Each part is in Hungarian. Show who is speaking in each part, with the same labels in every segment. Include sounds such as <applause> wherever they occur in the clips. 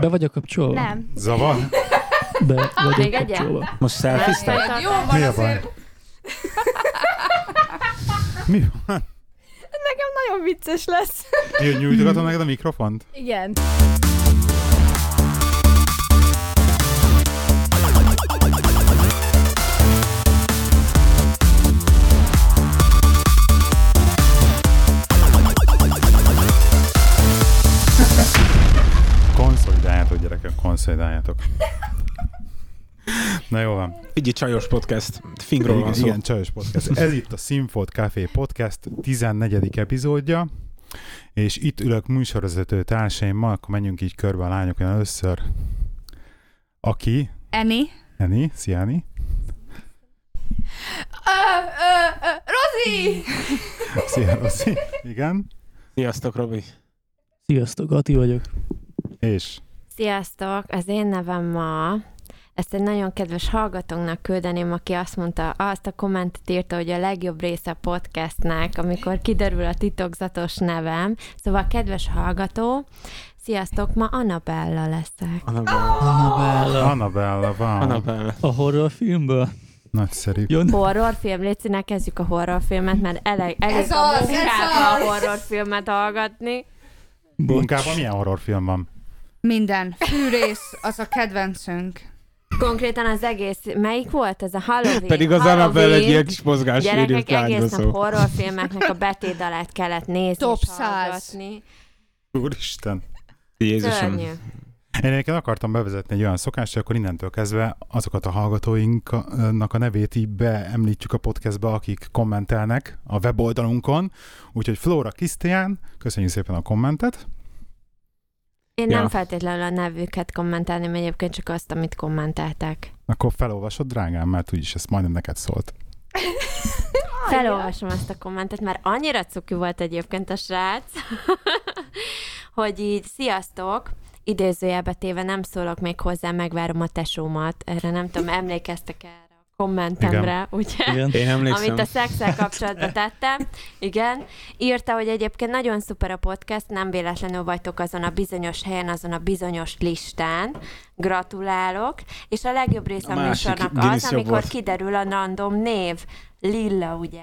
Speaker 1: Be vagyok kapcsolva?
Speaker 2: Nem.
Speaker 3: Zavar?
Speaker 1: Be vagyok
Speaker 2: Még egyet?
Speaker 1: kapcsolva.
Speaker 4: Most szelfiztek?
Speaker 2: Tartam.
Speaker 5: Jó van
Speaker 3: Mi a baj?
Speaker 5: azért.
Speaker 3: Mi van?
Speaker 2: Nekem nagyon vicces lesz.
Speaker 3: Jön, nyújtogatom neked a mikrofont?
Speaker 2: Igen.
Speaker 3: Konszolidáljátok, gyerekek, konszolidáljátok. Na jó van.
Speaker 4: Ügyi csajos podcast. Fingról van
Speaker 3: igen,
Speaker 4: szó.
Speaker 3: igen, csajos podcast. Ez itt a Sinfold Café Podcast 14. epizódja, és itt ülök műsorvezető társaimmal, akkor menjünk így körbe a lányokon először. Aki?
Speaker 5: Eni.
Speaker 3: Eni, szia Eni.
Speaker 5: Ö, ö, ö, Rozi!
Speaker 3: Szia Rossi. Igen.
Speaker 4: Sziasztok, Robi.
Speaker 1: Sziasztok, Ati vagyok.
Speaker 3: És
Speaker 2: Sziasztok, az én nevem ma. Ezt egy nagyon kedves hallgatónknak küldeném, aki azt mondta, azt a kommentet írta, hogy a legjobb része a podcastnek, amikor kiderül a titokzatos nevem. Szóval, kedves hallgató, sziasztok, ma Annabella leszek.
Speaker 4: Annabella.
Speaker 1: Annabella.
Speaker 3: Annabella van.
Speaker 4: Annabella.
Speaker 1: A horrorfilmből?
Speaker 3: Nagyszerű.
Speaker 1: Jön?
Speaker 2: Horrorfilm, Léci, ne kezdjük a horrorfilmet, mert elég, elég
Speaker 5: Ez
Speaker 2: a
Speaker 5: az, ez
Speaker 2: munkába
Speaker 5: az.
Speaker 2: a horrorfilmet hallgatni.
Speaker 3: Munkában milyen horrorfilm van?
Speaker 5: Minden. Fűrész, az a kedvencünk.
Speaker 2: Konkrétan az egész, melyik volt ez a Halloween?
Speaker 4: Pedig az
Speaker 2: Halloween.
Speaker 4: Annabella egy ilyen kis mozgás
Speaker 2: Gyerekek egész nap
Speaker 4: szó.
Speaker 2: horrorfilmeknek a betétdalát kellett nézni
Speaker 5: Top
Speaker 2: és
Speaker 5: 100.
Speaker 2: hallgatni.
Speaker 3: Úristen.
Speaker 4: Jézusom.
Speaker 2: Szörnyű.
Speaker 3: Én egyébként akartam bevezetni egy olyan szokást, hogy akkor innentől kezdve azokat a hallgatóinknak a nevét így beemlítjük a podcastbe, akik kommentelnek a weboldalunkon. Úgyhogy Flóra Krisztián, köszönjük szépen a kommentet.
Speaker 2: Én
Speaker 4: Ja.
Speaker 2: nem feltétlenül a nevüket kommentálném, egyébként csak azt, amit kommentálták.
Speaker 3: Akkor felolvasod, drágám, mert úgyis ez majdnem neked szólt.
Speaker 2: Felolvasom azt a kommentet, mert annyira cuki volt egyébként a srác, <laughs> hogy így, sziasztok, idézőjelbe téve nem szólok még hozzá, megvárom a tesómat. Erre nem tudom, emlékeztek erre a kommentemre, ugye?
Speaker 1: Igen.
Speaker 4: Én
Speaker 2: amit a
Speaker 4: emlékszem.
Speaker 2: szexel kapcsolatban tettem. Igen. Írta, hogy egyébként nagyon szuper a podcast, nem véletlenül vagytok azon a bizonyos helyen, azon a bizonyos listán. Gratulálok. És a legjobb része
Speaker 4: A
Speaker 2: a,
Speaker 4: másik
Speaker 2: műsornak
Speaker 4: Guinness
Speaker 2: az,
Speaker 4: jobb
Speaker 2: amikor
Speaker 4: volt.
Speaker 2: kiderül a random név. Lilla, ugye?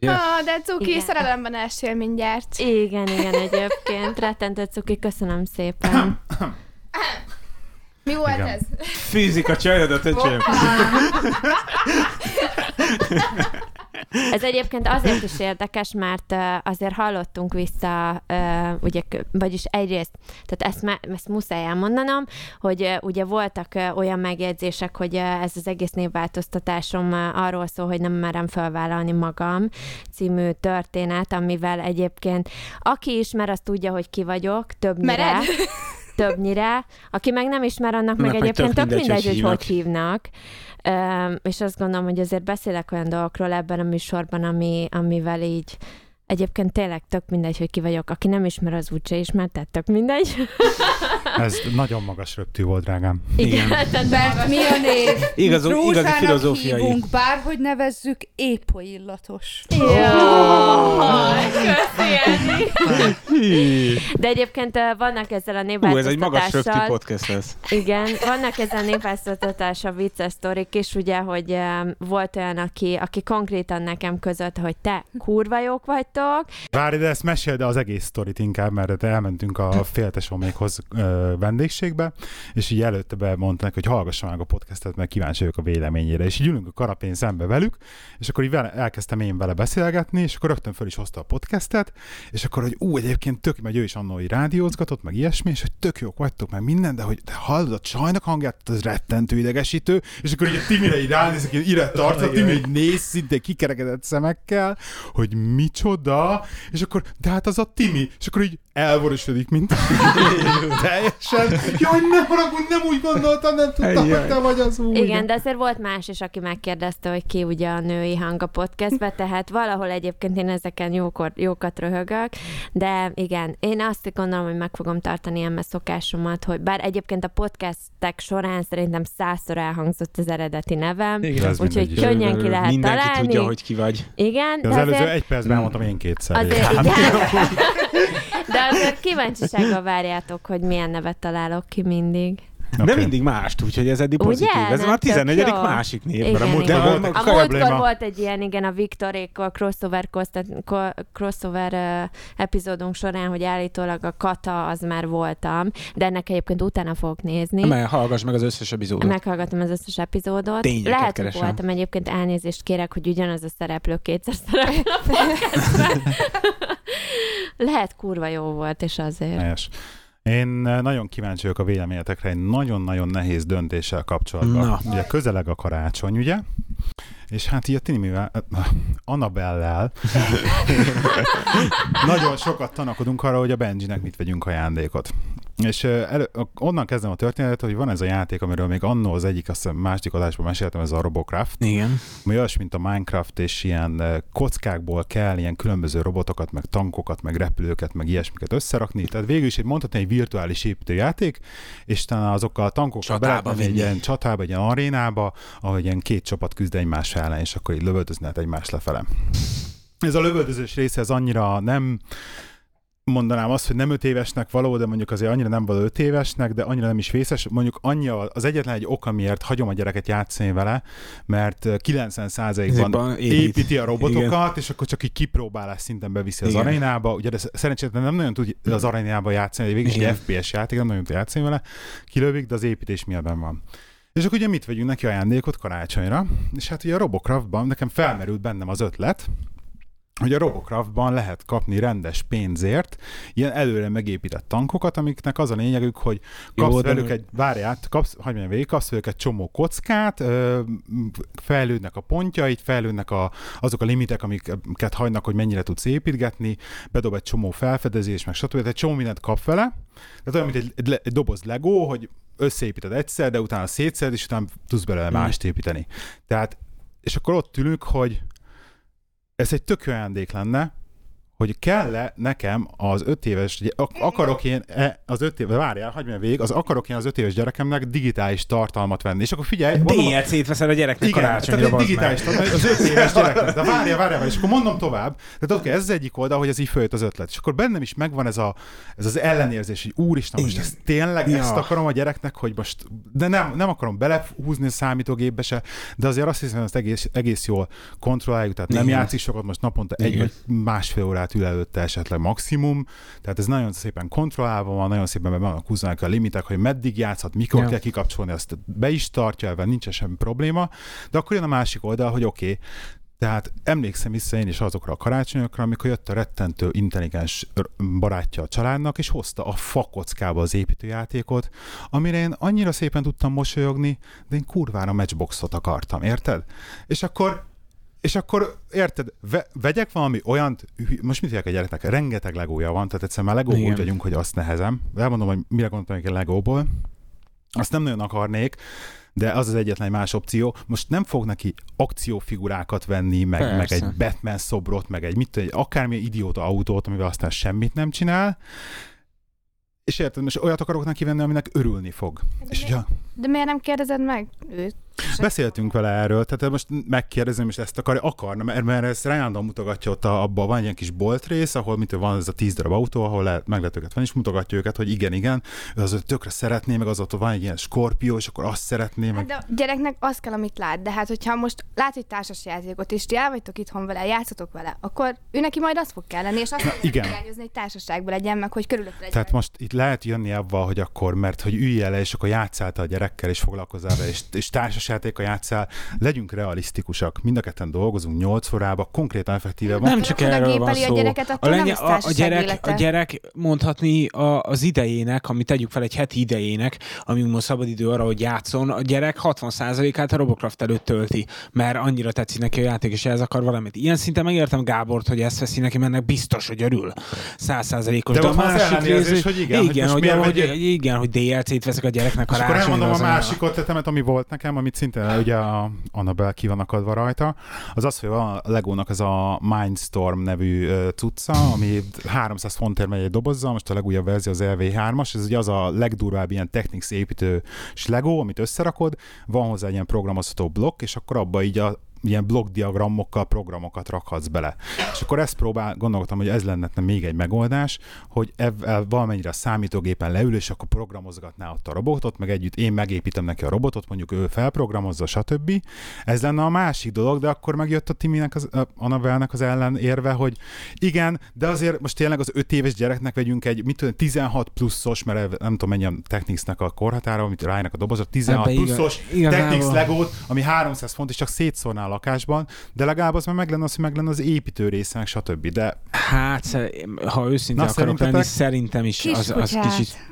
Speaker 4: Ugye?
Speaker 6: Ah, de cuki,
Speaker 2: Igen.
Speaker 6: szerelemben estél mindjárt.
Speaker 2: Igen, igen, egyébként. Rettentő cuki, köszönöm szépen.
Speaker 6: Mi volt
Speaker 3: Igen.
Speaker 6: ez?
Speaker 4: Fűzik a csajodat, öcsém.
Speaker 2: Ez egyébként azért is érdekes, mert ö, azért hallottunk vissza, ö, ugye, k- vagyis egyrészt, tehát ezt, me- ezt muszáj elmondanom, hogy ö, ugye voltak ö, olyan megjegyzések, hogy ö, ez az egész névváltoztatásom ö, arról szól, hogy nem merem felvállalni magam című történet, amivel egyébként aki ismer, az tudja, hogy ki vagyok, többnyire.
Speaker 6: Mered?
Speaker 2: Többnyire. Aki meg nem ismer, annak meg,
Speaker 4: Annak meg
Speaker 2: egyébként
Speaker 4: tök
Speaker 2: tök mindegy,
Speaker 4: mindegy,
Speaker 2: hogy
Speaker 4: hogy
Speaker 2: hogy hívnak. Öm, és azt gondolom, hogy azért beszélek olyan dolgokról ebben a műsorban, ami, amivel így egyébként tényleg tök mindegy, hogy ki vagyok. Aki nem ismer, az úgyse ismer, tehát tök mindegy.
Speaker 3: Ez nagyon magas röptű volt, drágám.
Speaker 4: Igen.
Speaker 2: tehát
Speaker 5: Mert mi a név?
Speaker 4: Igaz, igazi
Speaker 5: Rózsának
Speaker 4: filozófiai.
Speaker 5: hívunk, bárhogy nevezzük, épp oly illatos.
Speaker 2: Jaj, köszi, Edi. De egyébként ö, vannak ezzel a
Speaker 4: Hú, ez egy magas röptű
Speaker 2: névváltoztatással.
Speaker 4: podcast lesz.
Speaker 2: Igen, vannak ezen népáztatása vicces sztorik is, ugye, hogy em, volt olyan, aki, aki konkrétan nekem között, hogy te kurva jók vagytok,
Speaker 3: Várj, de ezt mesél, de az egész sztorit inkább, mert elmentünk a féltesómékhoz ö, vendégségbe, és így előtte bemondták, hogy hallgassam meg a podcastet, mert kíváncsi vagyok a véleményére. És így ülünk a karapén szembe velük, és akkor így vele, elkezdtem én vele beszélgetni, és akkor rögtön föl is hozta a podcastet, és akkor, hogy ú, egyébként tök, meg ő is annó, hogy rádiózgatott, meg ilyesmi, és hogy tök jók vagytok, meg minden, de hogy te hallod a csajnak hangját, ez rettentő idegesítő, és akkor így a Timire így ránézek, így ire tart, a Timi így néz szinte kikerekedett szemekkel, hogy micsoda, és akkor, de hát az a Timi, és akkor így elvorosodik, mint <laughs> teljesen, jaj, ne haragudj, nem úgy gondoltam, nem tudtam, hogy te vagy az új.
Speaker 2: Igen, de azért volt más is, aki megkérdezte, hogy ki ugye a női hang a podcastbe, tehát valahol egyébként én ezeken jókor, jókat röhögök, de igen, én azt gondolom, hogy meg fogom tartani eme szokásomat, hogy bár egyébként a podcastek során szerintem százszor elhangzott az eredeti nevem,
Speaker 1: Igen.
Speaker 3: Ez
Speaker 2: úgyhogy
Speaker 3: mindegy.
Speaker 2: könnyen ki lehet
Speaker 4: Mindenki
Speaker 2: találni.
Speaker 4: tudja, hogy ki vagy.
Speaker 2: Igen,
Speaker 3: De
Speaker 2: de
Speaker 3: az előző
Speaker 2: azért,
Speaker 3: Hát, egy percben elmondtam én kétszer.
Speaker 2: azért igen. De azért kíváncsisággal várjátok, hogy milyen nevet találok ki mindig.
Speaker 4: De mindig mást, úgyhogy ez eddig
Speaker 2: Ugye?
Speaker 4: pozitív. Ez
Speaker 2: Nem,
Speaker 4: már a
Speaker 2: tök
Speaker 4: 14.
Speaker 2: jó.
Speaker 4: másik név, mert
Speaker 2: Igen,
Speaker 4: a múltkor
Speaker 2: igen.
Speaker 4: volt
Speaker 2: A
Speaker 3: Akkor
Speaker 2: múltkor
Speaker 3: probléma.
Speaker 2: volt egy ilyen, igen, a Viktorékkal crossover, kostat- ko- crossover uh, epizódunk során, hogy állítólag a Kata az már voltam, de ennek egyébként utána fogok nézni.
Speaker 4: Mert hallgass meg az összes epizódot.
Speaker 2: Meghallgatom az összes epizódot.
Speaker 4: Tényeket
Speaker 2: Lehet,
Speaker 4: keresem.
Speaker 2: hogy voltam egyébként, elnézést kérek, hogy ugyanaz a szereplő kétszer szerepel a podcastben. Lehet kurva jó volt, és azért.
Speaker 3: Helyes. Én eh, nagyon kíváncsi vagyok a véleményetekre egy nagyon-nagyon nehéz döntéssel kapcsolatban.
Speaker 4: Na.
Speaker 3: Ugye közeleg a karácsony, ugye? És hát így a Tinimivel, eh, Annabellel <laughs> nagyon sokat tanakodunk arra, hogy a Benjinek mit vegyünk ajándékot. És eh, elő, onnan kezdem a történetet, hogy van ez a játék, amiről még annó az egyik, azt hiszem második adásban meséltem, ez a Robocraft.
Speaker 4: Igen.
Speaker 3: Ami olyas, mint a Minecraft, és ilyen eh, kockákból kell ilyen különböző robotokat, meg tankokat, meg repülőket, meg ilyesmiket összerakni. Tehát végül is egy mondhatni egy virtuális építőjáték, és talán azokkal a tankokkal
Speaker 4: Csatába
Speaker 3: beletmenni egy
Speaker 4: vinni.
Speaker 3: ilyen csatába, egy ilyen arénába, ahol ilyen két csapat küzd egymás ellen, és akkor így lövöldözni lehet egymás lefele. Ez a lövöldözős része, ez annyira nem mondanám azt, hogy nem öt évesnek való, de mondjuk azért annyira nem való öt évesnek, de annyira nem is vészes. Mondjuk annyi a- az egyetlen egy oka, miért hagyom a gyereket játszani vele, mert eh, 90%-ban
Speaker 4: Ezekben épít.
Speaker 3: építi a robotokat, és akkor csak így kipróbálás szinten beviszi az
Speaker 4: Igen.
Speaker 3: arénába. Ugye de sz- szerencsétlen nem nagyon tud az arénába játszani, hogy végig is
Speaker 4: Igen.
Speaker 3: egy FPS játék, nem nagyon tud játszani vele. Kilövik, de az építés miatt benn van. És akkor ugye mit vegyünk neki ajándékot karácsonyra? És hát ugye a Robocraftban nekem felmerült bennem az ötlet, hogy a Robocraftban lehet kapni rendes pénzért ilyen előre megépített tankokat, amiknek az a lényegük, hogy
Speaker 4: Jó,
Speaker 3: kapsz
Speaker 4: de
Speaker 3: velük
Speaker 4: nem-
Speaker 3: egy, várjál, kapsz, hagyd menjen végig, kapsz velük egy csomó kockát, ö, m- fejlődnek a pontjaid, fejlődnek a, azok a limitek, amiket hagynak, hogy mennyire tudsz építgetni, bedob egy csomó felfedezés, meg stb. Tehát egy csomó mindent kap vele. Tehát olyan, mint egy, egy, le- egy doboz Lego, hogy összeépíted egyszer, de utána szétszed, és utána tudsz belőle
Speaker 4: Mm.
Speaker 3: mást építeni. Tehát, és akkor ott ülünk, hogy ez egy tök jó ajándék lenne, hogy kell-e nekem az öt éves, gy- ak- akarok én e, az öt éves, várjál, hagyd meg végig, az akarok én az öt éves gyerekemnek digitális tartalmat venni. És akkor figyelj, mondom,
Speaker 4: DLC-t veszel a gyereknek
Speaker 3: igen,
Speaker 4: karácsonyra.
Speaker 3: tehát egy
Speaker 4: bazd
Speaker 3: digitális,
Speaker 4: meg.
Speaker 3: tehát az öt éves gyereknek, de várjál, várjál, és akkor mondom tovább. Tehát oké, ez az egyik oldal, hogy ez így följött az ötlet. És akkor bennem is megvan ez, a, ez az ellenérzés, hogy úristen, most
Speaker 4: Igen.
Speaker 3: ezt tényleg
Speaker 4: Ja.
Speaker 3: ezt akarom a gyereknek, hogy most, de nem, nem akarom belehúzni a számítógépbe se, de azért azt hiszem, hogy ezt egész, egész jól kontrolláljuk, tehát nem
Speaker 4: Igen.
Speaker 3: játszik sokat, most naponta egy
Speaker 4: Igen.
Speaker 3: vagy másfél órát ül előtte esetleg maximum, tehát ez nagyon szépen kontrollálva van, nagyon szépen be vannak húzva a limitek, hogy meddig játszhat, mikor
Speaker 4: Ja.
Speaker 3: kell kikapcsolni, azt be is tartja, ebben nincsen semmi probléma, de akkor jön a másik oldal, hogy oké, okay, tehát emlékszem vissza én is azokra a karácsonyokra, amikor jött a rettentő intelligens r- barátja a családnak, és hozta a fakockába az építőjátékot, amire én annyira szépen tudtam mosolyogni, de én kurvára matchboxot akartam, érted? És akkor és akkor, érted, ve, vegyek valami olyan, most mit vegyek a gyereknek? Rengeteg legója van, tehát egyszer már legóból
Speaker 4: Igen.
Speaker 3: úgy vagyunk, hogy azt nehezem. Elmondom, hogy mire gondoltam egy legóból. Azt nem nagyon akarnék, de az az egyetlen más opció. Most nem fog neki akciófigurákat venni, meg, meg
Speaker 4: Persze.
Speaker 3: egy Batman szobrot, meg egy, mit, tudom, egy akármilyen idióta autót, amivel aztán semmit nem csinál. És érted, most olyat akarok neki venni, aminek örülni fog. És ugye,
Speaker 6: De miért nem kérdezed meg őt?
Speaker 3: Beszéltünk vele erről, tehát most megkérdezem, és ezt akar, akarna, mert, mert ezt Ryan mutogatja ott, a, abban van ilyen kis bolt rész, ahol mint van ez a tíz darab autó, ahol le, meg lehet őket venni, és mutogatja őket, hogy igen, igen, ő az tökre szeretné, meg az ott van egy ilyen skorpió, és akkor azt szeretné,
Speaker 6: Hát
Speaker 3: meg
Speaker 6: de a gyereknek azt kell, amit lát. De hát, hogyha most lát egy társas játékot, és ti el vagytok itthon vele, játszatok vele, akkor ő neki majd az fog kelleni,
Speaker 3: <coughs>
Speaker 6: és azt fogja
Speaker 3: igen.
Speaker 6: hiányozni, hogy társaságban legyen, meg hogy körülött legyen.
Speaker 3: Tehát most itt lehet jönni avval, hogy akkor, mert hogy üljél le, és akkor játszál te a gyerekkel, és foglalkozzál vele, és, és társasjátékkal játszál. Legyünk realisztikusak. Mind a ketten dolgozunk 8 órába, konkrétan effektíve van.
Speaker 4: Nem csak
Speaker 6: Akkor oda
Speaker 4: erről van
Speaker 6: gépeli a
Speaker 4: szó.
Speaker 6: gyereket, attól nem
Speaker 4: lenya-
Speaker 6: lesz
Speaker 4: a, a,
Speaker 6: társaság
Speaker 4: gyerek,
Speaker 6: élete.
Speaker 4: a gyerek mondhatni a, az idejének, amit tegyük fel egy heti idejének, ami most szabadidő arra, hogy játszon, a gyerek 60%-át a Robocraft előtt tölti, mert annyira tetszik neki a játék, és ez akar valamit. Ilyen szinten megértem Gábort, hogy ezt veszi neki, mert ennek biztos, hogy örül. 100%-os.
Speaker 3: De ott van az ellenérzés, hogy igen, hogy
Speaker 4: igen,
Speaker 3: most
Speaker 4: hogy,
Speaker 3: miért
Speaker 4: hogy,
Speaker 3: vegyél?
Speaker 4: igen, hogy DLC-t veszek a gyereknek
Speaker 3: És akkor
Speaker 4: karácsonyra.
Speaker 3: elmondom a
Speaker 4: az olyan-
Speaker 3: másik ötletemet, ami volt nekem, amit szintén ugye a Annabel ki van akadva rajta, az az, hogy van a Legónak ez a Mindstorm nevű ö, cucca, ami 300 fontért megy egy dobozzal, most a legújabb verzió az LV3-as, ez ugye az a legdurvább ilyen Technics építő Lego, amit összerakod, van hozzá egy ilyen programozható blokk, és akkor abba így a ilyen blokkdiagrammokkal programokat rakhatsz bele. És akkor ezt próbál, gondoltam, hogy ez lenne még egy megoldás, hogy ezzel valamennyire a számítógépen leül, és akkor programozgatná ott a robotot, meg együtt én megépítem neki a robotot, mondjuk ő felprogramozza, stb. Ez lenne a másik dolog, de akkor megjött a Timinek, az, a Navelnek az ellen érve, hogy igen, de azért most tényleg az 5 éves gyereknek vegyünk egy, mit tudom, 16 pluszos, mert nem tudom mennyi a Technicsnek a korhatára, amit rájönnek a dobozra, 16
Speaker 4: Ebbe igaz-
Speaker 3: pluszos
Speaker 4: igazából-
Speaker 3: Technics legót, ami 300 font, és csak szétszórná a lakásban, de legalább az már meg lenne az, hogy meg lenne az építő része, meg stb. De
Speaker 4: Hát, szer- ha őszinte
Speaker 3: Na,
Speaker 4: akarok
Speaker 3: szerintetek?
Speaker 4: lenni, szerintem is az, az
Speaker 5: Kiskutyát.
Speaker 4: kicsit...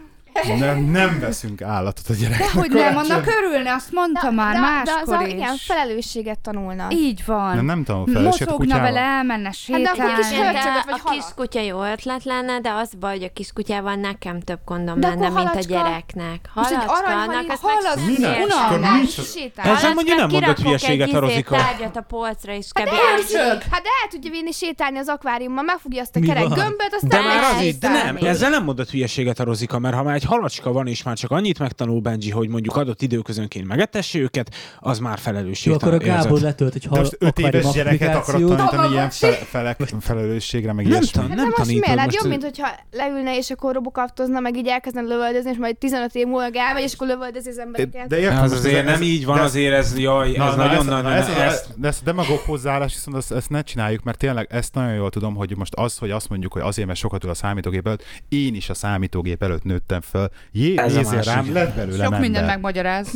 Speaker 3: nem, nem veszünk állatot a gyerek.
Speaker 5: Hogy nem, annak örülne, azt mondta már
Speaker 6: de az
Speaker 5: máskor
Speaker 6: a,
Speaker 5: is.
Speaker 6: igen, Hát- felelősséget tanulnak.
Speaker 5: Így van.
Speaker 3: Nem, nem tudom, feleség a
Speaker 5: Mozogna
Speaker 3: kutyával.
Speaker 5: vele, elmenne sétálni.
Speaker 6: Hát akkor kis
Speaker 2: Igen, de
Speaker 6: hörcsögöt vagy
Speaker 2: a
Speaker 6: halat.
Speaker 2: kiskutya jó ötlet lenne, de az baj, hogy a kiskutyával nekem több gondom
Speaker 6: De
Speaker 2: lenne,
Speaker 6: akkor
Speaker 2: mint a
Speaker 6: halacska.
Speaker 2: gyereknek.
Speaker 6: Most egy
Speaker 2: Halacska,
Speaker 6: aranyhal-
Speaker 2: annak ezt
Speaker 6: halacska,
Speaker 2: meg
Speaker 3: Minek?
Speaker 2: szívesen
Speaker 5: Unalmas.
Speaker 3: Akkor
Speaker 2: nem.
Speaker 3: nincs az-
Speaker 6: Sétál.
Speaker 4: Ezzel mondjuk nem
Speaker 2: Halackát
Speaker 4: mondott
Speaker 2: kirakok
Speaker 4: hülyeséget a
Speaker 2: egy izét,
Speaker 4: Rozika.
Speaker 2: tárgyat a polcra is kb.
Speaker 6: Elcsög! Hát de el tudja vinni sétálni az akváriumban, megfogja azt a
Speaker 1: Mi
Speaker 6: kerek
Speaker 1: van?
Speaker 6: gömböt, aztán
Speaker 4: De már az
Speaker 6: elsétál.
Speaker 4: így, de nem,
Speaker 2: Elsétálni.
Speaker 4: ezzel nem mondott hülyeséget a Rozika, mert ha már egy halacska van, és már csak annyit megtanul Benji, hogy mondjuk adott időközönként megetesse őket, az már felelősség.
Speaker 1: Jó, akkor a Gábor letölt egy
Speaker 3: De
Speaker 1: hal
Speaker 3: most 5 éves
Speaker 1: akvárium
Speaker 3: gyereket akarod
Speaker 1: applikációt.
Speaker 3: tanítani ilyen
Speaker 6: Tamagotchi.
Speaker 3: fele, felek, felelősségre, meg
Speaker 4: Nem,
Speaker 3: ilyesmi.
Speaker 4: tan-
Speaker 6: Nem,
Speaker 4: nem
Speaker 6: nem most miért?
Speaker 4: tanítom
Speaker 6: Hát
Speaker 4: most.
Speaker 6: jobb, mint hogyha leülne, és akkor robokaftozna, meg így elkezdne lövöldözni, és majd 15 év múlva elmegy, és akkor lövöldözi az embereket.
Speaker 3: értem,
Speaker 4: az
Speaker 3: most
Speaker 4: Hát azért
Speaker 3: ez-
Speaker 4: nem így van,
Speaker 3: de-
Speaker 4: azért ez, jaj, ez nagyon nagy,
Speaker 3: ez,
Speaker 4: ez,
Speaker 3: ez, ez a demagóg hozzáállás, viszont ezt, ezt ne csináljuk, mert tényleg ezt nagyon jól tudom, hogy most az, hogy azt mondjuk, hogy azért, mert sokat ül a számítógép előtt, én is a számítógép előtt nőttem fel. Jé,
Speaker 4: Ez a
Speaker 3: nézzél
Speaker 4: másik.
Speaker 3: rám, lett belőlem
Speaker 5: Sok
Speaker 3: ember.
Speaker 5: mindent megmagyaráz.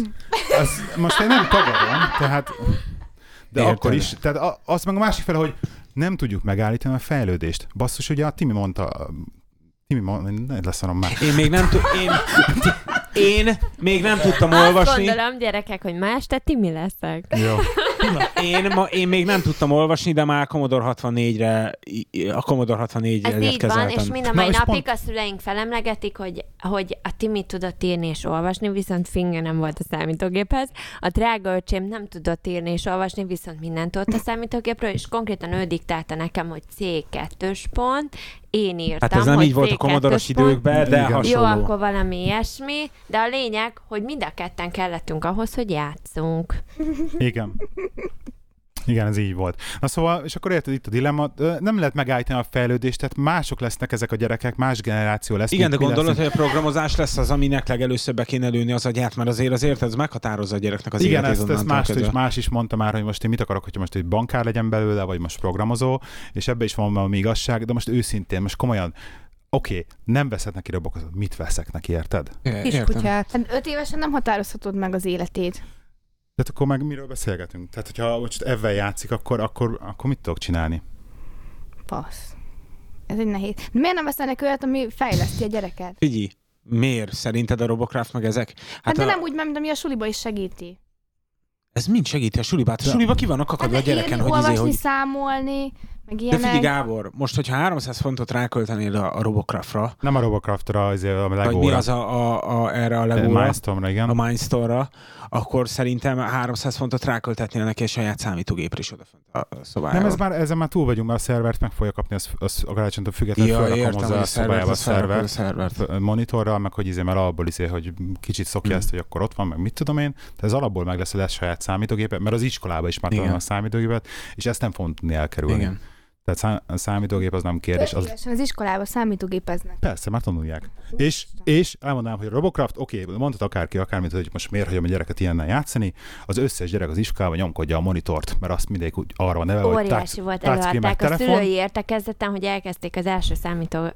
Speaker 3: Ezt most én nem tagadom, tehát... De
Speaker 4: Értem.
Speaker 3: Értem. akkor is, tehát a- az meg a másik fele, hogy nem tudjuk megállítani a fejlődést. Basszus, ugye a Timi mondta, Timi mondta, leszarom már.
Speaker 4: Én még nem tudom, én, én még nem tudtam
Speaker 2: Azt
Speaker 4: olvasni,
Speaker 2: gondolom, gyerekek, hogy ma este ti mi leszek.
Speaker 3: Jó.
Speaker 4: én, ma, én még nem tudtam olvasni, de már a Commodore 64-re, a Commodore 64-re
Speaker 2: Ez
Speaker 4: egyet
Speaker 2: így van, és
Speaker 4: kezeltem.
Speaker 2: mind a
Speaker 3: Na,
Speaker 2: mai
Speaker 3: és
Speaker 2: napig
Speaker 3: pont-
Speaker 2: a szüleink felemlegetik, hogy, hogy a Timi tudott írni és olvasni, viszont finge nem volt a számítógéphez. A drága öcsém nem tudott írni és olvasni, viszont mindent tudott a számítógépről, és konkrétan ő diktálta nekem, hogy C2 pont, én írtam,
Speaker 4: Hát ez nem
Speaker 2: hogy
Speaker 4: így volt a
Speaker 2: C2
Speaker 4: Commodore-os
Speaker 2: pont.
Speaker 4: időkben, de
Speaker 3: Igen. Jó,
Speaker 2: Jó,
Speaker 4: hasonló.
Speaker 2: akkor valami ilyesmi, de a lényeg, hogy mind a ketten kellettünk ahhoz, hogy játszunk.
Speaker 3: Igen. Igen, ez így volt. Na szóval, és akkor érted itt a dilemma, ö, nem lehet megállítani a fejlődést, tehát mások lesznek ezek a gyerekek, más generáció lesz.
Speaker 4: Igen, de
Speaker 3: mint mi
Speaker 4: gondolod,
Speaker 3: leszünk.
Speaker 4: hogy a programozás lesz az, aminek legelőször be kéne lőni az agyát, mert azért azért ez meghatározza a gyereknek az
Speaker 3: Igen,
Speaker 4: életét
Speaker 3: ezt, ezt
Speaker 4: onnantól
Speaker 3: más,
Speaker 4: kezdve.
Speaker 3: is, más is mondta már, hogy most én mit akarok, hogy most egy bankár legyen belőle, vagy most programozó, és ebbe is van valami igazság, de most őszintén, most komolyan, oké, okay, nem veszek neki robokat, mit veszek neki, érted?
Speaker 4: É, értem.
Speaker 5: Kiskutyát.
Speaker 6: Hát öt évesen nem határozhatod meg az életét.
Speaker 3: Tehát hát akkor meg miről beszélgetünk? Tehát, hogyha most ebben játszik, akkor, akkor, akkor mit tudok csinálni?
Speaker 6: Passz. Ez egy nehéz. De miért nem veszel neki olyat, ami fejleszti a gyereket?
Speaker 4: Figyelj, miért? Szerinted a Robocraft meg ezek?
Speaker 6: Hát, hát de
Speaker 4: a,
Speaker 6: nem úgy, mint ami a suliba is segíti.
Speaker 4: Ez mind segíti a suliba. Hát a
Speaker 3: De-
Speaker 4: suliba ki vannak
Speaker 6: Hát
Speaker 4: akadva
Speaker 6: de
Speaker 4: a gyereken,
Speaker 6: írni,
Speaker 4: hogy, izé,
Speaker 6: olvasni,
Speaker 4: hogy
Speaker 6: számolni, meg
Speaker 4: De
Speaker 6: ilyenek.
Speaker 4: figyelj, Gábor, most, hogyha 300 fontot ráköltenél a, a Robocraftra,
Speaker 3: Nem a Robocraftra, azért a
Speaker 4: vagy
Speaker 3: Legóra.
Speaker 4: mi az a, a, a erre a legóra,
Speaker 3: Milestone-ra, igen.
Speaker 4: a Mindstore-ra, akkor szerintem 300 fontot ráköltetnél neki a saját számítógépre is odafönt a a szobájába.
Speaker 3: Nem, ez már, ezen már túl vagyunk, mert a szervert meg fogja kapni az, az, a karácsonytól függetlenül,
Speaker 4: ja,
Speaker 3: felrakom
Speaker 4: értem, hogy
Speaker 3: hozzá
Speaker 4: a
Speaker 3: a
Speaker 4: szervert,
Speaker 3: szobájába
Speaker 4: a
Speaker 3: a
Speaker 4: szervert, a
Speaker 3: szervert
Speaker 4: szervert.
Speaker 3: monitorral, meg hogy izé, mert alapból izé, hogy kicsit szokja
Speaker 4: Mm.
Speaker 3: mm. ezt, hogy akkor ott van, meg mit tudom én, de ez alapból meg lesz, hogy lesz saját számítógépet, mert az iskolában is már
Speaker 4: Igen.
Speaker 3: tanulnak a számítógépet, és ezt nem fogom tudni elkerülni.
Speaker 4: Igen.
Speaker 3: Tehát szá- a számítógép az nem kérdés. Az,
Speaker 6: Évesen az iskolába számítógépeznek.
Speaker 3: persze, már tanulják. És, és elmondanám, hogy a Robocraft, oké, okay, mondhat akárki, akármit, hogy most miért hagyom a gyereket ilyennel játszani, az összes gyerek az iskolában nyomkodja a monitort, mert azt mindig úgy arra van neve, hogy touch-
Speaker 2: Óriási volt
Speaker 3: touchscreen meg
Speaker 2: előadták a
Speaker 3: telefon.
Speaker 2: szülői értekezeten, hogy elkezdték az első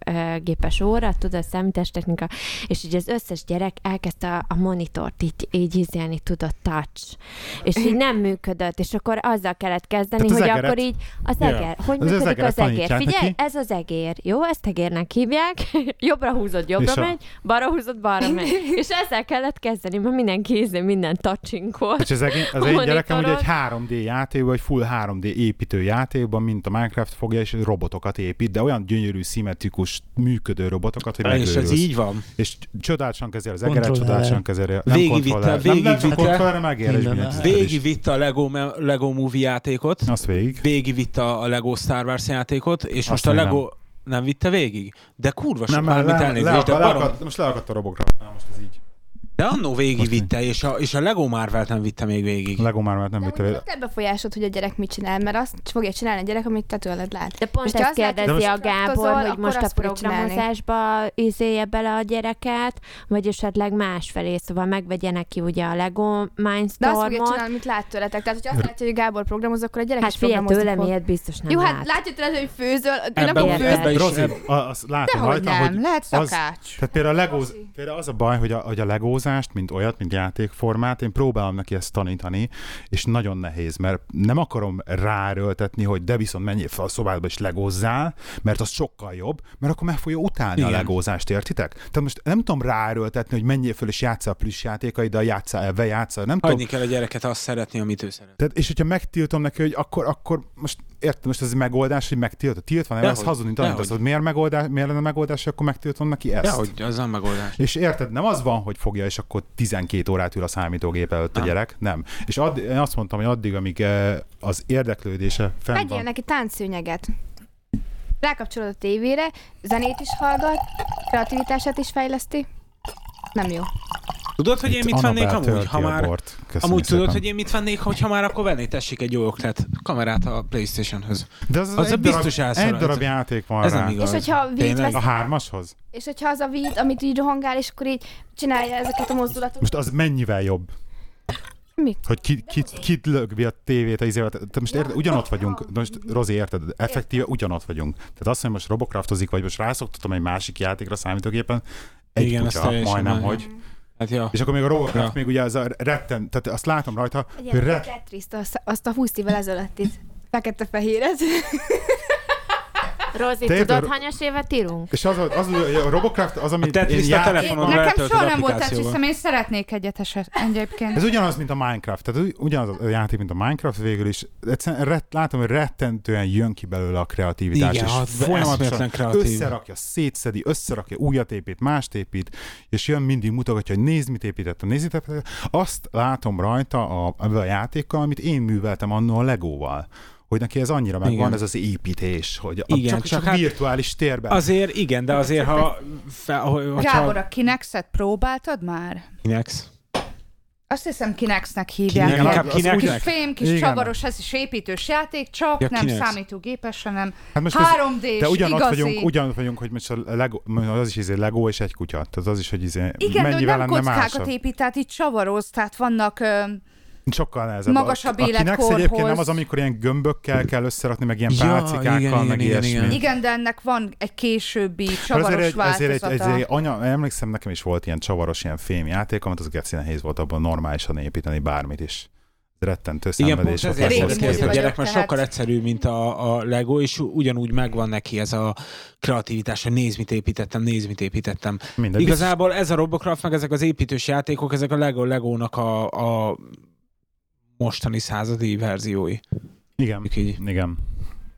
Speaker 2: számítógépes óra, tudod, számítástechnika, és így az összes gyerek elkezdte a, a monitort így, így ízelni, tudod, touch, és így nem működött, és akkor azzal kellett kezdeni,
Speaker 3: Tehát az
Speaker 2: hogy
Speaker 3: egeret?
Speaker 2: akkor így az
Speaker 3: Ja.
Speaker 2: egér, hogy
Speaker 3: Az
Speaker 2: működik az,
Speaker 3: egeret
Speaker 2: egér,
Speaker 3: tanítják
Speaker 2: figyelj,
Speaker 3: neki.
Speaker 2: ez az egér, jó, ezt egérnek hívják, <laughs> jobbra húzod, jobbra
Speaker 3: És a-
Speaker 2: megy, balra húzod, balra megy,
Speaker 3: <laughs>
Speaker 2: és ezzel kellett kezdeni, mert mindenki ízni, minden touching
Speaker 3: És az, egény, az
Speaker 2: A
Speaker 3: én gyerekem ugye
Speaker 2: monitoron.
Speaker 3: egy 3D játékban, egy full 3D építő játékban, mint a Minecraft fogja, és robotokat épít, de olyan gyönyörű, szimmetrikus, működő robotokat, hogy
Speaker 4: És
Speaker 3: megőrülsz.
Speaker 4: ez így van.
Speaker 3: És csodálisan kezeli az egeret,
Speaker 1: Kontroller.
Speaker 3: csodálisan kezeli. Nem
Speaker 4: Végigvitte,
Speaker 3: kontroller. Nem, nem csak
Speaker 4: végigvitte. Hát
Speaker 3: kontroller, megér, és
Speaker 1: Minden
Speaker 3: mindent
Speaker 1: el.
Speaker 3: is.
Speaker 4: Végigvitte a Lego, me- Lego Movie játékot,
Speaker 3: Azt végig.
Speaker 4: végigvitte a a Lego Star Wars játékot, és
Speaker 3: Azt
Speaker 4: most a
Speaker 3: még
Speaker 4: Lego... Nem. vitte végig? De kurva sok
Speaker 3: le,
Speaker 4: mármit
Speaker 3: le,
Speaker 4: elnézést, de
Speaker 3: le,
Speaker 4: barom...
Speaker 3: akad, most leakadt a robokra. Na, most ez így.
Speaker 4: De annó végigvitte, és a, és a Lego Marvel-t nem vitte még végig.
Speaker 3: Lego már már nem
Speaker 6: De
Speaker 3: vitte
Speaker 6: mondjuk
Speaker 3: elő.
Speaker 6: te befolyásod, hogy a gyerek mit csinál, mert azt fogja csinálni a gyerek, amit te tőled lát.
Speaker 2: De pont
Speaker 6: Most
Speaker 2: ezt
Speaker 6: azt látjuk,
Speaker 2: kérdezi
Speaker 3: hogy
Speaker 2: a Gábor,
Speaker 6: kraftozol,
Speaker 2: hogy
Speaker 6: akkor
Speaker 2: most a
Speaker 6: azt fogod csinálni.
Speaker 2: programozásba izélje bele a gyereket, vagy esetleg másfelé, szóval megvegye neki ugye a Lego
Speaker 6: De azt fogja
Speaker 2: Mindstormot.
Speaker 6: csinálni, amit lát tőletek. Tehát, hogyha azt látja, hogy Gábor programoz, akkor a gyerek
Speaker 2: Hát
Speaker 6: is
Speaker 2: figyelj,
Speaker 6: programozni
Speaker 2: tőlem
Speaker 6: fog.
Speaker 2: ilyet biztos nem
Speaker 6: Jó,
Speaker 2: lát.
Speaker 6: hát látja tőled, hogy főzöl, ő nem
Speaker 4: Ebben
Speaker 6: fog
Speaker 2: fogja
Speaker 6: főzni.
Speaker 4: ebbe is,
Speaker 3: Rozi,
Speaker 4: eb-
Speaker 3: a- azt látom
Speaker 5: Dehogy
Speaker 3: rajta,
Speaker 5: nem,
Speaker 3: hogy
Speaker 5: lehet
Speaker 3: az-
Speaker 5: szakács.
Speaker 3: Tehát például, a legóz, például az a baj, hogy a, hogy a legózást, mint olyat, mint játékformát, én próbálom neki ezt tanítani, és nagyon nehéz, mert nem akarom ráerőltetni, hogy de viszont menjél fel a szobádba és legózzál, mert az sokkal jobb, mert akkor meg fogja utálni Igen. a
Speaker 4: Igen.
Speaker 3: legózást, értitek? Tehát most nem tudom ráerőltetni, hogy menjél föl és játszál plusz játékaiddal, játszál elve, játszál, nem tudom.
Speaker 4: Hagyni kell a gyereket azt szeretni, amit ő szeret.
Speaker 3: Tehát, és hogyha megtiltom neki, hogy akkor, akkor most értem, most ez megoldás, hogy megtiltod. Tiltva nem,
Speaker 4: Dehogy,
Speaker 3: ez hazudni tanítasz,
Speaker 4: dehogy.
Speaker 3: hogy miért, megoldás, miért lenne megoldás, hogy akkor megtiltom neki ezt.
Speaker 4: De hogy az nem megoldás.
Speaker 3: És érted, nem az van, hogy fogja, és akkor 12 órát ül a számítógép előtt nem. a
Speaker 4: Nem.
Speaker 3: gyerek, nem. És add, én azt mondtam, hogy addig, amíg eh, az érdeklődése fenn
Speaker 6: Vegyél
Speaker 3: van.
Speaker 6: neki táncszőnyeget. Rákapcsolod a tévére, zenét is hallgat, kreativitását is fejleszti. Nem jó.
Speaker 4: Tudod, hogy én mit
Speaker 3: Annabel
Speaker 4: vennék amúgy,
Speaker 3: tölti
Speaker 4: ha
Speaker 3: a
Speaker 4: már...
Speaker 3: bort. Köszönjük
Speaker 4: Amúgy
Speaker 3: szépen.
Speaker 4: tudod, hogy én mit vennék, hogyha már akkor venné, tessék egy jó ötlet, kamerát a Playstation-höz.
Speaker 3: De az, az,
Speaker 4: az
Speaker 3: egy
Speaker 4: a
Speaker 3: darab,
Speaker 4: biztos elszorult.
Speaker 3: Egy darab játék van
Speaker 4: Ez
Speaker 3: rá.
Speaker 4: nem igaz.
Speaker 6: És hogyha vít
Speaker 4: Tényleg?
Speaker 6: vesz-
Speaker 3: A hármashoz?
Speaker 6: És hogyha az a vít, amit így rohangál, és akkor így csinálja ezeket a mozdulatokat.
Speaker 3: Most az mennyivel jobb?
Speaker 6: Mi?
Speaker 3: Hogy ki, ki, ki lögvi a tévét, a izével. Te most érted, ugyanott vagyunk. De Most Rozi, érted? Effektíve ugyanott vagyunk. Tehát azt, hogy most robokraftozik, vagy most rászoktatom egy másik játékra számítógépen, egy
Speaker 4: Igen,
Speaker 3: Igen,
Speaker 4: az
Speaker 3: kutya,
Speaker 4: teljesen
Speaker 3: majdnem,
Speaker 4: más.
Speaker 3: hogy.
Speaker 4: Hát ja.
Speaker 3: És akkor még a Robocraft,
Speaker 4: Ja.
Speaker 3: még ugye az a retten, tehát azt látom rajta,
Speaker 6: Egy
Speaker 3: hogy
Speaker 6: ilyen
Speaker 3: ret,
Speaker 6: Tetriszt, azt, azt a 20 évvel ezelőttit. Fekete-fehéret.
Speaker 2: Rozi,
Speaker 3: Te
Speaker 2: tudod,
Speaker 3: érted?
Speaker 2: hányas évet írunk?
Speaker 3: és az, az, az a Robocraft, az, amit
Speaker 4: Tetris
Speaker 3: én
Speaker 4: a
Speaker 3: játszom.
Speaker 4: telefon- Telefonon
Speaker 5: Nekem
Speaker 4: letöltöd
Speaker 5: soha nem volt
Speaker 4: applikációval.
Speaker 5: tetszem, én szeretnék egyet eset egyébként.
Speaker 3: Ez ugyanaz, mint a Minecraft. Tehát ugy- ugyanaz a játék, mint a Minecraft végül is. Egyszerűen ret, látom, hogy rettentően jön ki belőle a kreativitás.
Speaker 4: Igen,
Speaker 3: és
Speaker 4: az eszméletlen kreatív.
Speaker 3: összerakja, szétszedi, összerakja, újat épít, mást épít, és jön mindig mutogatja, hogy nézd, mit építettem, nézd, mit építettem. Azt látom rajta a, ebben a játékkal, amit én műveltem annó a Legóval hogy neki ez annyira megvan,
Speaker 4: Igen.
Speaker 3: ez az építés, hogy Igen,
Speaker 4: Igen,
Speaker 3: csak, csak,
Speaker 4: csak
Speaker 3: csak
Speaker 4: hát-
Speaker 3: virtuális térben.
Speaker 4: Azért igen, de azért, ha... Fe, ho- hogyha-
Speaker 5: Gábor, a Kinexet próbáltad már?
Speaker 4: Kinex.
Speaker 5: Azt hiszem Kinexnek
Speaker 4: Kinex,
Speaker 5: hívják.
Speaker 3: Igen,
Speaker 4: inkább
Speaker 3: az
Speaker 4: kinek.
Speaker 5: Kis
Speaker 3: ugyan-
Speaker 5: fém, kis
Speaker 3: Igen.
Speaker 5: Igen. csavaros, ez is építős játék, csak ja,
Speaker 4: Ja,
Speaker 5: nem
Speaker 4: Kinex.
Speaker 5: számítógépes, hanem
Speaker 3: Hát most ez-
Speaker 5: 3D-s,
Speaker 3: De ugyanott
Speaker 5: igazi.
Speaker 3: vagyunk, ugyanott vagyunk, hogy most a Lego, az is izé Lego és egy kutya. Tehát az is, hogy izé
Speaker 5: Igen, de hogy
Speaker 3: mennyivel
Speaker 5: nem
Speaker 3: lenne
Speaker 5: kockákat
Speaker 3: másabb.
Speaker 5: épít, tehát itt csavaroz, tehát vannak... Ö,
Speaker 3: Sokkal nehezebb.
Speaker 5: magasabb
Speaker 3: A- a Kinex
Speaker 5: életkorhoz.
Speaker 3: egyébként nem az, amikor ilyen gömbökkel kell összerakni, meg ilyen
Speaker 4: Ja,
Speaker 3: pálcikákkal,
Speaker 4: igen,
Speaker 3: meg
Speaker 4: igen, igen,
Speaker 3: ilyesmi.
Speaker 4: igen.
Speaker 5: igen, de ennek van egy későbbi
Speaker 3: Hát
Speaker 5: csavaros
Speaker 3: azért, egy-
Speaker 5: változata.
Speaker 3: azért egy, egy, egy anya, emlékszem, nekem is volt ilyen csavaros, ilyen fémjáték, amit az geci nehéz volt abban normálisan építeni bármit is. Ez Rettentő
Speaker 4: Igen, pont
Speaker 3: szenvedés volt
Speaker 4: ezért
Speaker 5: régi
Speaker 4: ahhoz
Speaker 3: ahhoz
Speaker 5: módi
Speaker 4: képest a
Speaker 5: vagyok,
Speaker 3: képest.
Speaker 4: gyerek, mert
Speaker 5: tehát-
Speaker 4: sokkal egyszerűbb, mint a, a Lego, és ugyanúgy megvan neki ez a kreativitás, hogy nézd, mit építettem, nézd, mit építettem.
Speaker 3: Mindegy, biztos-
Speaker 4: Igazából ez a Robocraft, meg ezek az építős játékok, ezek a Lego Legónak a, a mostani századi verziói.
Speaker 3: Igen.
Speaker 4: Mondjuk így.
Speaker 3: Igen.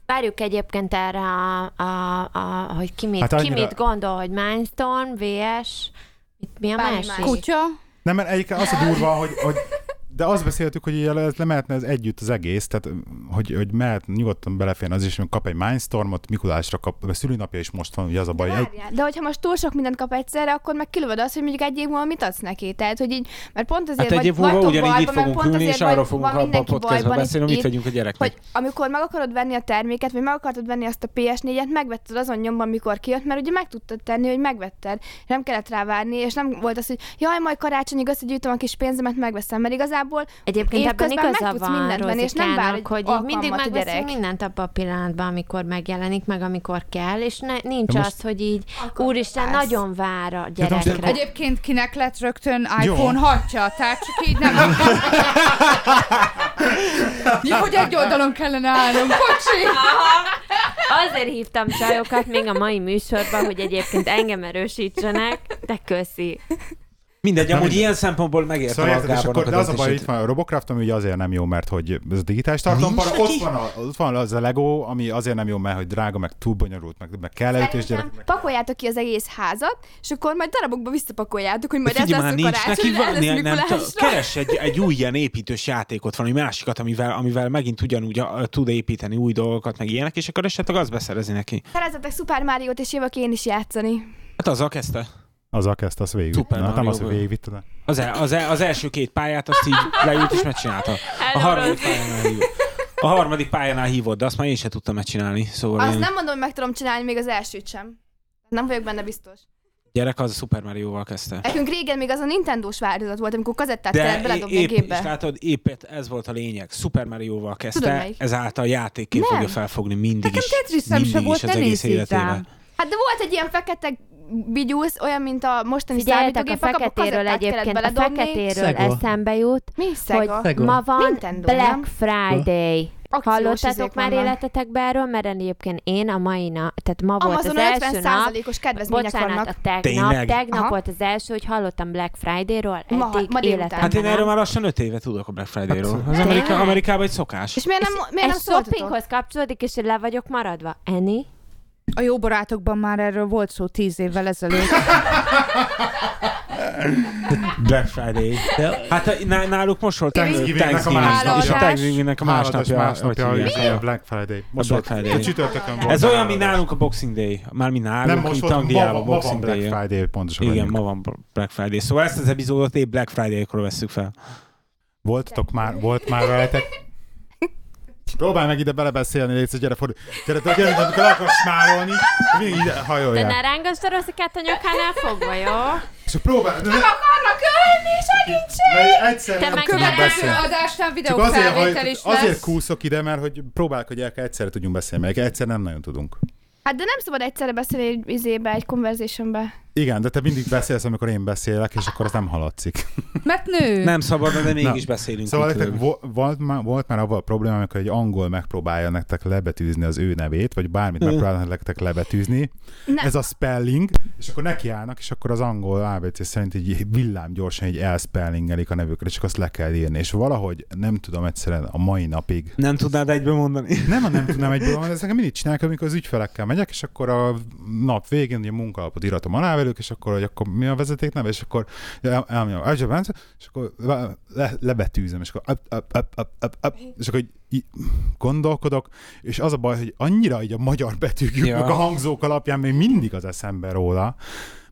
Speaker 2: Várjuk egyébként erre, a, a, a, hogy ki mit,
Speaker 3: Hát
Speaker 2: hát
Speaker 3: annyira-
Speaker 2: ki mit gondol, hogy Mindstorm, VS, mit, mi a
Speaker 6: Bármi
Speaker 2: másik?
Speaker 6: más.
Speaker 5: Kutya,
Speaker 3: Nem, mert egyik az a durva, hogy, hogy de azt beszéltük, hogy ugye ez lemehetne ez együtt az egész, tehát hogy, hogy mehet, nyugodtan beleférne az is, hogy kap egy Mindstormot, Mikulásra kap, a szülinapja is most van, ugye az a baj. Egy,
Speaker 6: Várjál, De hogyha most túl sok mindent kap egyszerre, akkor meg kilövöd azt, hogy mondjuk egy év múlva mit adsz neki. Tehát, hogy így, mert pont azért
Speaker 4: Hát egy év
Speaker 6: vagy,
Speaker 4: múlva
Speaker 6: vagytok
Speaker 4: ugyanígy itt
Speaker 6: bajban, mert
Speaker 4: fogunk
Speaker 6: pont
Speaker 4: ülni,
Speaker 6: azért
Speaker 4: és arról
Speaker 6: vagy-
Speaker 4: fogunk
Speaker 6: van
Speaker 4: abban a
Speaker 6: mindenki
Speaker 4: podcastban
Speaker 6: bajban, és
Speaker 4: beszélni, mit
Speaker 6: itt-
Speaker 4: vegyünk a gyereknek.
Speaker 6: hogy amikor meg akarod venni a terméket, vagy meg akarod venni azt a PS4-et, megvetted azon nyomban, mikor kijött, mert ugye meg tudtad tenni, hogy megvetted. Nem kellett rá várni, és nem volt az, hogy jaj, majd karácsonyig összegyűjtöm a kis pénzemet, megveszem, mert igazából
Speaker 2: Egyébként ebben
Speaker 6: Évközben
Speaker 2: igaza
Speaker 6: megtudsz
Speaker 2: van
Speaker 6: mindent venni, és nem vár egy
Speaker 2: Rozikának, hogy így mindig
Speaker 6: alkalmat a
Speaker 2: megveszünk
Speaker 6: gyerek.
Speaker 2: mindent abban a pillanatban, amikor megjelenik, meg amikor kell, és ne, nincs
Speaker 3: De most-
Speaker 2: az, hogy így,
Speaker 6: Akkor
Speaker 2: úristen,
Speaker 6: persze.
Speaker 2: nagyon vár a
Speaker 3: de most-
Speaker 2: gyerekre.
Speaker 5: egyébként kinek lett rögtön
Speaker 3: Jó.
Speaker 5: iPhone 6 tehát csak így nem...
Speaker 3: <laughs>
Speaker 5: Jó, hogy egy oldalon kellene állnom, kocsi!
Speaker 2: Azért hívtam csajokat még a mai műsorban, hogy egyébként engem erősítsenek, de köszi.
Speaker 4: Mindegy,
Speaker 3: Na
Speaker 4: amúgy
Speaker 3: mindegy.
Speaker 4: ilyen szempontból megértem
Speaker 3: Szóval
Speaker 4: a
Speaker 3: érted, és
Speaker 4: Gábornak
Speaker 3: akkor de az a baj,
Speaker 4: döntését.
Speaker 3: itt van a Robocraft, ami ugye azért nem jó, mert hogy ez digitális tartalom,
Speaker 4: Nincs
Speaker 3: para, ott,
Speaker 4: neki?
Speaker 3: van a, ott van az a Lego, ami azért nem jó, mert hogy drága, meg túl bonyolult, meg, meg kell előtt, és gyerek.
Speaker 6: Szerintem pakoljátok ki az egész házat, és akkor majd darabokba visszapakoljátok, hogy majd ez
Speaker 4: Figyelj
Speaker 6: lesz a karácsony, ez lesz
Speaker 4: nem, nem,
Speaker 6: Mikulásra.
Speaker 4: keres egy, egy új ilyen építős játékot, valami másikat, amivel, amivel megint ugyanúgy a, tud építeni új dolgokat, meg ilyenek, és akkor esetleg az beszerezi neki.
Speaker 6: Szerezzetek Super Mario-t, és jövök én is játszani.
Speaker 4: Hát azzal kezdte.
Speaker 3: Azzal kezdte, azt végigvitte.
Speaker 4: Super
Speaker 3: Hát nem
Speaker 4: Mario
Speaker 3: az, hogy
Speaker 4: World.
Speaker 3: végigvitte, de...
Speaker 4: Az, el, az, el, az első két pályát azt így leült és megcsinálta. A harmadik pályánál hívott. A harmadik pályánál hívott, de azt már én sem tudtam megcsinálni. Szóval
Speaker 6: Azt
Speaker 4: én
Speaker 6: nem mondom, hogy meg tudom csinálni még az elsőt sem. Nem vagyok benne biztos.
Speaker 4: gyerek az a Super Mario-val kezdte.
Speaker 6: Nekünk régen még az a Nintendo-s változat volt, amikor kazettát kellett beledobni hát a
Speaker 4: épp, hát- és
Speaker 6: gépbe.
Speaker 4: látod, épp ez volt a lényeg. Super Mario-val
Speaker 6: Tudom
Speaker 4: kezdte,
Speaker 6: melyik.
Speaker 4: ezáltal játékként
Speaker 6: Nem.
Speaker 4: fogja felfogni mindig
Speaker 5: Nekem
Speaker 4: is.
Speaker 5: Tetrisem se
Speaker 4: mindig
Speaker 5: volt,
Speaker 4: is az
Speaker 5: ne
Speaker 4: egész
Speaker 5: nézz így
Speaker 4: életében.
Speaker 5: rám.
Speaker 6: Hát de volt egy ilyen fekete bigyúsz, olyan, mint a mostani
Speaker 2: Figyeljetek, a
Speaker 6: számítógépek, akkor
Speaker 2: feketéről
Speaker 6: kazettát kellett
Speaker 2: egyébként, a
Speaker 6: beledobni.
Speaker 2: feketéről
Speaker 1: Szega.
Speaker 2: eszembe jut,
Speaker 6: Mi szega?
Speaker 2: hogy
Speaker 1: Szega.
Speaker 2: ma van
Speaker 6: Nintendo,
Speaker 2: Black
Speaker 6: nem?
Speaker 2: Friday.
Speaker 6: Akciós izék
Speaker 2: Hallottatok már
Speaker 6: vannak.
Speaker 2: életetekben erről? Mert egyébként én a mai nap, tehát ma volt
Speaker 6: Amazon
Speaker 2: az első nap,
Speaker 6: 50 százalékos kedvezmények
Speaker 2: Bocsánat,
Speaker 6: vannak.
Speaker 2: a tegnap.
Speaker 4: Tényleg?
Speaker 2: Tegnap
Speaker 6: Aha.
Speaker 2: volt az első, hogy hallottam Black Friday-ról,
Speaker 6: Ma-
Speaker 2: eddig
Speaker 6: ma délután.
Speaker 2: életemben
Speaker 4: Hát én
Speaker 2: nem.
Speaker 4: erről már lassan öt éve tudok a Black Friday-ról.
Speaker 3: Hát,
Speaker 4: Az
Speaker 2: Tényleg?
Speaker 4: Amerika, Amerikában egy szokás.
Speaker 6: És miért nem, miért
Speaker 2: Ez
Speaker 6: nem szóltatok?
Speaker 2: shoppinghoz kapcsolódik, és le vagyok maradva. Eni?
Speaker 5: A jó barátokban már erről volt szó tíz évvel <laughs> ezelőtt.
Speaker 4: Black Friday.
Speaker 1: De
Speaker 4: Hát a- ná- náluk most volt
Speaker 3: Thanksgiving-nek a
Speaker 4: Thanksgiving-nap, és a
Speaker 6: másnapja.
Speaker 4: Thanksgiving-nek a
Speaker 3: Hálatos
Speaker 4: másnapja.
Speaker 3: másnapja,
Speaker 4: hogy
Speaker 3: hogy
Speaker 4: hívják.
Speaker 3: a Black Friday. Most
Speaker 4: A
Speaker 3: volt.
Speaker 4: Black Friday.
Speaker 3: A csütörtökön volt.
Speaker 4: Ez olyan, mint
Speaker 3: hálatos.
Speaker 4: nálunk a Boxing Day. Mármint nálunk,
Speaker 3: Nem most
Speaker 4: mint
Speaker 3: volt, ma, ma
Speaker 4: Angliában
Speaker 3: ma van
Speaker 4: Boxing
Speaker 3: Black
Speaker 4: Day.
Speaker 3: Friday, pontosan.
Speaker 4: Igen,
Speaker 3: vagyunk.
Speaker 4: ma van Black Friday. Szóval ezt az epizódot épp Black Friday-kor veszük fel.
Speaker 3: Voltatok már, volt már veletek? Próbálj meg ide belebeszélni, légy szíves, gyere, fordulj. Gyere, gyere, gyere, amikor le akarsz smárolni, mindig ide
Speaker 2: De
Speaker 3: hajoljál.
Speaker 2: ne rángasd a rosszikát a nyakánál fogva, jó?
Speaker 3: És próbálj... Nem
Speaker 6: Akarnak ölni, segítség!
Speaker 3: Mert egyszer
Speaker 2: Te
Speaker 3: nem
Speaker 2: meg
Speaker 3: tudnak
Speaker 2: nem
Speaker 5: Első
Speaker 3: beszélni.
Speaker 5: adásnál
Speaker 3: Csak
Speaker 5: videó
Speaker 3: azért,
Speaker 5: felvétel
Speaker 3: hogy,
Speaker 5: is lesz.
Speaker 3: azért kúszok ide, mert hogy próbálok, hogy el- egyszerre tudjunk beszélni, mert egyszer nem nagyon tudunk.
Speaker 6: Hát de nem szabad egyszerre beszélni egy izébe, egy conversationbe.
Speaker 3: Igen, de te mindig beszélsz, amikor én beszélek, és akkor az nem haladszik.
Speaker 5: Mert nő.
Speaker 4: Nem szabad, de mégis beszélünk.
Speaker 3: Szóval
Speaker 4: itt
Speaker 3: nektek
Speaker 4: velük.
Speaker 3: vo- volt, már, volt már avval a probléma, amikor egy angol megpróbálja nektek lebetűzni az ő nevét, vagy bármit megpróbálnak nektek lebetűzni.
Speaker 6: Nem.
Speaker 3: Ez a spelling, és akkor nekiállnak, és akkor az angol ABC szerint így villám gyorsan így elspellingelik a nevükre, csak azt le kell írni. És valahogy nem tudom egyszerűen a mai napig,
Speaker 4: Nem tudnád egyben mondani?
Speaker 3: Nem, a nem tudnám egyből mondani, ezt nekem mindig csinálják, amikor az ügyfelekkel megyek, és akkor a nap végén ugye munkalapot íratom alá velük, és akkor, hogy akkor mi a vezeték neve, és akkor el- elmondom, "Algebra", és akkor le, lebetűzöm, és akkor up, up, up, up, up, up, és akkor így, így gondolkodok, és az a baj, hogy annyira így a magyar betűk ja.
Speaker 4: Ja.
Speaker 3: a hangzók alapján még mindig az eszembe róla,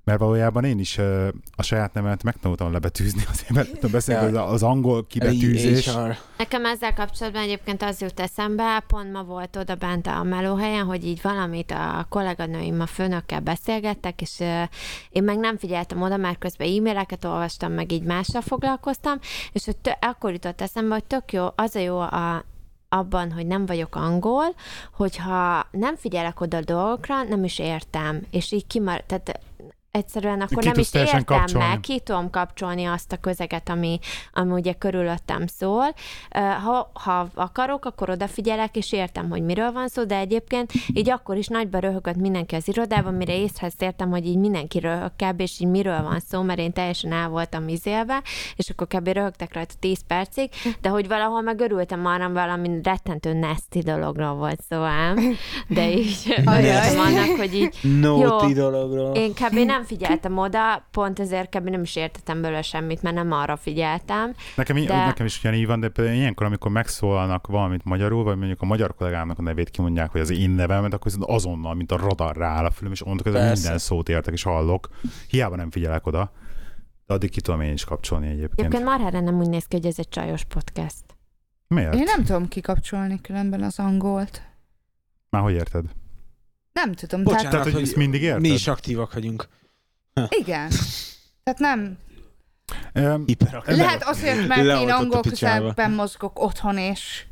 Speaker 3: mert valójában én is ö, a saját nevemet megtanultam lebetűzni, azért mert tudtam beszélni,
Speaker 4: Ja.
Speaker 3: ja. az angol kibetűzés.
Speaker 4: HR.
Speaker 2: Nekem ezzel kapcsolatban egyébként az jut eszembe, pont ma volt oda bent a melóhelyen, hogy így valamit a kolléganőim a főnökkel beszélgettek, és ö, én meg nem figyeltem oda, mert közben e-maileket olvastam, meg így mással foglalkoztam, és hogy tö- akkor jutott eszembe, hogy tök jó, az a jó a abban, hogy nem vagyok angol, hogyha nem figyelek oda a dolgokra, nem is értem, és így kimar... Tehát egyszerűen akkor
Speaker 3: Ki
Speaker 2: nem
Speaker 3: tudsz
Speaker 2: is
Speaker 3: teljesen
Speaker 2: értem
Speaker 3: kapcsolni.
Speaker 2: meg, ki tudom kapcsolni azt a közeget, ami, ami ugye körülöttem szól. Ö, Ha, ha akarok, akkor odafigyelek, és értem, hogy miről van szó, de egyébként így akkor is nagyba röhögött mindenki az irodában, mire észhez értem, hogy így mindenki röhög kb, és így miről van szó, mert én teljesen el voltam izélve, és akkor kb. röhögtek rajta 10 percig, de hogy valahol meg örültem arra, valami rettentő nasty dologról volt szó ám, de így örültem annak, hogy
Speaker 4: <laughs>
Speaker 2: így
Speaker 4: No,
Speaker 2: Jó.
Speaker 4: ti dologról.
Speaker 2: én kb. nem figyeltem oda, pont ezért kb. nem is értettem belőle semmit, mert nem arra figyeltem.
Speaker 3: Nekem, de...
Speaker 2: De-
Speaker 3: nekem is ugyanígy van, de például ilyenkor, amikor megszólalnak valamit magyarul, vagy mondjuk a magyar kollégámnak a nevét kimondják, hogy az én nevemet, akkor viszont azonnal, mint a radar rááll a fülöm, és onnantól kezdve
Speaker 4: Persze.
Speaker 3: minden szót értek és hallok. Hiába nem figyelek oda, de addig ki tudom én is kapcsolni egyébként.
Speaker 2: Egyébként marhára nem úgy néz ki, hogy ez egy csajos podcast.
Speaker 3: Miért?
Speaker 5: Én nem tudom kikapcsolni különben az angolt.
Speaker 3: Már hogy érted?
Speaker 5: Nem tudom, hát- tehát
Speaker 4: Bocsánat,
Speaker 3: Tehát, hogy
Speaker 4: hogy
Speaker 3: ezt mindig érted?
Speaker 4: Mi is aktívak vagyunk.
Speaker 5: igen. Tehát nem.
Speaker 3: Öm,
Speaker 4: Hiperaktívak.
Speaker 5: Lehet azért, mert én
Speaker 4: Leoltott a
Speaker 5: angol
Speaker 4: picsába.
Speaker 5: közegben mozgok otthon és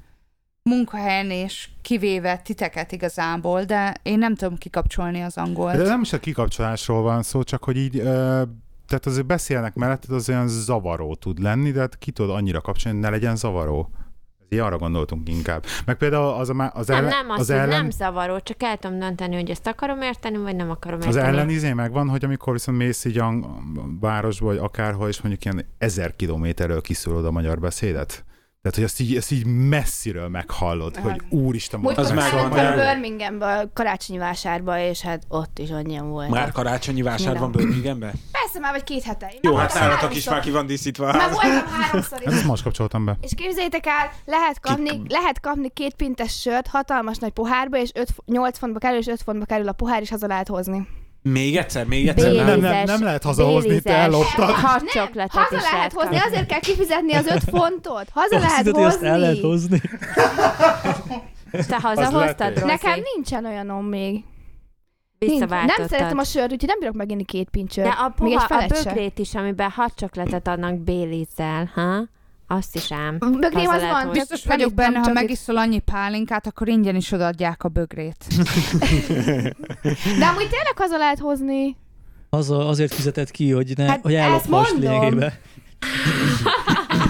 Speaker 5: munkahelyen és kivéve titeket igazából, de én nem tudom kikapcsolni az angolt.
Speaker 3: De nem is a kikapcsolásról van szó, csak hogy így, ö, tehát azért beszélnek melletted, az olyan zavaró tud lenni, de hát ki tudod annyira kapcsolni, hogy ne legyen zavaró. Így arra gondoltunk inkább. Meg például az, a, má- az,
Speaker 2: Nem,
Speaker 3: ellen,
Speaker 2: nem,
Speaker 3: az
Speaker 2: az,
Speaker 3: ellen,
Speaker 2: ellen... nem zavaró, csak el tudom dönteni, hogy ezt akarom érteni, vagy nem akarom
Speaker 3: az
Speaker 2: érteni.
Speaker 3: ellen izé megvan, hogy amikor viszont mész így a városba, vagy akárhol, és mondjuk ilyen ezer kilométerről kiszúrod a magyar beszédet. Tehát, hogy azt így, ezt így messziről meghallod, hogy úristen, szóval- most
Speaker 4: Az
Speaker 6: Múltkor
Speaker 3: megszólal
Speaker 4: már megvan,
Speaker 6: elmentem
Speaker 4: de-
Speaker 3: magyar.
Speaker 6: Birminghambe karácsonyi vásárba, és hát ott is annyian volt.
Speaker 4: Már karácsonyi vásár
Speaker 6: Minden.
Speaker 4: van Birminghamben?
Speaker 6: Persze már vagy két hete. Én
Speaker 4: Jó,
Speaker 6: már
Speaker 4: hát
Speaker 6: voltam
Speaker 4: nálatok is
Speaker 6: háromszor.
Speaker 4: már Hát ki van díszítve.
Speaker 6: Már voltam háromszor is.
Speaker 3: Hát Ezt most kapcsoltam
Speaker 2: <laughs>
Speaker 3: be.
Speaker 6: És képzeljétek el, lehet kapni, lehet kapni két pintes sört hatalmas nagy pohárba, és 5, 8 fontba kerül, és 5 fontba kerül a pohár, és haza lehet hozni.
Speaker 4: Még egyszer, még egyszer.
Speaker 3: Nem, nem,
Speaker 4: nem.
Speaker 3: nem, nem lehet hazahozni, te
Speaker 2: Bélizes.
Speaker 3: elloptad.
Speaker 2: Hat csoklatot
Speaker 6: Haza
Speaker 2: is
Speaker 6: lehet hozni,
Speaker 2: elkap.
Speaker 6: azért kell kifizetni az 5 fontot. Haza
Speaker 1: Azt
Speaker 6: lehet
Speaker 1: hiszed, hogy azt el lehet
Speaker 6: hozni.
Speaker 1: hozni?
Speaker 2: Te
Speaker 3: lehet,
Speaker 2: hazahoztad,
Speaker 3: hogy-
Speaker 2: Rozi?
Speaker 6: Nekem nincsen olyanom még. Nincs. Nem
Speaker 2: Visszaváltottad.
Speaker 6: szeretem a sört, úgyhogy nem bírok meginni két pincsőt.
Speaker 2: De a,
Speaker 6: még egy
Speaker 2: puha, a
Speaker 6: felet sem.
Speaker 2: bögrét is, amiben hat csoklatot adnak Bélizel, ha? Azt is ám.
Speaker 6: Bögrém
Speaker 2: Haza
Speaker 6: az
Speaker 2: lehet
Speaker 6: van.
Speaker 2: hozni.
Speaker 5: Biztos
Speaker 6: Nem
Speaker 5: vagyok
Speaker 6: ittam,
Speaker 5: benne, ha
Speaker 6: csak
Speaker 5: megiszol annyi pálinkát, akkor ingyen is odaadják a bögrét.
Speaker 6: itt- De amúgy tényleg haza lehet hozni.
Speaker 1: Az a, azért fizetett ki, hogy, ne,
Speaker 6: Hát
Speaker 1: hát hogy
Speaker 6: ezt
Speaker 1: ellophass
Speaker 6: mondom.
Speaker 1: lényegében.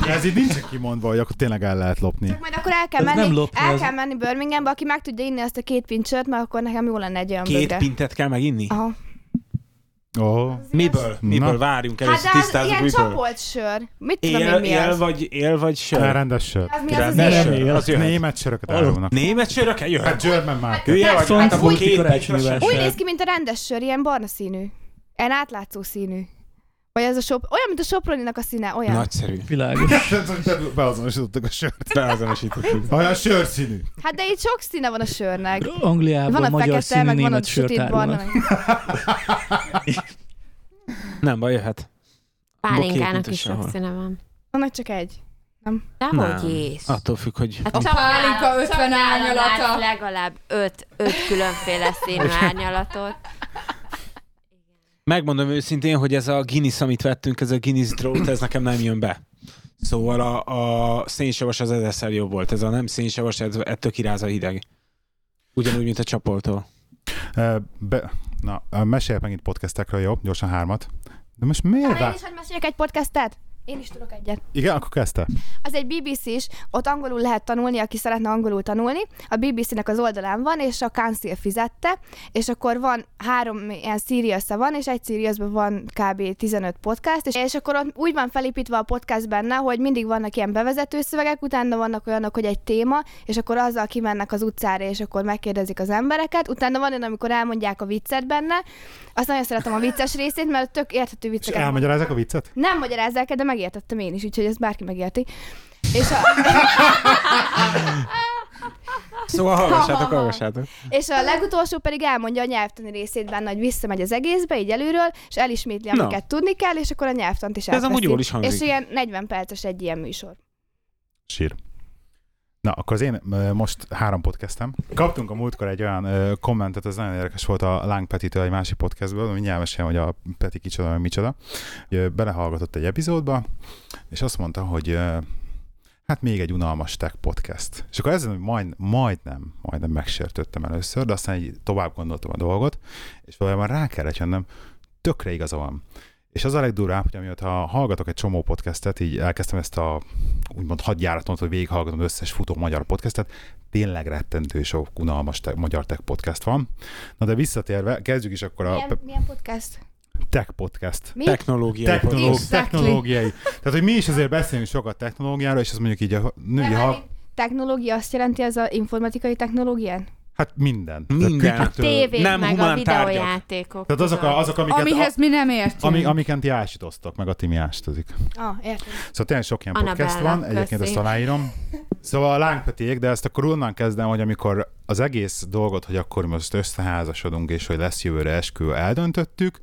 Speaker 3: Ez így nincs kimondva, hogy akkor tényleg el lehet lopni.
Speaker 6: Csak majd akkor el kell
Speaker 1: Ez nem
Speaker 6: menni,
Speaker 1: lopni,
Speaker 6: el
Speaker 1: ez-
Speaker 6: kell menni Birminghambe, aki meg tudja inni azt a két pincsört, mert akkor nekem jó lenne egy olyan
Speaker 4: Két
Speaker 6: bögre.
Speaker 4: pintet kell meginni?
Speaker 6: Aha.
Speaker 3: Oh.
Speaker 4: Miből? Miből?
Speaker 3: Na.
Speaker 4: Várjunk
Speaker 6: Hát
Speaker 4: először,
Speaker 6: de az
Speaker 4: tisztázunk,
Speaker 6: ilyen
Speaker 4: miből.
Speaker 6: csapolt sör. Mit tudom én
Speaker 4: Él,
Speaker 6: mi
Speaker 4: él,
Speaker 6: az?
Speaker 4: vagy, él vagy sör?
Speaker 3: Rendes sör.
Speaker 6: Az mi az az
Speaker 4: Rendes
Speaker 1: Nem
Speaker 4: sör.
Speaker 1: él.
Speaker 4: Az jöhet.
Speaker 3: Német söröket
Speaker 1: Alap-
Speaker 3: árulnak.
Speaker 4: Német sörök? Jöhet.
Speaker 3: Hát German <laughs> már.
Speaker 4: Hülye vagy? Hát abból
Speaker 1: Frankfurti
Speaker 4: két
Speaker 1: karácsonyi
Speaker 4: pincsös.
Speaker 1: vásár.
Speaker 6: Úgy néz ki, mint a rendes sör, ilyen barna színű. Ilyen átlátszó színű. Vagy ez a sop... Olyan, mint a Soproninak a színe, olyan.
Speaker 4: Nagyszerű.
Speaker 1: Világos.
Speaker 3: Beazonosítottak a sört.
Speaker 4: Beazonosítottuk.
Speaker 3: Olyan sörszínű.
Speaker 6: Hát de itt sok színe van a sörnek.
Speaker 1: Angliában
Speaker 6: Van a
Speaker 1: magyar
Speaker 6: fekete,
Speaker 1: színű
Speaker 6: meg van a
Speaker 1: német sört
Speaker 6: sötét
Speaker 1: árulnak.
Speaker 6: barna.
Speaker 4: Nem baj, jöhet.
Speaker 2: Pálinkának
Speaker 4: Bokék
Speaker 2: is sok
Speaker 4: sehol.
Speaker 2: színe van.
Speaker 6: Annak csak egy.
Speaker 2: Dehogy is.
Speaker 4: Attól függ, hogy...
Speaker 2: Hát
Speaker 5: A
Speaker 2: csak nálam-
Speaker 5: pálinka
Speaker 2: csak
Speaker 5: 50
Speaker 2: nálam
Speaker 5: árnyalata.
Speaker 2: látsz Legalább öt, öt különféle színű árnyalatot.
Speaker 4: Megmondom őszintén, hogy ez a Guinness, amit vettünk, ez a Guinness drót, ez nekem nem jön be. Szóval a, a szénsavas az ezerszer jobb volt. Ez a nem szénsavas, ez, ettől kiráz a hideg. Ugyanúgy, mint a csapoltól.
Speaker 3: Ö, Be, na, ö, mesélj megint podcastekről, jó? Gyorsan hármat. De most miért?
Speaker 6: Én
Speaker 3: Rá?
Speaker 6: is, hogy meséljek egy podcastet? Én is tudok egyet.
Speaker 3: Igen, akkor kezdte.
Speaker 6: Az egy BBC is, ott angolul lehet tanulni, aki szeretne angolul tanulni. A BBC-nek az oldalán van, és a Council fizette, és akkor van három ilyen serious van, és egy seriesben van kb. 15 podcast, és, és akkor ott úgy van felépítve a podcast benne, hogy mindig vannak ilyen bevezető szövegek, utána vannak olyanok, hogy egy téma, és akkor azzal kimennek az utcára, és akkor megkérdezik az embereket, utána van olyan, amikor elmondják a viccet benne, azt nagyon szeretem a vicces részét, mert tök érthető
Speaker 3: És
Speaker 6: vicceket mondanak.
Speaker 3: elmagyarázzák a viccet?
Speaker 6: Nem magyarázzák el, de megértettem én is, úgyhogy ezt bárki megérti. És a, <laughs>
Speaker 4: Szóval hallgassátok, hallgassátok.
Speaker 6: és a legutolsó pedig elmondja a nyelvtani részét benne, hogy visszamegy az egészbe, így előről, és elismétli,
Speaker 4: Na.
Speaker 6: amiket tudni kell, és akkor a nyelvtant is
Speaker 4: Ez amúgy
Speaker 6: elveszi.
Speaker 4: jól is hangzik.
Speaker 6: És ilyen 40 perces egy ilyen műsor.
Speaker 3: Sír. Na, akkor az én ö, most három podcastem. Kaptunk a múltkor egy olyan ö, kommentet, ez nagyon érdekes volt a Láng Petitől egy másik podcastből, mindjárt mesélem, hogy a Peti kicsoda, meg micsoda. Ö, Belehallgatott egy epizódba, és azt mondta, hogy ö, hát még egy unalmas tech podcast. És akkor ezen majd, majdnem, majdnem megsértődtem először, de aztán így tovább gondoltam a dolgot, és valójában rá kellett jönnöm, tökre igaza van. És az a legdurább, hogy amióta hallgatok egy csomó podcastet, így elkezdtem ezt a úgymond hadjáraton, hogy végighallgatom az összes futó magyar podcastet, tényleg rettentő sok unalmas te- magyar tech podcast van. Na de visszatérve, kezdjük is akkor a
Speaker 6: Milyen, milyen podcast?
Speaker 3: tech podcast.
Speaker 6: Mi?
Speaker 4: Technológia.
Speaker 3: Technológ,
Speaker 5: Exactly.
Speaker 3: Technológiai. Tehát, hogy mi is azért beszélünk sokat technológiáról, és ez mondjuk így a női
Speaker 6: Nem, hát
Speaker 3: hal...
Speaker 6: Technológia azt jelenti, ez az informatikai technológián?
Speaker 3: Hát minden.
Speaker 4: Minden.
Speaker 3: Tehát kütyüktől-
Speaker 2: Tévék,
Speaker 4: nem
Speaker 2: meg a
Speaker 4: humán tárgyak.
Speaker 2: videójátékok.
Speaker 3: Tehát azok, a, azok amiket,
Speaker 5: Amihez
Speaker 3: Amihez...
Speaker 5: mi nem értünk.
Speaker 3: a, ami, amiket ti ásítoztok, meg a Timi ásítozik.
Speaker 6: Ah, értem.
Speaker 3: Szóval tényleg sok ilyen
Speaker 2: Annabella,
Speaker 3: podcast van, egyébként
Speaker 2: köszi.
Speaker 3: ezt aláírom. Szóval a lángpetiék, de ezt akkor onnan kezdem, hogy amikor az egész dolgot, hogy akkor most összeházasodunk, és hogy lesz jövőre eskü, eldöntöttük,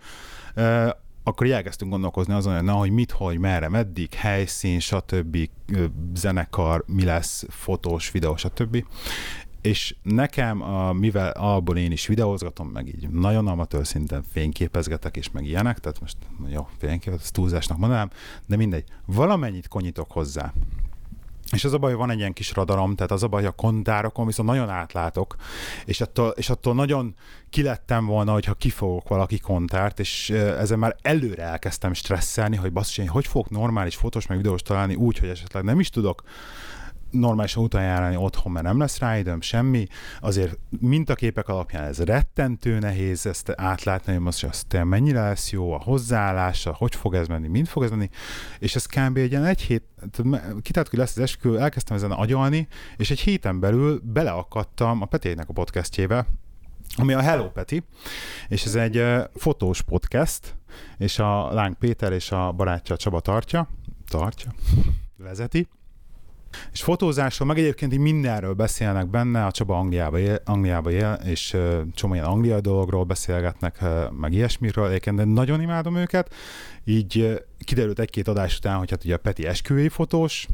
Speaker 3: ö, akkor így elkezdtünk gondolkozni azon, hogy na, hogy mit, hogy, merre, meddig, helyszín, stb., ö, zenekar, mi lesz, fotós, videó, stb. És nekem, a, mivel abból én is videózgatom, meg így nagyon amatőr szinten fényképezgetek, és meg ilyenek, tehát most jó, fényképet, ezt túlzásnak mondanám, de mindegy, valamennyit konyítok hozzá. És az a baj, hogy van egy ilyen kis radarom, tehát az a baj, hogy a kontárokon viszont nagyon átlátok, és attól, és attól nagyon kilettem volna, hogyha kifogok valaki kontárt, és ö, ezen már előre elkezdtem stresszelni, hogy basszus, én hogy fogok normális fotós meg videós találni úgy, hogy esetleg nem is tudok normálisan utajárni otthon, mert nem lesz rá időm, semmi. Azért mintaképek alapján ez rettentő nehéz ezt átlátni, hogy most azt tényleg mennyire lesz jó a hozzáállása, hogy fog ez menni, mind fog ez menni, és ez kb. egy ilyen egy hét, tehát me- kitált, hogy lesz az eskü, elkezdtem ezen agyalni, és egy héten belül beleakadtam a Petének a podcastjébe, ami a Hello Peti, és ez egy ö, fotós podcast, és a Láng Péter és a barátja Csaba tartja, tartja, vezeti, És fotózásról, meg egyébként így mindenről beszélnek benne, a Csaba Angliába él, Angliába él és ö, csomó ilyen angliai dologról beszélgetnek, ö, meg ilyesmiről, egyébként de nagyon imádom őket. Így ö, kiderült egy-két adás után, hogy hát ugye a Peti esküvői fotós,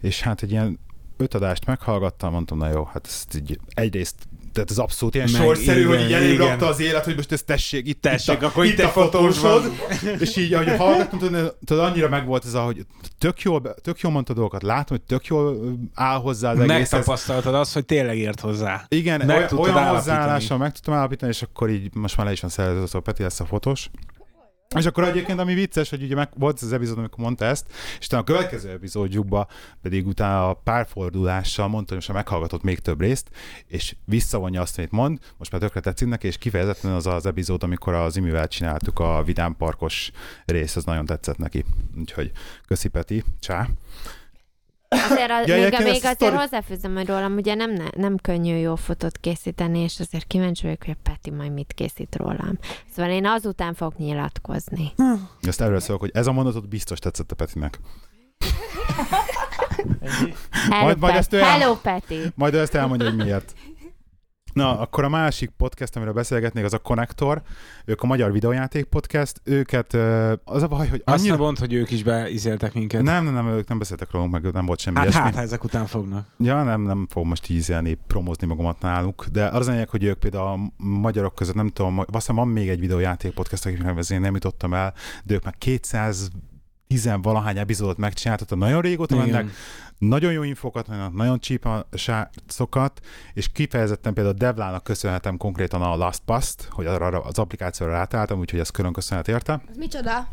Speaker 3: és hát egy ilyen öt adást meghallgattam, mondtam, na jó, hát ezt így egyrészt tehát ez abszolút ilyen
Speaker 4: Meg
Speaker 3: sorszerű,
Speaker 4: igen,
Speaker 3: hogy így elég
Speaker 4: igen.
Speaker 3: rakta az élet, hogy most ezt tessék, itt,
Speaker 4: Tessék,
Speaker 3: itt a,
Speaker 4: akkor
Speaker 3: itt
Speaker 4: itt
Speaker 3: a
Speaker 4: egy fotós van.
Speaker 3: fotósod, <laughs> és így, ahogy hallgattam, tudod, tudod, annyira megvolt ez, a, hogy tök jól, be- tök jól mondta dolgokat, látom, hogy tök jól ö, áll hozzá az egészhez.
Speaker 4: Megtapasztaltad azt, hogy tényleg ért hozzá.
Speaker 3: Igen,
Speaker 4: Meg
Speaker 3: meg
Speaker 4: tudtad
Speaker 3: olyan
Speaker 4: állapítani.
Speaker 3: hozzáállással meg tudtam állapítani, és akkor így most már le is van szerződött, hogy Peti lesz a fotós. És akkor egyébként, ami vicces, hogy ugye meg volt ez az epizód, amikor mondta ezt, és utána a következő epizódjukba pedig utána a párfordulással mondta, hogy most már meghallgatott még több részt, és visszavonja azt, amit mond, most már tökre tetszik neki, és kifejezetten az az epizód, amikor az imivel csináltuk a Vidám Parkos rész, az nagyon tetszett neki. Úgyhogy köszi Peti, csá.
Speaker 2: Azért, a,
Speaker 3: Ja,
Speaker 2: ja, még,
Speaker 3: egyébként
Speaker 2: a,
Speaker 3: ezt a
Speaker 2: még azért
Speaker 3: sztori-
Speaker 2: hozzáfűzöm, hogy rólam ugye nem, ne- nem könnyű jó fotót készíteni, és azért kíváncsi vagyok, hogy a Peti majd mit készít rólam. Szóval én azután fogok nyilatkozni.
Speaker 3: Ezt erről szólok, hogy ez a mondatot biztos tetszett a Petinek.
Speaker 2: Hello,
Speaker 3: Majd- majd
Speaker 2: Peti.
Speaker 3: ezt ő el-
Speaker 2: Hello Peti!
Speaker 3: Majd ő ezt elmondja, hogy miért. Na, akkor a másik podcast, amiről beszélgetnék, az a Connector. Ők a Magyar Videojáték Podcast. Őket ö, az a baj, hogy
Speaker 4: Azt
Speaker 3: annyira...
Speaker 4: ne mondd, hogy ők is beizéltek minket.
Speaker 3: Nem, nem, nem, ők nem beszéltek rólunk, meg nem volt semmi
Speaker 4: Hát,
Speaker 3: ilyesmi.
Speaker 4: hát, ha ezek után fognak.
Speaker 3: Ja, nem, nem fogom most így ízelni, promózni magamat náluk, de az a lényeg, hogy ők például a magyarok között, nem tudom, azt hiszem van még egy videójáték podcast, akiknek az én nem jutottam el, de ők már 200 valahány epizódot megcsináltattak, nagyon régóta mennek,
Speaker 4: Igen.
Speaker 3: nagyon jó infokat, nagyon, nagyon csípa srácokat, és kifejezetten például Devlának köszönhetem konkrétan a LastPass-t, hogy arra arra az applikációra rátálltam, úgyhogy ez külön köszönhet érte.
Speaker 6: Ez micsoda?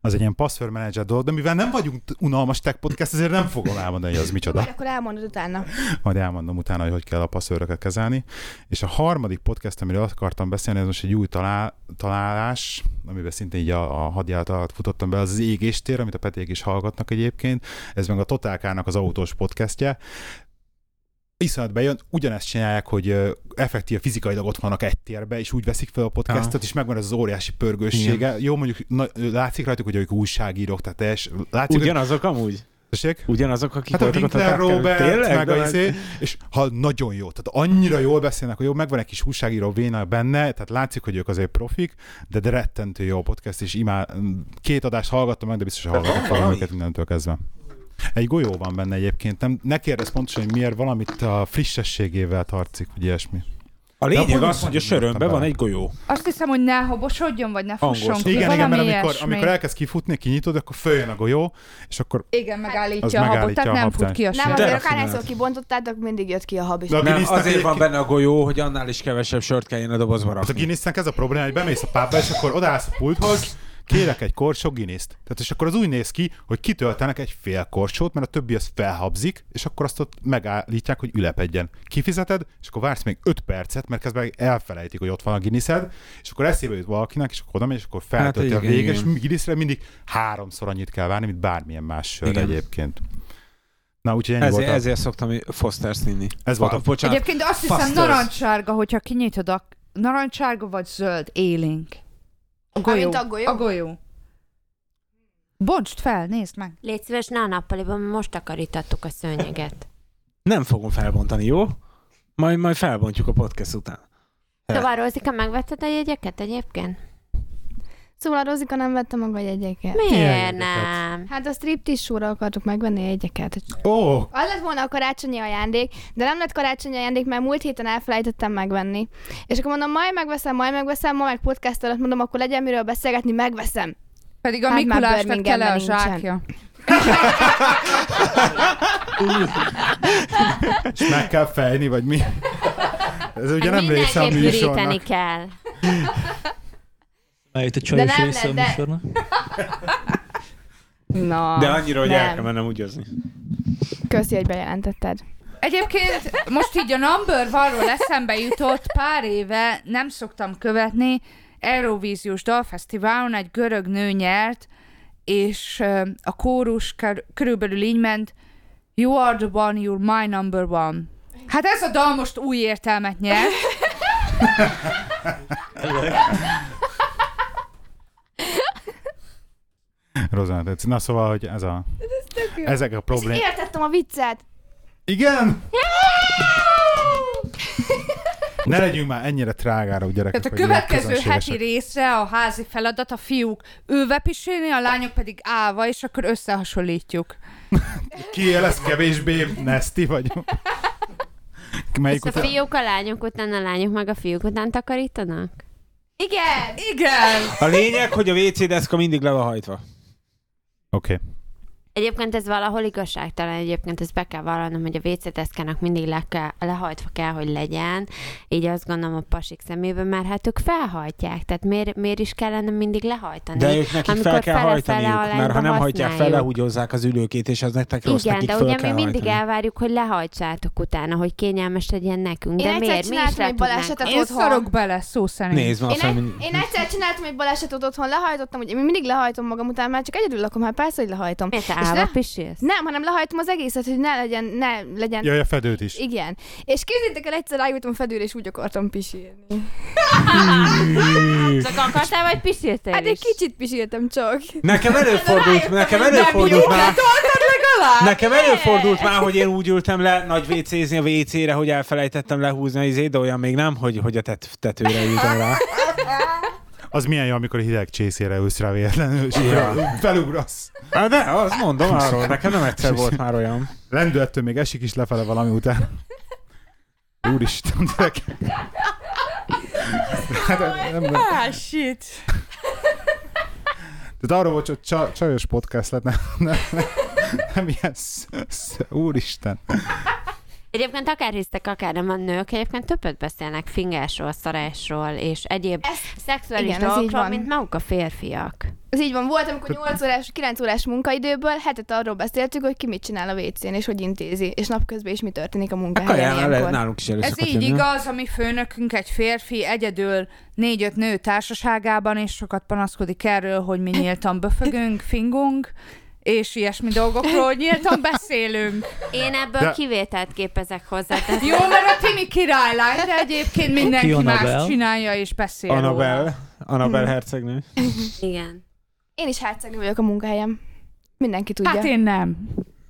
Speaker 3: Az egy ilyen password manager dolog, de mivel nem vagyunk t- unalmas tech podcast, ezért nem fogom elmondani, hogy az micsoda.
Speaker 6: Majd akkor elmondod utána.
Speaker 3: Majd elmondom utána, hogy hogy kell a passzőröket kezelni. És a harmadik podcast, amiről azt akartam beszélni, ez most egy új talál, találás, amiben szintén így a, a hadjárat alatt futottam be, az az égéstér, amit a Peték is hallgatnak egyébként. Ez meg a Totálkának az autós podcastje. Iszonyat bejön, ugyanezt csinálják, hogy ö, effektív fizikailag ott vannak egy térbe, és úgy veszik fel a podcastot, és megvan ez az óriási pörgőssége. Jó, mondjuk na, látszik rajtuk, hogy ők újságírók, tehát teljes, látszik, hogy...
Speaker 4: Ugyanazok amúgy?
Speaker 3: Tessék?
Speaker 4: Ugyanazok, akik
Speaker 3: Hát a
Speaker 4: voltak
Speaker 3: Winkler
Speaker 4: tatárkán?
Speaker 3: Robert,
Speaker 4: Tényleg?
Speaker 3: meg
Speaker 4: De
Speaker 3: a
Speaker 4: hát- meg-
Speaker 3: izé, és ha nagyon jó, tehát annyira jól beszélnek, hogy jó, megvan egy kis újságíró véna benne, tehát látszik, hogy ők azért profik, de, de rettentő jó a podcast, és imá, két adást hallgattam meg, de biztos, hogy hallgatok fogom
Speaker 4: valami?
Speaker 3: őket mindentől kezdve. Egy golyó van benne egyébként, nem, ne kérdezz pontosan, hogy miért valamit a frissességével tartszik, vagy ilyesmi.
Speaker 4: A
Speaker 3: De
Speaker 4: lényeg
Speaker 3: hol
Speaker 4: az,
Speaker 3: van
Speaker 4: hogy a
Speaker 3: ez? Nem
Speaker 4: sörömben van
Speaker 3: bele.
Speaker 4: egy golyó.
Speaker 5: Azt hiszem, hogy ne habosodjon, vagy ne
Speaker 4: Hangos.
Speaker 5: fusson ki.
Speaker 3: Igen, igen,
Speaker 5: valami
Speaker 3: mert amikor,
Speaker 5: ilyesmi.
Speaker 3: amikor elkezd kifutni, kinyitod, akkor följön a golyó, és akkor
Speaker 5: Igen,
Speaker 3: Az
Speaker 5: megállítja a habot,
Speaker 3: megállítja
Speaker 5: Hát, tehát
Speaker 3: a
Speaker 5: nem
Speaker 3: habzást.
Speaker 5: fut ki a
Speaker 6: Nem,
Speaker 4: De
Speaker 5: sör.
Speaker 4: a
Speaker 6: azért akárhányszor
Speaker 4: finál.
Speaker 6: kibontottátok, mindig jött ki a habis.
Speaker 3: De a
Speaker 4: Nem,
Speaker 3: Guinnessnek
Speaker 4: azért van
Speaker 3: egyébként-
Speaker 4: benne a golyó, hogy annál is kevesebb sört kelljen a dobozba
Speaker 3: Hát a
Speaker 4: rakni.
Speaker 3: Guinnessnek ez a probléma, hogy bemész a pábba, és akkor odaállsz a pulthoz, kérek egy korsó Guinness-t. Tehát és akkor az úgy néz ki, hogy kitöltenek egy fél korsót, mert a többi az felhabzik, és akkor azt ott megállítják, hogy ülepedjen. Kifizeted, és akkor vársz még 5 percet, mert közben elfelejtik, hogy ott van a guinnessed, és akkor eszébe jut valakinek, és akkor oda megy, és akkor feltölti
Speaker 4: Hát
Speaker 3: a
Speaker 4: igen,
Speaker 3: végén, és
Speaker 4: igen.
Speaker 3: Guinnessre mindig háromszor annyit kell várni, mint bármilyen más sör
Speaker 4: Igen.
Speaker 3: egyébként. Na, úgyhogy ennyi
Speaker 4: Ezért,
Speaker 3: volt a...
Speaker 4: ezért szoktam Fosters inni.
Speaker 3: Ez volt a-
Speaker 4: Fa- Bocsánat.
Speaker 5: Egyébként azt hiszem
Speaker 4: Fasters.
Speaker 5: narancssárga, hogyha kinyitod a narancssárga vagy zöld élénk. A golyó.
Speaker 6: Amint a golyó?
Speaker 5: A golyó. Bontsd fel, nézd meg.
Speaker 2: Légy szíves, ne a nappaliban, most takarítattuk a szőnyeget.
Speaker 4: Nem fogom felbontani, jó? Majd, majd felbontjuk a podcast után.
Speaker 3: Hát.
Speaker 2: Szóval Rózika, megvetted a jegyeket egyébként?
Speaker 6: Szóval a Rozika nem vette maga a jegyeket.
Speaker 2: Miért
Speaker 3: jegyeket?
Speaker 2: nem?
Speaker 6: Hát a striptease show-ra akartuk megvenni a jegyeket.
Speaker 3: Ó,
Speaker 6: Az lett volna a karácsonyi ajándék, de nem lett karácsonyi ajándék, mert múlt héten elfelejtettem megvenni. És akkor mondom, majd megveszem, majd megveszem, ma meg podcast alatt mondom, akkor legyen miről beszélgetni, megveszem.
Speaker 5: Pedig a
Speaker 6: Hát már
Speaker 5: Mikulásnak kell a
Speaker 6: Birminghamben
Speaker 5: zsákja.
Speaker 3: és meg kell fejni, vagy mi? Ez ugye nem része a
Speaker 2: Hát mindenképp
Speaker 3: műsornak.
Speaker 2: üríteni kell.
Speaker 1: Már itt a csajos
Speaker 6: nem
Speaker 1: része a
Speaker 6: lett, de-
Speaker 1: műsornak.
Speaker 5: Na.
Speaker 4: De annyira, hogy
Speaker 6: nem.
Speaker 4: el kell mennem ugyazni.
Speaker 6: Köszi, hogy bejelentetted.
Speaker 5: Egyébként most így a Number Varról eszembe jutott, pár éve nem szoktam követni, Eurovíziós dalfesztiválon egy görög nő nyert, és ö, a kórus kör- körülbelül így ment, You are the one, you're my number one. Hát ez a dal most új értelmet nyert.
Speaker 3: Rozán tetszik. Na szóval, hogy ez a... Ezek a
Speaker 6: És
Speaker 3: problémák.
Speaker 6: értettem a viccet.
Speaker 3: Igen? Ne legyünk már ennyire trágára, gyerekek.
Speaker 5: Tehát a
Speaker 3: hogy ilyen
Speaker 5: következő hát heti
Speaker 3: közönségesek.
Speaker 5: részre a házi feladat a fiúk ülve pisilni, a lányok pedig állva, és akkor összehasonlítjuk.
Speaker 3: Ki lesz kevésbé neszti vagyunk? Melyik
Speaker 2: És a
Speaker 3: után?
Speaker 2: fiúk a lányok után, a lányok meg a fiúk után takarítanak?
Speaker 6: Igen!
Speaker 5: Igen!
Speaker 4: A lényeg, hogy a WC deszka mindig le van hajtva.
Speaker 3: Oké.
Speaker 2: Egyébként ez valahol igazságtalan, egyébként ezt be kell vallanom, hogy a WC deszkának mindig le kell, lehajtva kell, hogy legyen. Így azt gondolom a pasik szemében, mert hát ők felhajtják, tehát miért, miért is kellene mindig lehajtani?
Speaker 4: De ők nekik fel
Speaker 2: Amikor
Speaker 4: kell
Speaker 2: fele-fele
Speaker 4: hajtaniuk,
Speaker 2: a
Speaker 4: mert ha nem
Speaker 2: lányba
Speaker 4: hajtják fel,
Speaker 2: használjuk.
Speaker 4: lehúgyozzák az ülőkét, és az nektek rossz,
Speaker 2: Igen,
Speaker 4: nekik
Speaker 2: de
Speaker 4: föl
Speaker 2: ugye mi
Speaker 4: kell
Speaker 2: mindig
Speaker 4: hajtani.
Speaker 2: elvárjuk, hogy lehajtsátok utána, hogy kényelmes legyen nekünk.
Speaker 6: Én
Speaker 2: de
Speaker 6: egyszer
Speaker 2: miért? Mi is
Speaker 6: csináltam
Speaker 2: le
Speaker 6: egy balesetet
Speaker 5: Én
Speaker 6: otthon.
Speaker 5: szarok bele, szó szerint.
Speaker 4: Nézd már,
Speaker 6: Én,
Speaker 4: aztán
Speaker 6: egy,
Speaker 4: mind-
Speaker 6: én egyszer csináltam egy balesetet otthon, lehajtottam, ugye én mindig lehajtom magam után, már csak egyedül lakom, hát persze, hogy lehajtom.
Speaker 2: Miért te
Speaker 6: És
Speaker 2: állva
Speaker 6: ne-
Speaker 2: pisilsz?
Speaker 6: Nem, hanem lehajtom az egészet, hogy ne legyen, ne legyen.
Speaker 3: Jaj, a fedőt is.
Speaker 6: Igen. És képzétek el, egyszer rájutottam fedőre, és úgy akartam pisilni.
Speaker 2: Csak akartál, vagy pisiltél
Speaker 6: Hát egy
Speaker 2: is?
Speaker 6: kicsit pisiltem csak.
Speaker 4: Nekem előfordult, nekem előfordult
Speaker 6: hát
Speaker 4: már...
Speaker 5: Hát
Speaker 4: Nekem előfordult már, hogy én úgy ültem le nagy WC-zni a WC-re, hogy elfelejtettem lehúzni az izét, de olyan még nem, hogy, hogy a tet- tetőre jutom
Speaker 5: <laughs>
Speaker 4: rá.
Speaker 3: Az milyen jó, amikor a hideg csészére ülsz rá véletlenül, és
Speaker 4: Ja.
Speaker 3: felugrasz.
Speaker 4: Hát de, azt mondom arról, nekem nem egyszer volt már olyan.
Speaker 3: Lendülettől még esik is lefele valami után. Úristen, gyerekek. Hát, nem, nem.
Speaker 5: Ah, shit.
Speaker 3: Tehát arról volt, hogy csa, csajos podcast lett, nem, nem, nem, nem ilyen sz, sz, úristen.
Speaker 2: Egyébként akár hisztek, akár nem a nők, egyébként többet beszélnek fingásról, szarásról és egyéb
Speaker 6: Ez-
Speaker 2: szexuális
Speaker 6: igen, ez így
Speaker 2: dolgokról,
Speaker 6: van.
Speaker 2: mint maguk a férfiak.
Speaker 6: Ez így van, volt, amikor 8 órás, 9 órás munkaidőből hetet arról beszéltük, hogy ki mit csinál a WC-n, és hogy intézi, és napközben is mi történik a munkahelyen
Speaker 4: Kaján, le,
Speaker 6: ilyenkor.
Speaker 4: Hát nálunk is elő
Speaker 5: Ez
Speaker 4: szokott
Speaker 5: így
Speaker 4: jönni.
Speaker 5: igaz, ami főnökünk egy férfi egyedül négy-öt nő társaságában, és sokat panaszkodik erről, hogy mi nyíltan böfögünk, fingunk, és ilyesmi dolgokról hogy nyíltan beszélünk.
Speaker 2: Én ebből
Speaker 3: De-
Speaker 2: De... kivételt képezek hozzá.
Speaker 5: <laughs>
Speaker 2: Tehát
Speaker 5: Jó, mert a Timi királylány, de egyébként mindenki
Speaker 1: Ki
Speaker 5: más
Speaker 1: Annabelle?
Speaker 5: csinálja és beszél. róla.
Speaker 4: Anabel, Anabel
Speaker 5: Hm.
Speaker 4: hercegnő.
Speaker 2: igen.
Speaker 6: Én is hercegnő vagyok a munkahelyem. Mindenki tudja.
Speaker 5: Hát én nem.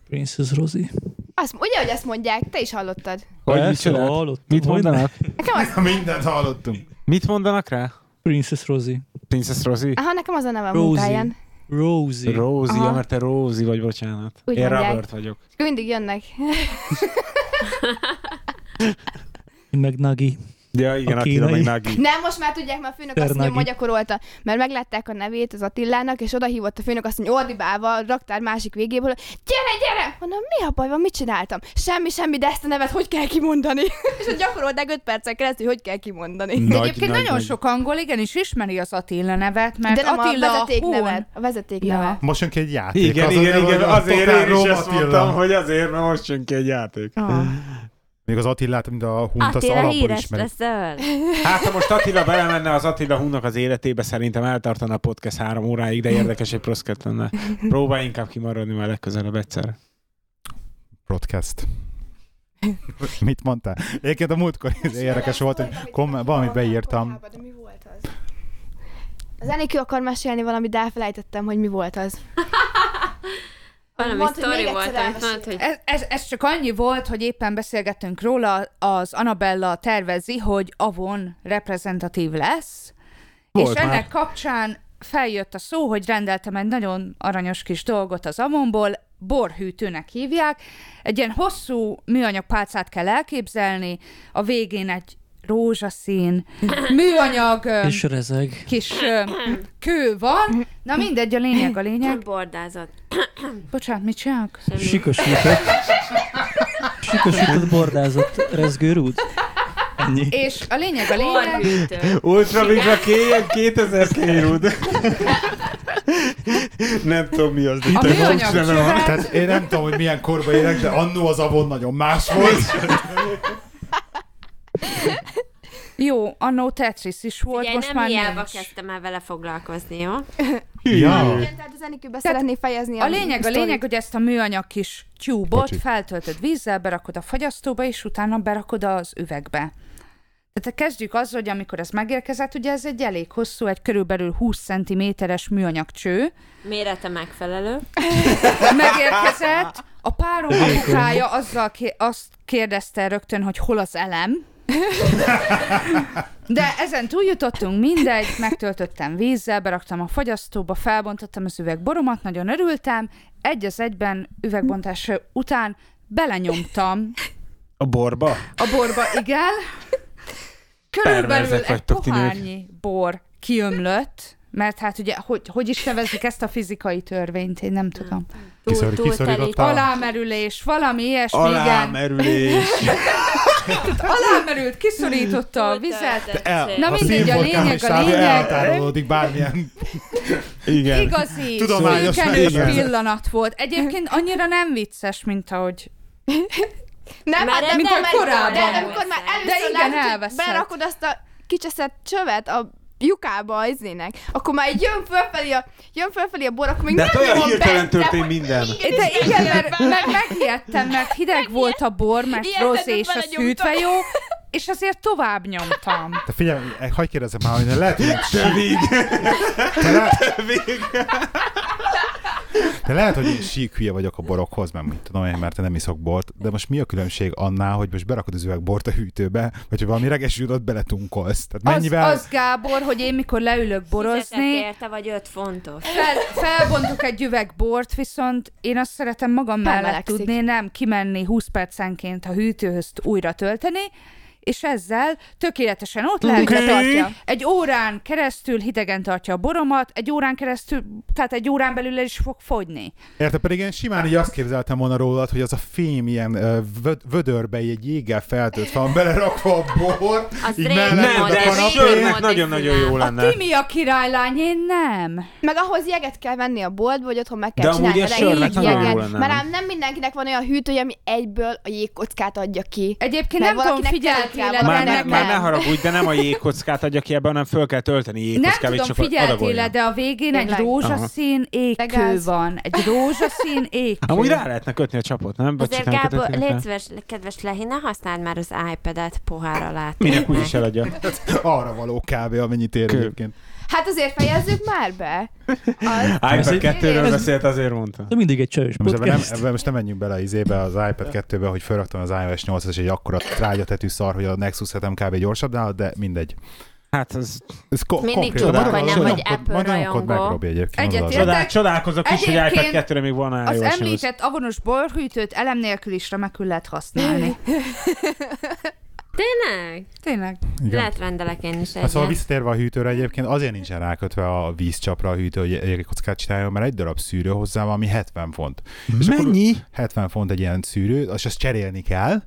Speaker 1: Princess Rosie.
Speaker 6: Azt, ugye, hogy ezt mondják, te is hallottad.
Speaker 4: Hogy mit
Speaker 1: Persze,
Speaker 4: csinált?
Speaker 1: hallottam,
Speaker 4: Mit
Speaker 1: hogy ne?
Speaker 4: mondanak?
Speaker 6: Nekem
Speaker 5: Hát,
Speaker 6: az,
Speaker 3: Mindent hallottunk.
Speaker 4: Mit mondanak rá?
Speaker 1: Princess Rosie.
Speaker 4: Princess Rosie?
Speaker 6: aha, nekem az a neve a
Speaker 1: Rosie.
Speaker 6: munkahelyen.
Speaker 5: Hát,
Speaker 1: Rosie.
Speaker 4: Rózi,
Speaker 6: Aha.
Speaker 4: ja, mert te Rózi vagy, bocsánat.
Speaker 6: Úgy
Speaker 4: Én
Speaker 6: mondják.
Speaker 4: Robert vagyok.
Speaker 6: És akkor mindig jönnek.
Speaker 1: Én meg Nagi.
Speaker 4: Ja, igen,
Speaker 1: A
Speaker 4: Attila meg
Speaker 1: kínai.
Speaker 4: Nagi.
Speaker 6: Nem, most már tudják, mert a főnök azt
Speaker 1: Ternagi.
Speaker 6: mondja, magyarolta, mert meglátták a nevét az Attilának, és oda hívott a főnök azt mondja, ordibálva, a raktár másik végéből, hogy gyere, gyere! Mondom, mi a baj van, mit csináltam? Semmi, semmi, de ezt a nevet hogy kell kimondani? <laughs> és ott gyakorolták 5 percen keresztül, hogy kell kimondani.
Speaker 5: De
Speaker 4: Nagy,
Speaker 5: egyébként
Speaker 4: nagy,
Speaker 5: nagyon
Speaker 4: nagy.
Speaker 5: sok angol igenis ismeri az Attila nevet, mert
Speaker 6: de nem
Speaker 5: Attila
Speaker 6: a vezeték
Speaker 5: Hun.
Speaker 6: nevet. A vezeték
Speaker 5: Ja.
Speaker 6: neve.
Speaker 3: Most jön ki egy játék.
Speaker 4: Igen,
Speaker 3: az a
Speaker 4: igen,
Speaker 3: neve,
Speaker 4: igen,
Speaker 3: hogy a
Speaker 4: azért
Speaker 3: Totál
Speaker 4: én is
Speaker 3: Róm
Speaker 4: ezt
Speaker 3: Attila.
Speaker 4: mondtam, hogy azért, mert most jön ki egy játék.
Speaker 6: Ah.
Speaker 3: Még az Attilát, mint a hunt, azt
Speaker 2: Attila
Speaker 3: alapból
Speaker 2: híres
Speaker 3: ismerik.
Speaker 2: leszel.
Speaker 4: Hát, ha most Attila belemenne az Attila Hunnak az életébe, szerintem eltartana a podcast három óráig, de érdekes egy proszket lenne. Próbálj inkább kimaradni már legközelebb egyszer.
Speaker 3: Podcast. Mit mondtál? Egyébként a múltkor érdekes volt, hogy komment, valamit beírtam.
Speaker 6: De mi volt az? Az Enikő akar mesélni valamit, de elfelejtettem, hogy mi volt az.
Speaker 2: Valami
Speaker 6: Mondd, hogy még
Speaker 2: sztori
Speaker 6: egyszer
Speaker 2: volt, amit
Speaker 6: elmeséld.
Speaker 2: mondtad, hogy
Speaker 5: Ez, ez, ez csak annyi volt, hogy éppen beszélgettünk róla, az Anabella tervezi, hogy Avon reprezentatív lesz,
Speaker 4: Volt
Speaker 5: és
Speaker 4: már.
Speaker 5: ennek kapcsán feljött a szó, hogy rendeltem egy nagyon aranyos kis dolgot az Avonból, borhűtőnek hívják, egy ilyen hosszú műanyag pálcát kell elképzelni, a végén egy rózsaszín műanyag ö,
Speaker 1: És rezeg.
Speaker 5: kis ö, kő van, na mindegy, a lényeg a lényeg.
Speaker 2: bordázott.
Speaker 5: Bocsánat, mit csinálok?
Speaker 1: Sikosított. Sikosított, bordázott rezgőrúd. Ennyi.
Speaker 5: És a lényeg a lényeg,
Speaker 2: Borhűtő.
Speaker 4: Ultra Vigra kéjen 2000 kérúd. Nem tudom, mi az.
Speaker 5: a műanyag csövet,
Speaker 3: Tehát én nem tudom, hogy milyen korban élek, de annó az avon nagyon más volt.
Speaker 5: Jó, annó Tetris is volt,
Speaker 2: Ugye,
Speaker 5: most
Speaker 2: nem
Speaker 5: már
Speaker 2: hiába
Speaker 5: nincs.
Speaker 2: kezdtem el vele foglalkozni, jó?
Speaker 3: Ja.
Speaker 6: Igen, tehát az Enikő be szeretné fejezni
Speaker 5: A lényeg, a
Speaker 6: sztorit.
Speaker 5: lényeg, hogy ezt a műanyag kis tyúbot
Speaker 3: Bocsi.
Speaker 5: feltöltöd vízzel, berakod a fagyasztóba, és utána berakod az üvegbe. Tehát kezdjük azzal, hogy amikor ez megérkezett, ugye ez egy elég hosszú, egy körülbelül 20 cm-es műanyag cső,
Speaker 2: Mérete megfelelő.
Speaker 5: megérkezett, a párom apukája azzal ké- azt kérdezte rögtön, hogy hol az elem, de ezen túljutottunk, mindegy, megtöltöttem vízzel, beraktam a fogyasztóba, felbontottam az üvegboromat, nagyon örültem, egy az egyben üvegbontás után belenyomtam
Speaker 4: A borba?
Speaker 5: a borba, igen. Körülbelül
Speaker 4: Perverzek
Speaker 5: egy
Speaker 4: vagytok ti nők.
Speaker 5: pohárnyi bor kiömlött, mert hát ugye, hogy, hogy is nevezik ezt a fizikai törvényt, én nem tudom.
Speaker 3: Kiszor-
Speaker 2: Túl-
Speaker 3: kiszorítottál?
Speaker 2: túlterít-
Speaker 5: Alámerülés, valami ilyesmi, igen.
Speaker 4: Alámerülés.
Speaker 5: Alámerült, kiszorította a vizet.
Speaker 2: Túlterített.
Speaker 3: El,
Speaker 5: Na
Speaker 3: a
Speaker 5: mindegy, a
Speaker 3: színforkám
Speaker 5: lényeg,
Speaker 3: és
Speaker 5: a
Speaker 3: sávja
Speaker 5: lényeg.
Speaker 3: Eltárolódik bármilyen.
Speaker 4: Igen.
Speaker 5: Igazi,
Speaker 3: Tudományos
Speaker 5: szülkenős
Speaker 3: megérzet.
Speaker 5: pillanat volt. Egyébként annyira nem vicces, mint ahogy
Speaker 6: Nem,
Speaker 2: Már
Speaker 6: hát de
Speaker 2: ebben
Speaker 6: amikor, már,
Speaker 5: korábban.
Speaker 6: de amikor már
Speaker 5: De
Speaker 6: először
Speaker 5: igen,
Speaker 6: látod, hogy
Speaker 5: elveszed.
Speaker 6: berakod azt a kicseszett csövet a lyukába az izének, akkor már így jön fölfelé a, jön fölfelé a bor, akkor még
Speaker 4: De
Speaker 6: nem
Speaker 4: hát olyan
Speaker 6: nyomom
Speaker 4: hirtelen
Speaker 6: be, de
Speaker 4: történt
Speaker 6: hogy
Speaker 4: minden.
Speaker 6: így-
Speaker 5: De igen, mert meg, megijedtem, mert hideg volt a bor, mert
Speaker 6: Ijedtem,
Speaker 5: rozé és
Speaker 6: hogy
Speaker 5: a
Speaker 6: belenyomtam.
Speaker 5: szűtve jó, és azért tovább nyomtam.
Speaker 3: Te figyelj, e, hagyd kérdezzem már, hogy lehet, hogy
Speaker 4: Tövig.
Speaker 3: te, le... te lehet, hogy én sík hülye vagyok a borokhoz, mert mit tudom én, mert te nem iszok bort, de most mi a különbség annál, hogy most berakod az üveg bort a hűtőbe, vagy hogy valami regesült beletunkolsz? Tehát mennyivel...
Speaker 5: Az, az Gábor, hogy én mikor leülök
Speaker 2: Fizetett
Speaker 5: borozni,
Speaker 2: érte, vagy 5 fontos.
Speaker 5: fel, felbontok egy üveg bort, viszont én azt szeretem magam mellett
Speaker 6: Bemelegszik.
Speaker 5: tudni, nem kimenni 20 percenként a hűtőhöz újra tölteni, és ezzel tökéletesen ott lehet,
Speaker 6: Oké.
Speaker 5: tartja. Egy órán keresztül hidegen tartja a boromat, egy órán keresztül, tehát egy órán belül el is fog fogyni.
Speaker 3: Érted? Pedig én simán így azt képzeltem volna rólad, hogy az a fém ilyen ö, vöd- vödörbe, így egy jéggel feltölt van, belerakva a bor,
Speaker 2: Az
Speaker 3: így
Speaker 2: régi
Speaker 3: mellett
Speaker 4: Nem,
Speaker 2: mod,
Speaker 3: a
Speaker 4: de ez
Speaker 2: ez régi
Speaker 3: kanapé.
Speaker 2: mod.
Speaker 4: sörnek nagyon-nagyon jó
Speaker 5: A
Speaker 4: lenne.
Speaker 5: Timi a királylány, én nem.
Speaker 6: Meg ahhoz jeget kell venni a boltba, hogy otthon meg kell
Speaker 4: De amúgy
Speaker 6: csinálni.
Speaker 4: ez
Speaker 6: vele
Speaker 4: sörnek
Speaker 6: így
Speaker 4: nagyon jó
Speaker 6: jeget.
Speaker 4: lenne.
Speaker 6: Mert ám nem mindenkinek van olyan hűtője, ami egyből a jégkockát adja ki.
Speaker 5: Egyébként
Speaker 6: Meg
Speaker 5: nem tudom,
Speaker 6: valakinek
Speaker 5: figyeltél
Speaker 6: telikába
Speaker 4: Már,
Speaker 6: kell
Speaker 4: ne,
Speaker 6: nekem.
Speaker 4: már ne haragudj, de nem a jégkockát adja ki ebben, hanem föl kell tölteni
Speaker 5: Nem
Speaker 4: jégkockával, és
Speaker 5: tudom,
Speaker 4: csak adagolja.
Speaker 5: figyeltél de a végén egy
Speaker 6: Tényleg.
Speaker 5: rózsaszín égkő
Speaker 6: Legáz.
Speaker 5: van. Egy
Speaker 4: <laughs>
Speaker 5: rózsaszín égkő.
Speaker 4: Amúgy rá lehetne kötni a csapot, nem? Vagy
Speaker 2: Azért
Speaker 4: csak nem
Speaker 2: Gábor,
Speaker 4: kötöttünk rá?
Speaker 2: légy szíves, kedves Lehi, ne használd már az iPad-et pohár alá.
Speaker 4: Minek úgyis eladja.
Speaker 3: Arra való kávé, amennyit ér
Speaker 4: Kő.
Speaker 3: egyébként.
Speaker 6: Hát azért fejezzük már
Speaker 4: <laughs>
Speaker 6: be. Az,
Speaker 4: iPad
Speaker 1: egy-
Speaker 4: 2-ről
Speaker 1: ez-
Speaker 4: beszélt, azért mondta.
Speaker 1: De mindig egy csajos
Speaker 3: Most ebben, nem,
Speaker 1: podcast.
Speaker 3: ebben most nem menjünk bele izébe az iPad 2-be, hogy felraktam az iOS 8 as egy akkora trágyatetű szar, hogy a Nexus 7 kb. gyorsabb nál, de mindegy.
Speaker 4: Hát az...
Speaker 3: Ez ko-
Speaker 2: Mindig
Speaker 3: konkrétan-
Speaker 2: tudok,
Speaker 3: Marad-
Speaker 2: vagy nem,
Speaker 3: marad-
Speaker 2: vagy
Speaker 3: marad-
Speaker 2: Apple
Speaker 3: marad-
Speaker 2: rajongó.
Speaker 3: marad- meg, Robi, egyébként,
Speaker 5: Egyet
Speaker 3: az
Speaker 5: értek.
Speaker 3: az.
Speaker 4: Csodál, csodálkozok is, hogy
Speaker 5: Egyébként
Speaker 4: iPad 2-re még van
Speaker 5: Az
Speaker 4: iOS.
Speaker 5: említett avonos borhűtőt elem nélkül is remekül lehet használni.
Speaker 2: Tényleg?
Speaker 5: Tényleg.
Speaker 3: Igen.
Speaker 2: Lehet rendelek én is
Speaker 3: Hát
Speaker 2: egyet.
Speaker 3: szóval visszatérve a hűtőre egyébként, azért nincsen rákötve a vízcsapra a hűtő, hogy jégkockát csináljon, mert egy darab szűrő hozzá van, ami 70 font. És akkor
Speaker 4: Mennyi?
Speaker 3: 70 font egy ilyen szűrő, és azt cserélni kell,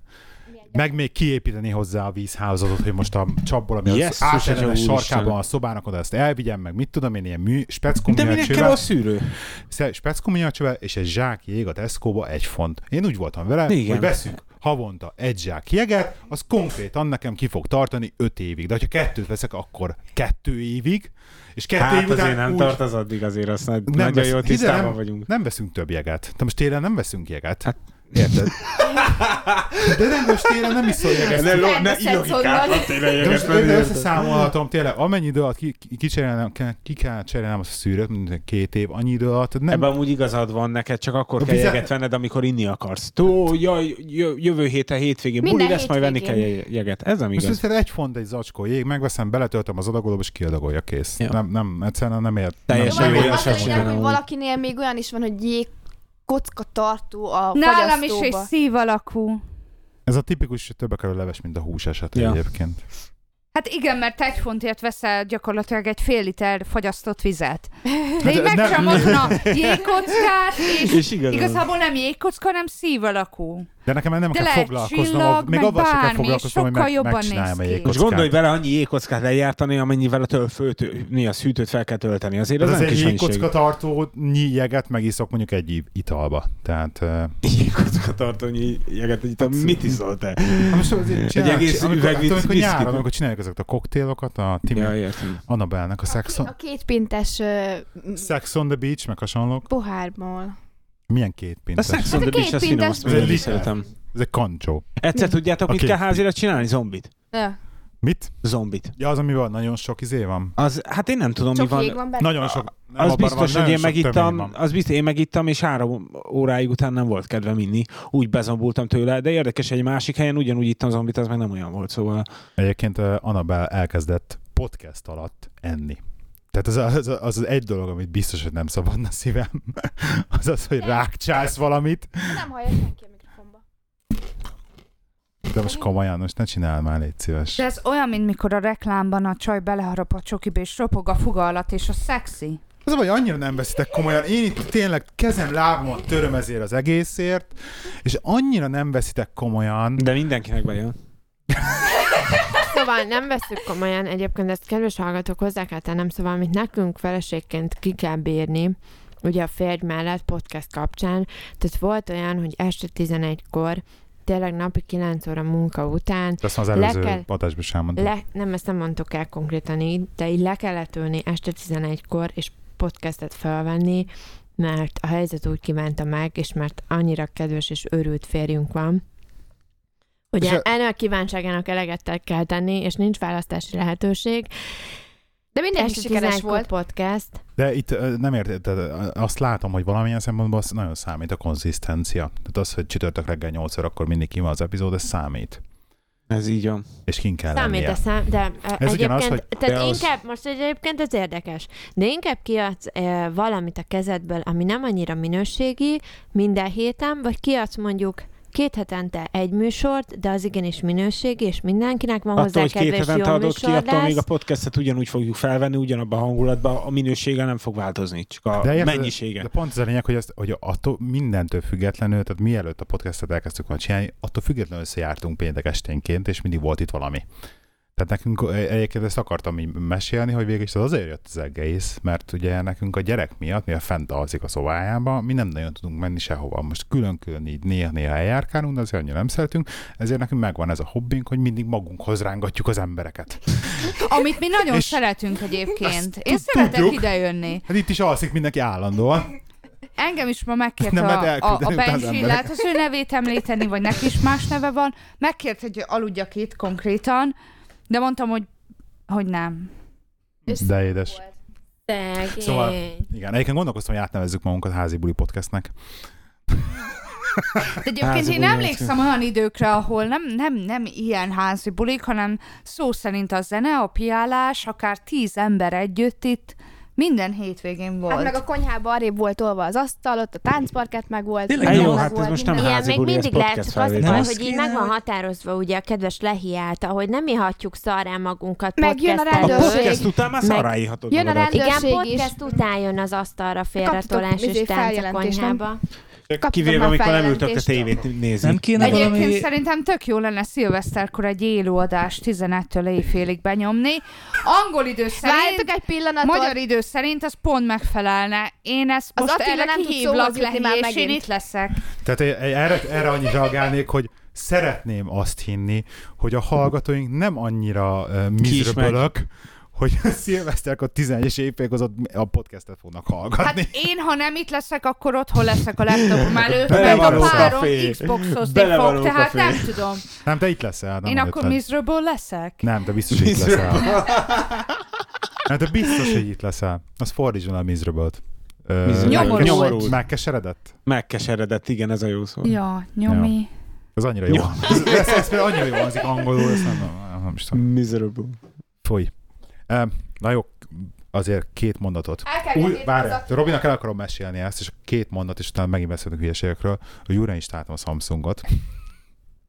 Speaker 3: meg még kiépíteni hozzá a vízhálózatot, hogy most a csapból, ami yes,
Speaker 4: Jesszus,
Speaker 3: az
Speaker 4: Atya
Speaker 3: átellenes
Speaker 4: úristen.
Speaker 3: sarkában van a szobának, oda ezt elvigyem, meg mit tudom én, ilyen mű, speckó
Speaker 4: De minek kell a szűrő?
Speaker 3: Sze- speckó műanyagcsövel és egy zsák jég a Tesco-ba egy font. Én úgy voltam vele,
Speaker 4: Igen.
Speaker 3: Igen. hogy veszünk havonta egy zsák jeget, az konkrétan nekem ki fog tartani öt évig. De ha kettőt veszek, akkor kettő évig, és kettő
Speaker 4: Hát
Speaker 3: év
Speaker 4: azért
Speaker 3: után
Speaker 4: nem
Speaker 3: úgy
Speaker 4: tart az addig, azért azt nagy-
Speaker 3: nem
Speaker 4: nagyon
Speaker 3: vesz-
Speaker 4: jól
Speaker 3: Ide
Speaker 4: tisztában
Speaker 3: nem-
Speaker 4: vagyunk.
Speaker 3: Nem veszünk több jeget. De most télen nem veszünk jeget.
Speaker 4: Hát-
Speaker 3: Hát. Érted? De nem, most télen nem iszol jeget.
Speaker 4: Ne, lo,
Speaker 6: Fent a
Speaker 4: ne
Speaker 6: szenzorban.
Speaker 4: illogikát, tényleg
Speaker 3: De
Speaker 4: jeges
Speaker 3: most én
Speaker 4: menni.
Speaker 3: összeszámolhatom tényleg, amennyi idő alatt ki, ki, cserélnem, kell- ki kell cserélnem azt a szűrőt, mint két év, annyi idő alatt, nem,
Speaker 4: Ebben amúgy igazad van, neked csak akkor
Speaker 3: A
Speaker 4: kell
Speaker 3: vize-
Speaker 4: jeget venned, amikor inni akarsz. Tó, jaj, jö- jövő héten hétvégén buli
Speaker 6: Minden
Speaker 4: lesz, majd venni kell
Speaker 6: hétvégén.
Speaker 4: je- jeget. Ez nem
Speaker 3: Most
Speaker 4: igaz.
Speaker 3: ez egy font egy zacskó jég, megveszem, beletöltöm az adagolóba, és kiadagolja kész.
Speaker 4: Ja.
Speaker 3: Nem, nem, egyszerűen nem ért.
Speaker 6: Jó,
Speaker 4: Teljesen
Speaker 3: nem,
Speaker 6: van,
Speaker 4: jó,
Speaker 6: az
Speaker 4: sem
Speaker 6: a lényeg,
Speaker 4: ugyanúgy.
Speaker 6: hogy valakinél még olyan is van, hogy jég kocka tartó a
Speaker 5: Nálam is
Speaker 6: fogyasztóba.
Speaker 5: egy szív alakú.
Speaker 3: Ez a tipikus, hogy többe kerül leves, mint a hús eset
Speaker 4: Ja.
Speaker 3: ja. egyébként.
Speaker 5: Hát igen, mert te egy fontért veszel gyakorlatilag egy fél liter fagyasztott vizet. De
Speaker 3: Hát
Speaker 5: én
Speaker 3: ez nem-
Speaker 5: megcsamazom a jégkockát, és
Speaker 4: És igazad van.
Speaker 5: igazából nem jégkocka, hanem szív alakú.
Speaker 3: De nekem nem
Speaker 5: De
Speaker 3: kell
Speaker 5: lehet
Speaker 3: foglalkoznom,
Speaker 5: csillag,
Speaker 3: av- még
Speaker 5: meg
Speaker 3: avval sem kell
Speaker 5: bármi,
Speaker 3: foglalkoznom, hogy
Speaker 5: sokkal
Speaker 3: meg,
Speaker 5: jobban
Speaker 3: megcsináljam
Speaker 5: néz ki.
Speaker 3: a jégkockát.
Speaker 4: Most gondolj bele, annyi jégkockát lejártani, amennyivel a töltőni a szűtőt fel kell tölteni. Azért
Speaker 3: Ez
Speaker 4: az
Speaker 3: az
Speaker 4: nem
Speaker 3: egy
Speaker 4: kis mennyiség.
Speaker 3: jégkocka tartó nyijeget megiszok mondjuk egy i- italba. Tehát... Uh,
Speaker 4: <laughs> Jégkocka tartónyi jeget, hogy te mit iszol te?
Speaker 3: Hát most azért csinálják-
Speaker 4: egész
Speaker 3: amikor-
Speaker 4: üveg
Speaker 3: hát
Speaker 4: visz-
Speaker 3: Amikor
Speaker 4: viszkit.
Speaker 3: nyáron, amikor csinálják ezeket a koktélokat, a Timi
Speaker 4: Ja, értem.
Speaker 3: Annabelnek a Sex
Speaker 6: A
Speaker 3: on,
Speaker 6: két pintes ö,
Speaker 3: Sex on the Beach, meg hasonlók.
Speaker 6: pohárból.
Speaker 3: Milyen két
Speaker 4: A
Speaker 3: pintes?
Speaker 4: Sex
Speaker 5: Hát
Speaker 4: on the
Speaker 5: a
Speaker 4: Beach,
Speaker 5: két
Speaker 4: azt finom,
Speaker 5: pintes-
Speaker 4: azt mindig
Speaker 3: Ez egy
Speaker 4: is szeretem.
Speaker 3: Ez egy kancsó.
Speaker 4: Egyszer tudjátok,
Speaker 3: A
Speaker 4: mit
Speaker 3: két
Speaker 4: kell házira csinálni? Zombit.
Speaker 6: Ja.
Speaker 3: Mit?
Speaker 4: Zombit.
Speaker 3: Ja, az, ami van, nagyon sok izé van.
Speaker 4: Az, hát én nem tudom,
Speaker 6: Csak
Speaker 4: mi
Speaker 6: jég
Speaker 4: van.
Speaker 6: van benne.
Speaker 3: Nagyon sok. nem
Speaker 4: Az
Speaker 3: abar van,
Speaker 4: biztos,
Speaker 3: nagyon
Speaker 4: hogy én
Speaker 3: sok tömény
Speaker 4: megittam,
Speaker 3: van.
Speaker 4: az biztos, én megittam, és három óráig után nem volt kedvem inni. Úgy bezombultam tőle, de érdekes, egy másik helyen ugyanúgy ittam zombit, az meg nem olyan volt, szóval
Speaker 3: Egyébként eh, Anabel elkezdett podcast alatt enni. Tehát az az, az az egy dolog, amit biztos, hogy nem szabadna szívem, <laughs> az az, hogy rákcsálsz valamit.
Speaker 6: Nem hallja senki a mikrofonba.
Speaker 3: De most komolyan, most ne csinál már, légy szíves.
Speaker 5: De ez olyan, mint mikor a reklámban a csaj beleharap a csokiba, és ropog a foga alatt, és a szexi.
Speaker 3: Az a baj, annyira nem veszitek komolyan. Én itt tényleg kezem, lábamat töröm ezért az egészért, és annyira nem veszitek komolyan.
Speaker 4: De mindenkinek bejön.
Speaker 2: Szóval nem veszük komolyan, egyébként ezt kedves hallgatók hozzá kell tennem, szóval amit nekünk feleségként ki kell bírni, ugye a férj mellett podcast kapcsán, tehát volt olyan, hogy este 11-kor, tényleg napi 9 óra munka után,
Speaker 3: De azt az
Speaker 2: Le
Speaker 3: előző
Speaker 2: kell-
Speaker 3: adásban sem mondtam.
Speaker 2: le, nem, ezt nem mondtuk el konkrétan így, de így le kellett ülni este 11-kor, és podcastet felvenni, mert a helyzet úgy kívánta meg, és mert annyira kedves és örült férjünk van, hogy
Speaker 3: És a-
Speaker 2: ennél a kívánságának eleget kell tenni, és nincs választási lehetőség.
Speaker 6: De mindenki
Speaker 2: Este
Speaker 6: sikeres
Speaker 2: 11-kor
Speaker 6: volt.
Speaker 2: podcast.
Speaker 3: De itt ö, nem érted, tehát, ö, azt látom, hogy valamilyen szempontból az nagyon számít a konzisztencia. Tehát az, hogy csütörtök reggel 8 akkor mindig ki van az epizód, ez számít.
Speaker 4: Ez így van.
Speaker 3: És kin kell
Speaker 2: Számít
Speaker 3: lennie.
Speaker 2: a szám, de ö,
Speaker 3: Ez
Speaker 2: egyébként,
Speaker 3: ugyanaz, hogy
Speaker 2: tehát
Speaker 4: te az-
Speaker 2: inkább, most egyébként ez érdekes, de inkább kiadsz e, valamit a kezedből, ami nem annyira minőségi minden héten, vagy kiadsz mondjuk két hetente egy műsort, de az igenis minőségi, és mindenkinek van
Speaker 4: Attól,
Speaker 2: hozzá
Speaker 4: hogy két
Speaker 2: kedves jó
Speaker 4: hetente adod ki,
Speaker 2: műsor
Speaker 4: attól
Speaker 2: lesz.
Speaker 4: még a podcastet ugyanúgy fogjuk felvenni, ugyanabban a hangulatban, a minősége nem fog változni, csak a
Speaker 3: De érted,
Speaker 4: mennyisége.
Speaker 3: De pont ez a lényeg, hogy, ezt, hogy attól mindentől függetlenül, tehát mielőtt a podcastet elkezdtük volna csinálni, attól függetlenül összejártunk péntek esténként, és mindig volt itt valami. Tehát nekünk ö, egyébként ezt akartam így mesélni, hogy végül is az azért jött az egész, mert ugye nekünk a gyerek miatt, mi a fent alszik a szobájába, mi nem nagyon tudunk menni sehova. Most külön-külön így néha-néha eljárkálunk, de azért annyira nem szeretünk, ezért nekünk megvan ez a hobbink, hogy mindig magunkhoz rángatjuk az embereket.
Speaker 5: Amit mi nagyon
Speaker 3: És-
Speaker 5: szeretünk egyébként. Én
Speaker 3: tud-
Speaker 5: szeretek
Speaker 3: tudjuk.
Speaker 5: idejönni.
Speaker 3: Hát itt is alszik mindenki állandóan.
Speaker 5: Engem is ma megkért
Speaker 3: Nem lehet
Speaker 5: a, a, a
Speaker 3: elküldeni utána az
Speaker 5: Benji, lehet az ő nevét említeni, vagy neki is más neve van. Megkért, hogy aludjak itt konkrétan, de mondtam, hogy hogy nem.
Speaker 6: És
Speaker 3: De édes.
Speaker 6: volt.
Speaker 2: Szegény.
Speaker 3: Szóval- Igen, egyébként gondolkoztam, hogy átnevezzük magunkat házi buli podcastnek.
Speaker 5: De egyébként
Speaker 4: Házi
Speaker 5: én
Speaker 4: buli
Speaker 5: emlékszem olyan időkre, ahol nem, nem, nem ilyen házi bulik, hanem szó szerint a zene, a piálás, akár tíz ember együtt itt, minden hétvégén volt.
Speaker 6: Hát meg a konyhában arrébb volt olva az asztal, ott a táncparkett meg volt.
Speaker 1: Tényleg
Speaker 6: minden
Speaker 1: jó,
Speaker 6: meg
Speaker 1: hát
Speaker 4: ez
Speaker 6: volt,
Speaker 4: most nem
Speaker 6: minden.
Speaker 2: Igen,
Speaker 4: házi
Speaker 2: még
Speaker 4: buli, ez
Speaker 2: mindig lehet,
Speaker 4: podcast
Speaker 2: csak az a
Speaker 4: felvétel.
Speaker 2: baj,
Speaker 1: Azt
Speaker 2: hogy így
Speaker 1: kéne,
Speaker 2: meg van
Speaker 1: hogy-
Speaker 2: határozva ugye a kedves lehiált, hogy nem ihatjuk szarrá magunkat
Speaker 6: Megjön a
Speaker 4: A
Speaker 2: podcast előtt.
Speaker 6: rendőrség.
Speaker 4: podcast után már
Speaker 2: Meg-
Speaker 4: szarra írhatod
Speaker 6: Jön a
Speaker 4: magadat.
Speaker 6: rendőr-
Speaker 2: Igen,
Speaker 6: Rendőrség
Speaker 2: podcast után jön az asztalra félretolás
Speaker 6: Kaptatok
Speaker 2: és
Speaker 6: izé
Speaker 2: tánc a
Speaker 6: feljelentést, nem?
Speaker 2: konyhába.
Speaker 6: Kaptam
Speaker 4: Kivéve,
Speaker 6: már
Speaker 4: amikor nem ültök a
Speaker 6: feljelentést.
Speaker 4: tévét nézni.
Speaker 1: Nem kéne
Speaker 5: Egyébként
Speaker 1: valami...
Speaker 5: szerintem tök jó lenne szilveszterkor egy élőadást 11-től éjfélig benyomni. Angol idő
Speaker 6: Várjátok
Speaker 5: szerint,
Speaker 6: egy pillanatot.
Speaker 5: magyar idő szerint az pont megfelelne. Én ezt
Speaker 6: Az
Speaker 5: most
Speaker 6: Attila
Speaker 5: erre
Speaker 6: nem tud
Speaker 5: kihívlak
Speaker 6: szóhoz jutni
Speaker 5: lehi,
Speaker 6: már
Speaker 5: és én
Speaker 6: megint.
Speaker 5: itt leszek.
Speaker 3: Tehát én- én erre, erre annyit reagálnék, hogy szeretném azt hinni, hogy a hallgatóink nem annyira uh,
Speaker 4: Ki is
Speaker 3: mizröbölök, hogy szilveszterkor 11-es évfékozott a podcastet fognak
Speaker 5: Hát
Speaker 3: hallgatni.
Speaker 5: én, ha nem itt leszek, akkor otthon leszek a laptopom előtt, mert a
Speaker 4: Belevaló
Speaker 5: párom
Speaker 4: kafé.
Speaker 5: Xboxozni
Speaker 4: Belevaló
Speaker 5: fog, tehát
Speaker 4: kafé.
Speaker 5: nem tudom.
Speaker 3: Nem, hát- te itt leszel. Nem
Speaker 5: Én
Speaker 3: hogy
Speaker 5: akkor
Speaker 3: itt le-
Speaker 5: miserable leszek?
Speaker 3: Nem, te biztos, hogy itt leszel. Nem, te biztos, hogy itt leszel. Az fordítson a miserable-t. Ö,
Speaker 4: Miserable.
Speaker 5: Nyomorult.
Speaker 3: megkes- Megkeseredett?
Speaker 4: <laughs> Megkeseredett, igen, ez a jó szó.
Speaker 5: Ja, nyomi.
Speaker 3: Ez annyira jó.
Speaker 4: Jó.
Speaker 3: ez, ez, ez például annyira jó hangzik angolul, ezt nem, nem, nem is tudom.
Speaker 4: Miserable.
Speaker 3: Foly. Um, na jó, azért két mondatot.
Speaker 6: El kell
Speaker 3: Új,
Speaker 6: kezdeni
Speaker 3: várj,
Speaker 6: az a-
Speaker 3: Robinak el akarom mesélni ezt, és két mondat, és utána megint beszélünk hülyeségekről, hogy újra is a Samsungot,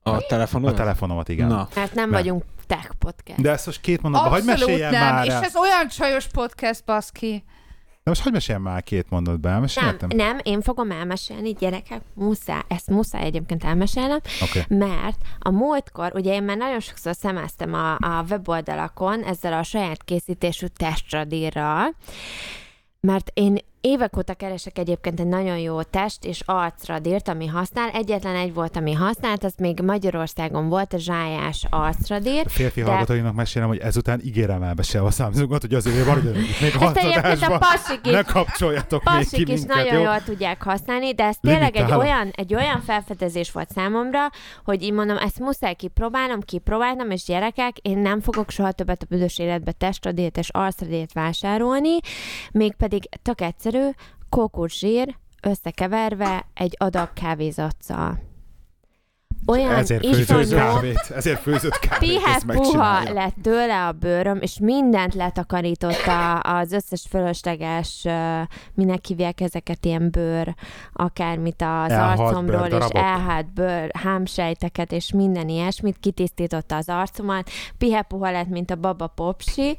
Speaker 4: A
Speaker 3: a
Speaker 4: telefonon?
Speaker 3: telefonomat, igen.
Speaker 4: Na,
Speaker 2: Mert Hát nem
Speaker 3: Nem.
Speaker 2: vagyunk tech podcast.
Speaker 3: De ezt most két mondatban, hagyd
Speaker 5: Abszolút
Speaker 3: meséljem
Speaker 5: nem,
Speaker 3: már
Speaker 5: és
Speaker 3: el.
Speaker 5: ez olyan csajos podcast, baszki.
Speaker 3: De most hagyd meséljem már két mondatban,
Speaker 2: Nem,
Speaker 3: elmeséltem?
Speaker 2: nem, én fogom elmesélni, gyerekek, muszáj, ezt muszáj egyébként elmesélnem,
Speaker 3: Oké.
Speaker 2: mert a múltkor, ugye én már nagyon sokszor szemeztem a, a weboldalakon ezzel a saját készítésű testradírral, mert én Évek óta keresek egyébként egy nagyon jó test és arcradírt, ami használ. Egyetlen egy volt, ami használt, az még Magyarországon volt, a zsájás arcradír.
Speaker 3: A férfi
Speaker 2: De-
Speaker 3: hallgatóinak mesélem, hogy ezután ígérem el se a Samsungot, hogy az ő van, hogy még a
Speaker 2: Ezt egyébként a
Speaker 3: hatodásban
Speaker 2: pasik is
Speaker 3: ne kapcsoljatok még ki
Speaker 2: Passik is
Speaker 3: minket,
Speaker 2: nagyon
Speaker 3: jó?
Speaker 2: jól tudják használni, de ez tényleg egy
Speaker 3: Limitálom.
Speaker 2: olyan, egy olyan felfedezés volt számomra, hogy így mondom, ezt muszáj kipróbálnom, kipróbálnom, és gyerekek, én nem fogok soha többet a büdös életbe testradét és arcradét vásárolni, mégpedig tök egyszerű, kókuszsír összekeverve egy adag kávézatszal. Olyan
Speaker 3: Ezért főzött
Speaker 2: iszonyú,
Speaker 3: kávét, ezért főzött kávét,
Speaker 2: Pihes
Speaker 3: ezt
Speaker 2: puha
Speaker 3: megcsinálja.
Speaker 2: lett tőle a bőröm, és mindent letakarított a, az összes fölösleges, ö, minek hívják ezeket ilyen bőr, akármit az
Speaker 3: Elhalt
Speaker 2: arcomról, és
Speaker 3: bőrdarabok?
Speaker 2: elhát bőr, hámsejteket, és minden ilyesmit, kitisztította az arcomat, pihe puha lett, mint a baba
Speaker 3: <coughs>
Speaker 2: popsi,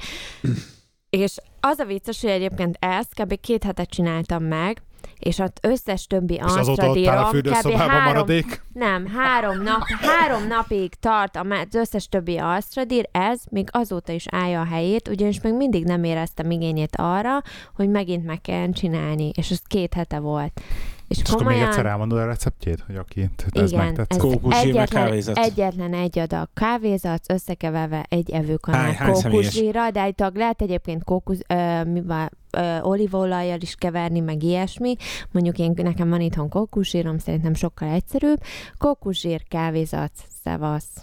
Speaker 2: és az a vicces, hogy egyébként ezt kb. két hetet csináltam meg, és az összes többi
Speaker 3: És azóta ott áll a
Speaker 2: arcradírom kb.
Speaker 3: fürdőszobában
Speaker 2: három
Speaker 3: maradék.
Speaker 2: nem, három, nap, három napig tart a me- az összes többi alsztradír, ez még azóta is állja a helyét, ugyanis még mindig nem éreztem igényét arra, hogy megint meg kell csinálni, és ez két hete volt. És,
Speaker 3: És akkor még
Speaker 2: komolyan,
Speaker 3: egyszer elmondod a receptjét, hogy aki ez
Speaker 2: igen, ez
Speaker 3: megtetszett.
Speaker 4: Kókuszsír meg
Speaker 2: egyetlen,
Speaker 4: kávézat.
Speaker 2: egyetlen egy adag kávézat, összekeverve egy
Speaker 4: Hány-
Speaker 2: evőkanál
Speaker 4: hány személyes?
Speaker 2: kókuszsírral, de állítólag lehet egyébként kókusz, ö, mi van, ö, olívaolajjal is keverni, meg ilyesmi. Mondjuk én, nekem van itthon kókuszsírom, szerintem sokkal egyszerűbb. Kókuszsír, kávézat, szevasz.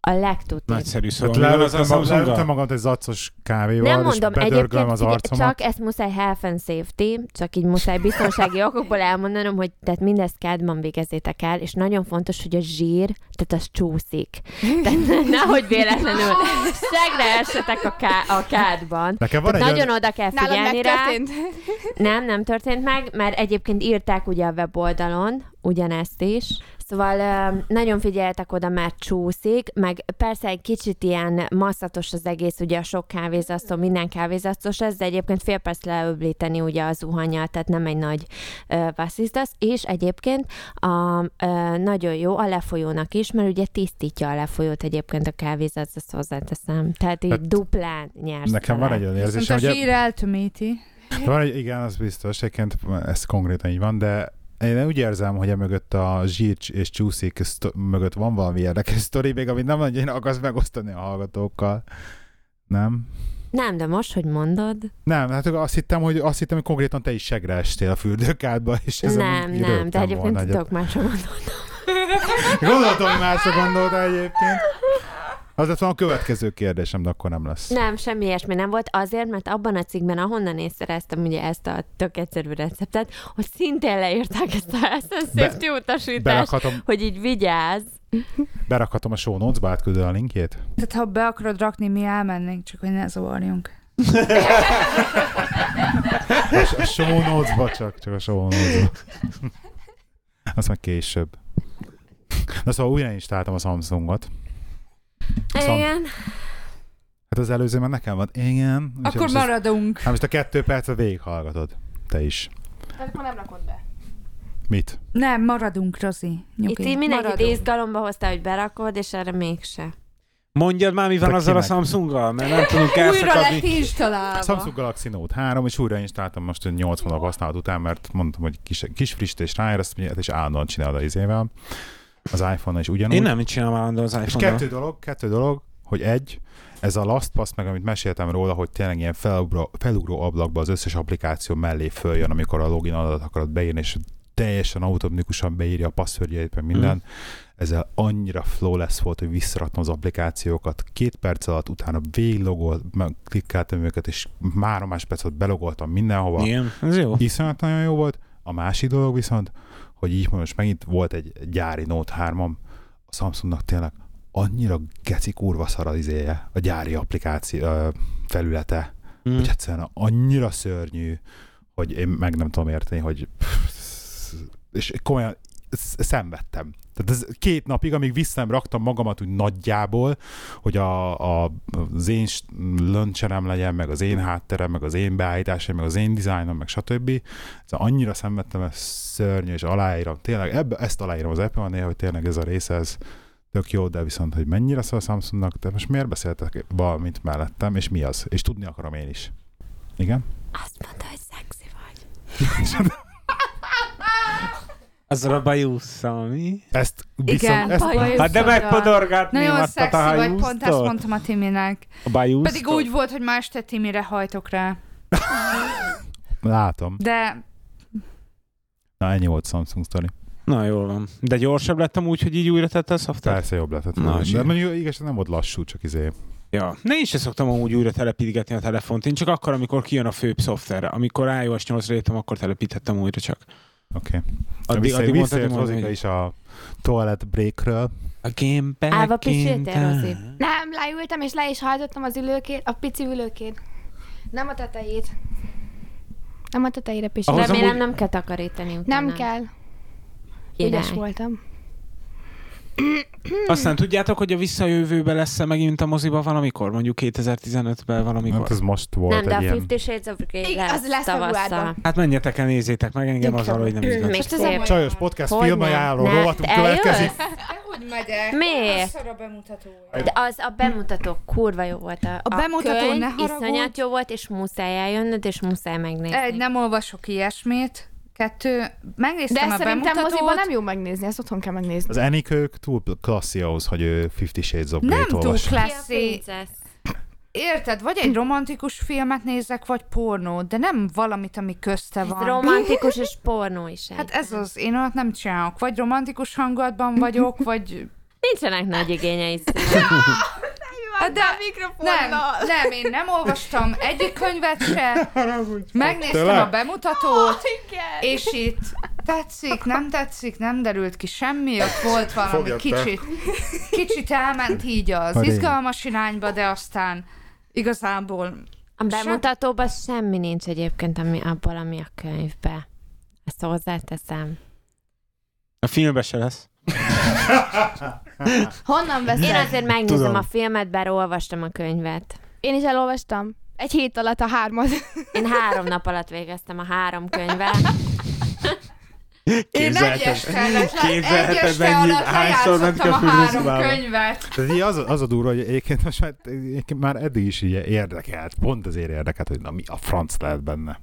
Speaker 2: A legtutibb.
Speaker 4: Nagyszerű
Speaker 3: Hát
Speaker 4: szóval. mi van
Speaker 3: leöltem
Speaker 4: az a
Speaker 3: ma- leöltem
Speaker 4: Samsunggal?
Speaker 3: magam egy zacos kávéval,
Speaker 2: Nem mondom,
Speaker 3: és bedörgöm
Speaker 2: egyébként
Speaker 3: az
Speaker 2: figyelj,
Speaker 3: arcomat.
Speaker 2: csak ezt muszáj health and safety, csak így muszáj biztonsági okokból elmondanom, hogy tehát mindezt kádban végezzétek el, és nagyon fontos, hogy a zsír, tehát az
Speaker 3: <laughs>
Speaker 2: csúszik. Tehát nehogy véletlenül segre essetek a, ká- a kádban.
Speaker 3: Nekem van egy
Speaker 2: Tehát
Speaker 3: olyan-
Speaker 2: nagyon oda kell
Speaker 6: Nálam
Speaker 2: figyelni rá.
Speaker 6: megtörtént.
Speaker 2: Nem, nem történt meg, mert egyébként írták ugye a weboldalon ugyanezt is. Szóval ö, nagyon figyeltek oda, mert csúszik, meg persze egy kicsit ilyen masszatos az egész, ugye a sok kávézasztó, minden kávézasztós lesz, de egyébként fél perc leöblíteni ugye az zuhanyjal, tehát nem egy nagy vasszisztasz, és egyébként a, ö, nagyon jó a lefolyónak is, mert ugye tisztítja a lefolyót egyébként a kávézat, azt hozzáteszem. Tehát így
Speaker 3: Hát
Speaker 2: duplán nyersz.
Speaker 3: Nekem
Speaker 2: vele.
Speaker 3: van egy olyan
Speaker 5: Viszont a
Speaker 3: érzésem, hogy e- hát
Speaker 5: zsír eltömíti.
Speaker 3: Van egy, igen, az biztos, egyébként ez konkrétan így van, de én úgy érzem, hogy emögött a zsírcs és csúszik szto- mögött van valami érdekes sztori, még amit nem nagyon akarsz megosztani a hallgatókkal. Nem?
Speaker 2: Nem, de most, hogy mondod.
Speaker 3: Nem, hát azt hittem, hogy, azt hittem, hogy konkrétan te is segre estél a fürdőkádba, és ez
Speaker 2: nem, nem, de egyébként tudok már sem mondani.
Speaker 3: Gondoltam, hogy másra gondoltál egyébként. Az lett volna a következő kérdésem, de akkor nem lesz.
Speaker 2: Nem, semmi ilyesmi nem volt, azért, mert abban a cikkben, ahonnan én szereztem ugye ezt a tök egyszerű receptet, hogy szintén leírták ezt a ezt a
Speaker 3: Be-
Speaker 2: safety utasítást,
Speaker 3: Berakhatom,
Speaker 2: hogy így vigyázz.
Speaker 3: berakhatom a show notes-ba, átküldöd a linkjét?
Speaker 5: Tehát ha be akarod rakni, mi elmennénk, csak hogy ne zavarjunk.
Speaker 3: A, a show notes-ba csak, csak a show notes-ba. Azt meg később. Na szóval újra installáltam a Samsungot. Szóval-
Speaker 2: Igen,
Speaker 3: Hát az előző már nekem volt. Igen. És
Speaker 5: Akkor
Speaker 3: most ezt-
Speaker 5: maradunk.
Speaker 3: Hát most a kettő percet végighallgatod. Te is.
Speaker 6: Tehát Hát akkor nem rakod be.
Speaker 3: Mit?
Speaker 5: Nem, maradunk, Rozi.
Speaker 2: itt
Speaker 5: Nyugi.
Speaker 2: így mindenkit
Speaker 5: maradunk.
Speaker 2: izgalomba hozta, hogy berakod, és erre mégse.
Speaker 4: Mondjad már, mi van
Speaker 3: Te
Speaker 4: azzal a
Speaker 3: kinek?
Speaker 4: Samsunggal, mert nem tudunk
Speaker 5: Újra lett
Speaker 4: elszakadni.
Speaker 5: installálva.
Speaker 3: Samsung Galaxy Note 3, és újra installáltam most hogy 80 nap használat után, mert mondtam, hogy kis, kis frissítés ráér, ezt ugye- és állandóan csinálod az izével. Az iPhone-on is ugyanúgy.
Speaker 4: Én nem mit csinálom állandóan az
Speaker 3: És
Speaker 4: iPhone-dal.
Speaker 3: kettő dolog, kettő dolog, hogy egy, ez a Last Pass, meg amit meséltem róla, hogy tényleg ilyen felugró, felugró ablakba az összes applikáció mellé följön, amikor a login adatot akarod beírni, és teljesen automatikusan beírja a passzörjeit, meg minden. Mm. Ezzel annyira flawless volt, hogy visszaraktam az applikációkat. Két perc alatt utána végiglogolt, meg klikkáltam őket, és már más perc alatt belogoltam mindenhova.
Speaker 4: Igen, ez jó.
Speaker 3: Iszonyat nagyon jó volt. A másik dolog viszont, hogy így most megint volt egy gyári Note 3-am, a Samsungnak tényleg annyira geci kurva szar az izéje, a gyári applikáció ö, felülete,
Speaker 4: Mm.
Speaker 3: hogy egyszerűen annyira szörnyű, hogy én meg nem tudom érteni, hogy és komolyan sz- szenvedtem. Tehát ez két napig, amíg vissza nem raktam magamat úgy nagyjából, hogy a, a, az én s- löncserem legyen, meg az én hátterem, meg az én beállításom, meg az én dizájnom, meg stb. Ez annyira szenvedtem, ez szörnyű, és aláírom. Tényleg ebbe, ezt aláírom az Apple néha, hogy tényleg ez a része, ez tök jó, de viszont, hogy mennyire szól a Samsungnak, de most miért beszéltek valamit mellettem, és mi az? És tudni akarom én is. Igen?
Speaker 2: Azt mondta, hogy szexi vagy.
Speaker 4: Azzal a bajusszal, mi?
Speaker 3: <laughs> Ezt
Speaker 5: Igen,
Speaker 3: viszont, ezt,
Speaker 2: bajusz.
Speaker 4: Hát de megpodorgatném
Speaker 5: Nagyon
Speaker 4: azt a
Speaker 5: szexi vagy, pont ezt
Speaker 4: bajusztot.
Speaker 5: mondtam a Timinek.
Speaker 4: A bajusztot.
Speaker 5: Pedig úgy volt, hogy ma este Timire hajtok rá.
Speaker 3: látom.
Speaker 5: De
Speaker 3: Na ennyi volt Samsung sztori.
Speaker 4: Na jól van. De gyorsabb lettem úgy, hogy így újra tette a szoftvert?
Speaker 3: Persze jobb lett.
Speaker 4: Na,
Speaker 3: Na, de
Speaker 4: zsír.
Speaker 3: mondjuk igazán nem volt lassú, csak izé.
Speaker 4: Ja. Ne, én se szoktam amúgy újra telepítgetni a telefont. Én csak akkor, amikor kijön a főbb szoftver. Amikor iOS 8-ra jöttem, akkor telepíthettem újra csak.
Speaker 3: Oké. Okay.
Speaker 4: Addig,
Speaker 3: Vissza,
Speaker 4: addig
Speaker 3: visszajött
Speaker 4: mondhatni, mondom,
Speaker 3: Rozika
Speaker 4: hogy
Speaker 3: is a toilet breakről.
Speaker 4: A game back
Speaker 2: Állva
Speaker 4: in
Speaker 2: pisiltél,
Speaker 4: time.
Speaker 2: Rozi?
Speaker 6: Nem, leültem és le is hajtottam az ülőkét, a pici ülőkét. Nem a tetejét. Nem a tetejére pisiltem.
Speaker 4: Ahhoz
Speaker 2: Remélem
Speaker 4: amúgy-
Speaker 2: nem kell takarítani utána.
Speaker 6: Nem, nem kell.
Speaker 2: Király.
Speaker 6: Ügyes voltam.
Speaker 4: Aztán tudjátok, hogy a visszajövőbe lesz-e megint a moziba valamikor? Mondjuk 2015-ben valamikor?
Speaker 3: Hát ez most volt
Speaker 2: Nem, de a
Speaker 3: egy ilyen.
Speaker 2: Fifty Shades of Grey
Speaker 6: Igen,
Speaker 2: lesz,
Speaker 6: az lesz
Speaker 2: tavasszal.
Speaker 6: februárban.
Speaker 4: Hát menjetek el, nézzétek meg, engem az
Speaker 6: Gyönyörű.
Speaker 4: valahogy nem izgat.
Speaker 2: Még
Speaker 6: Most ez
Speaker 2: szép.
Speaker 6: a-
Speaker 3: Csajos podcast
Speaker 2: Hogyne.
Speaker 3: filmajánló
Speaker 2: Ne,
Speaker 3: rovatunk
Speaker 2: te
Speaker 3: következik.
Speaker 2: eljössz?
Speaker 5: hogy megyek?
Speaker 2: Miért?
Speaker 5: Messzora bemutató.
Speaker 2: De az a bemutató kurva jó volt. A,
Speaker 5: A bemutató,
Speaker 2: könyv
Speaker 5: ne haragudj.
Speaker 2: iszonyat jó volt, és muszáj eljönnöd, és muszáj megnézni.
Speaker 5: Egy, nem olvasok ilyesmit. Kettő,
Speaker 6: De
Speaker 5: megnéztem
Speaker 6: ezt
Speaker 5: a
Speaker 6: szerintem
Speaker 5: bemutatót.
Speaker 6: moziban nem jó megnézni, ezt otthon kell megnézni.
Speaker 3: Az Enikők túl klasszi ahhoz, hogy ő Fifty Shades of
Speaker 5: nem
Speaker 3: Grey-t
Speaker 5: túl
Speaker 3: olvassa. <laughs>
Speaker 2: Ki a
Speaker 5: klasszi.
Speaker 2: princesz?
Speaker 5: Érted? Vagy egy romantikus filmet nézek, vagy pornót, de nem valamit, ami közte
Speaker 2: Ez
Speaker 5: van.
Speaker 2: romantikus és pornó is.
Speaker 5: Hát ez az, én olyat nem csinálok. Vagy romantikus hangulatban vagyok, vagy...
Speaker 2: Nincsenek nagy igényei.
Speaker 5: Hát de nem, nem, én nem olvastam egyik könyvet se, megnéztem a bemutatót, és itt tetszik, nem tetszik, nem derült ki semmi, ott volt valami
Speaker 3: Fogjad be.
Speaker 5: kicsit, kicsit elment így az
Speaker 3: Pedig.
Speaker 5: izgalmas irányba, de aztán igazából
Speaker 2: A bemutatóban semmi nincs egyébként, ami abból, ami a könyvbe. Ezt hozzáteszem.
Speaker 4: A filmben se lesz.
Speaker 6: Honnan
Speaker 2: Én
Speaker 6: veszed?
Speaker 2: azért megnézem
Speaker 3: Tudom.
Speaker 2: a filmet, bár olvastam a könyvet.
Speaker 6: Én is elolvastam. Egy hét alatt a
Speaker 2: <laughs>
Speaker 6: hármat.
Speaker 2: Én három nap alatt végeztem a három könyvet.
Speaker 5: Én egy
Speaker 4: Képzelheted-
Speaker 5: este, alatt- egy
Speaker 4: képzelheted
Speaker 5: este
Speaker 4: mennyi-
Speaker 5: alatt
Speaker 4: hányszor ment
Speaker 5: lejátszottam a
Speaker 4: köpülni
Speaker 5: három
Speaker 4: szobába?
Speaker 5: könyvet.
Speaker 3: Tehát így az, az a durva, hogy egyébként most már, egyébként már eddig is így érdekelt, pont ezért érdekelt, hogy na mi a franc lehet benne.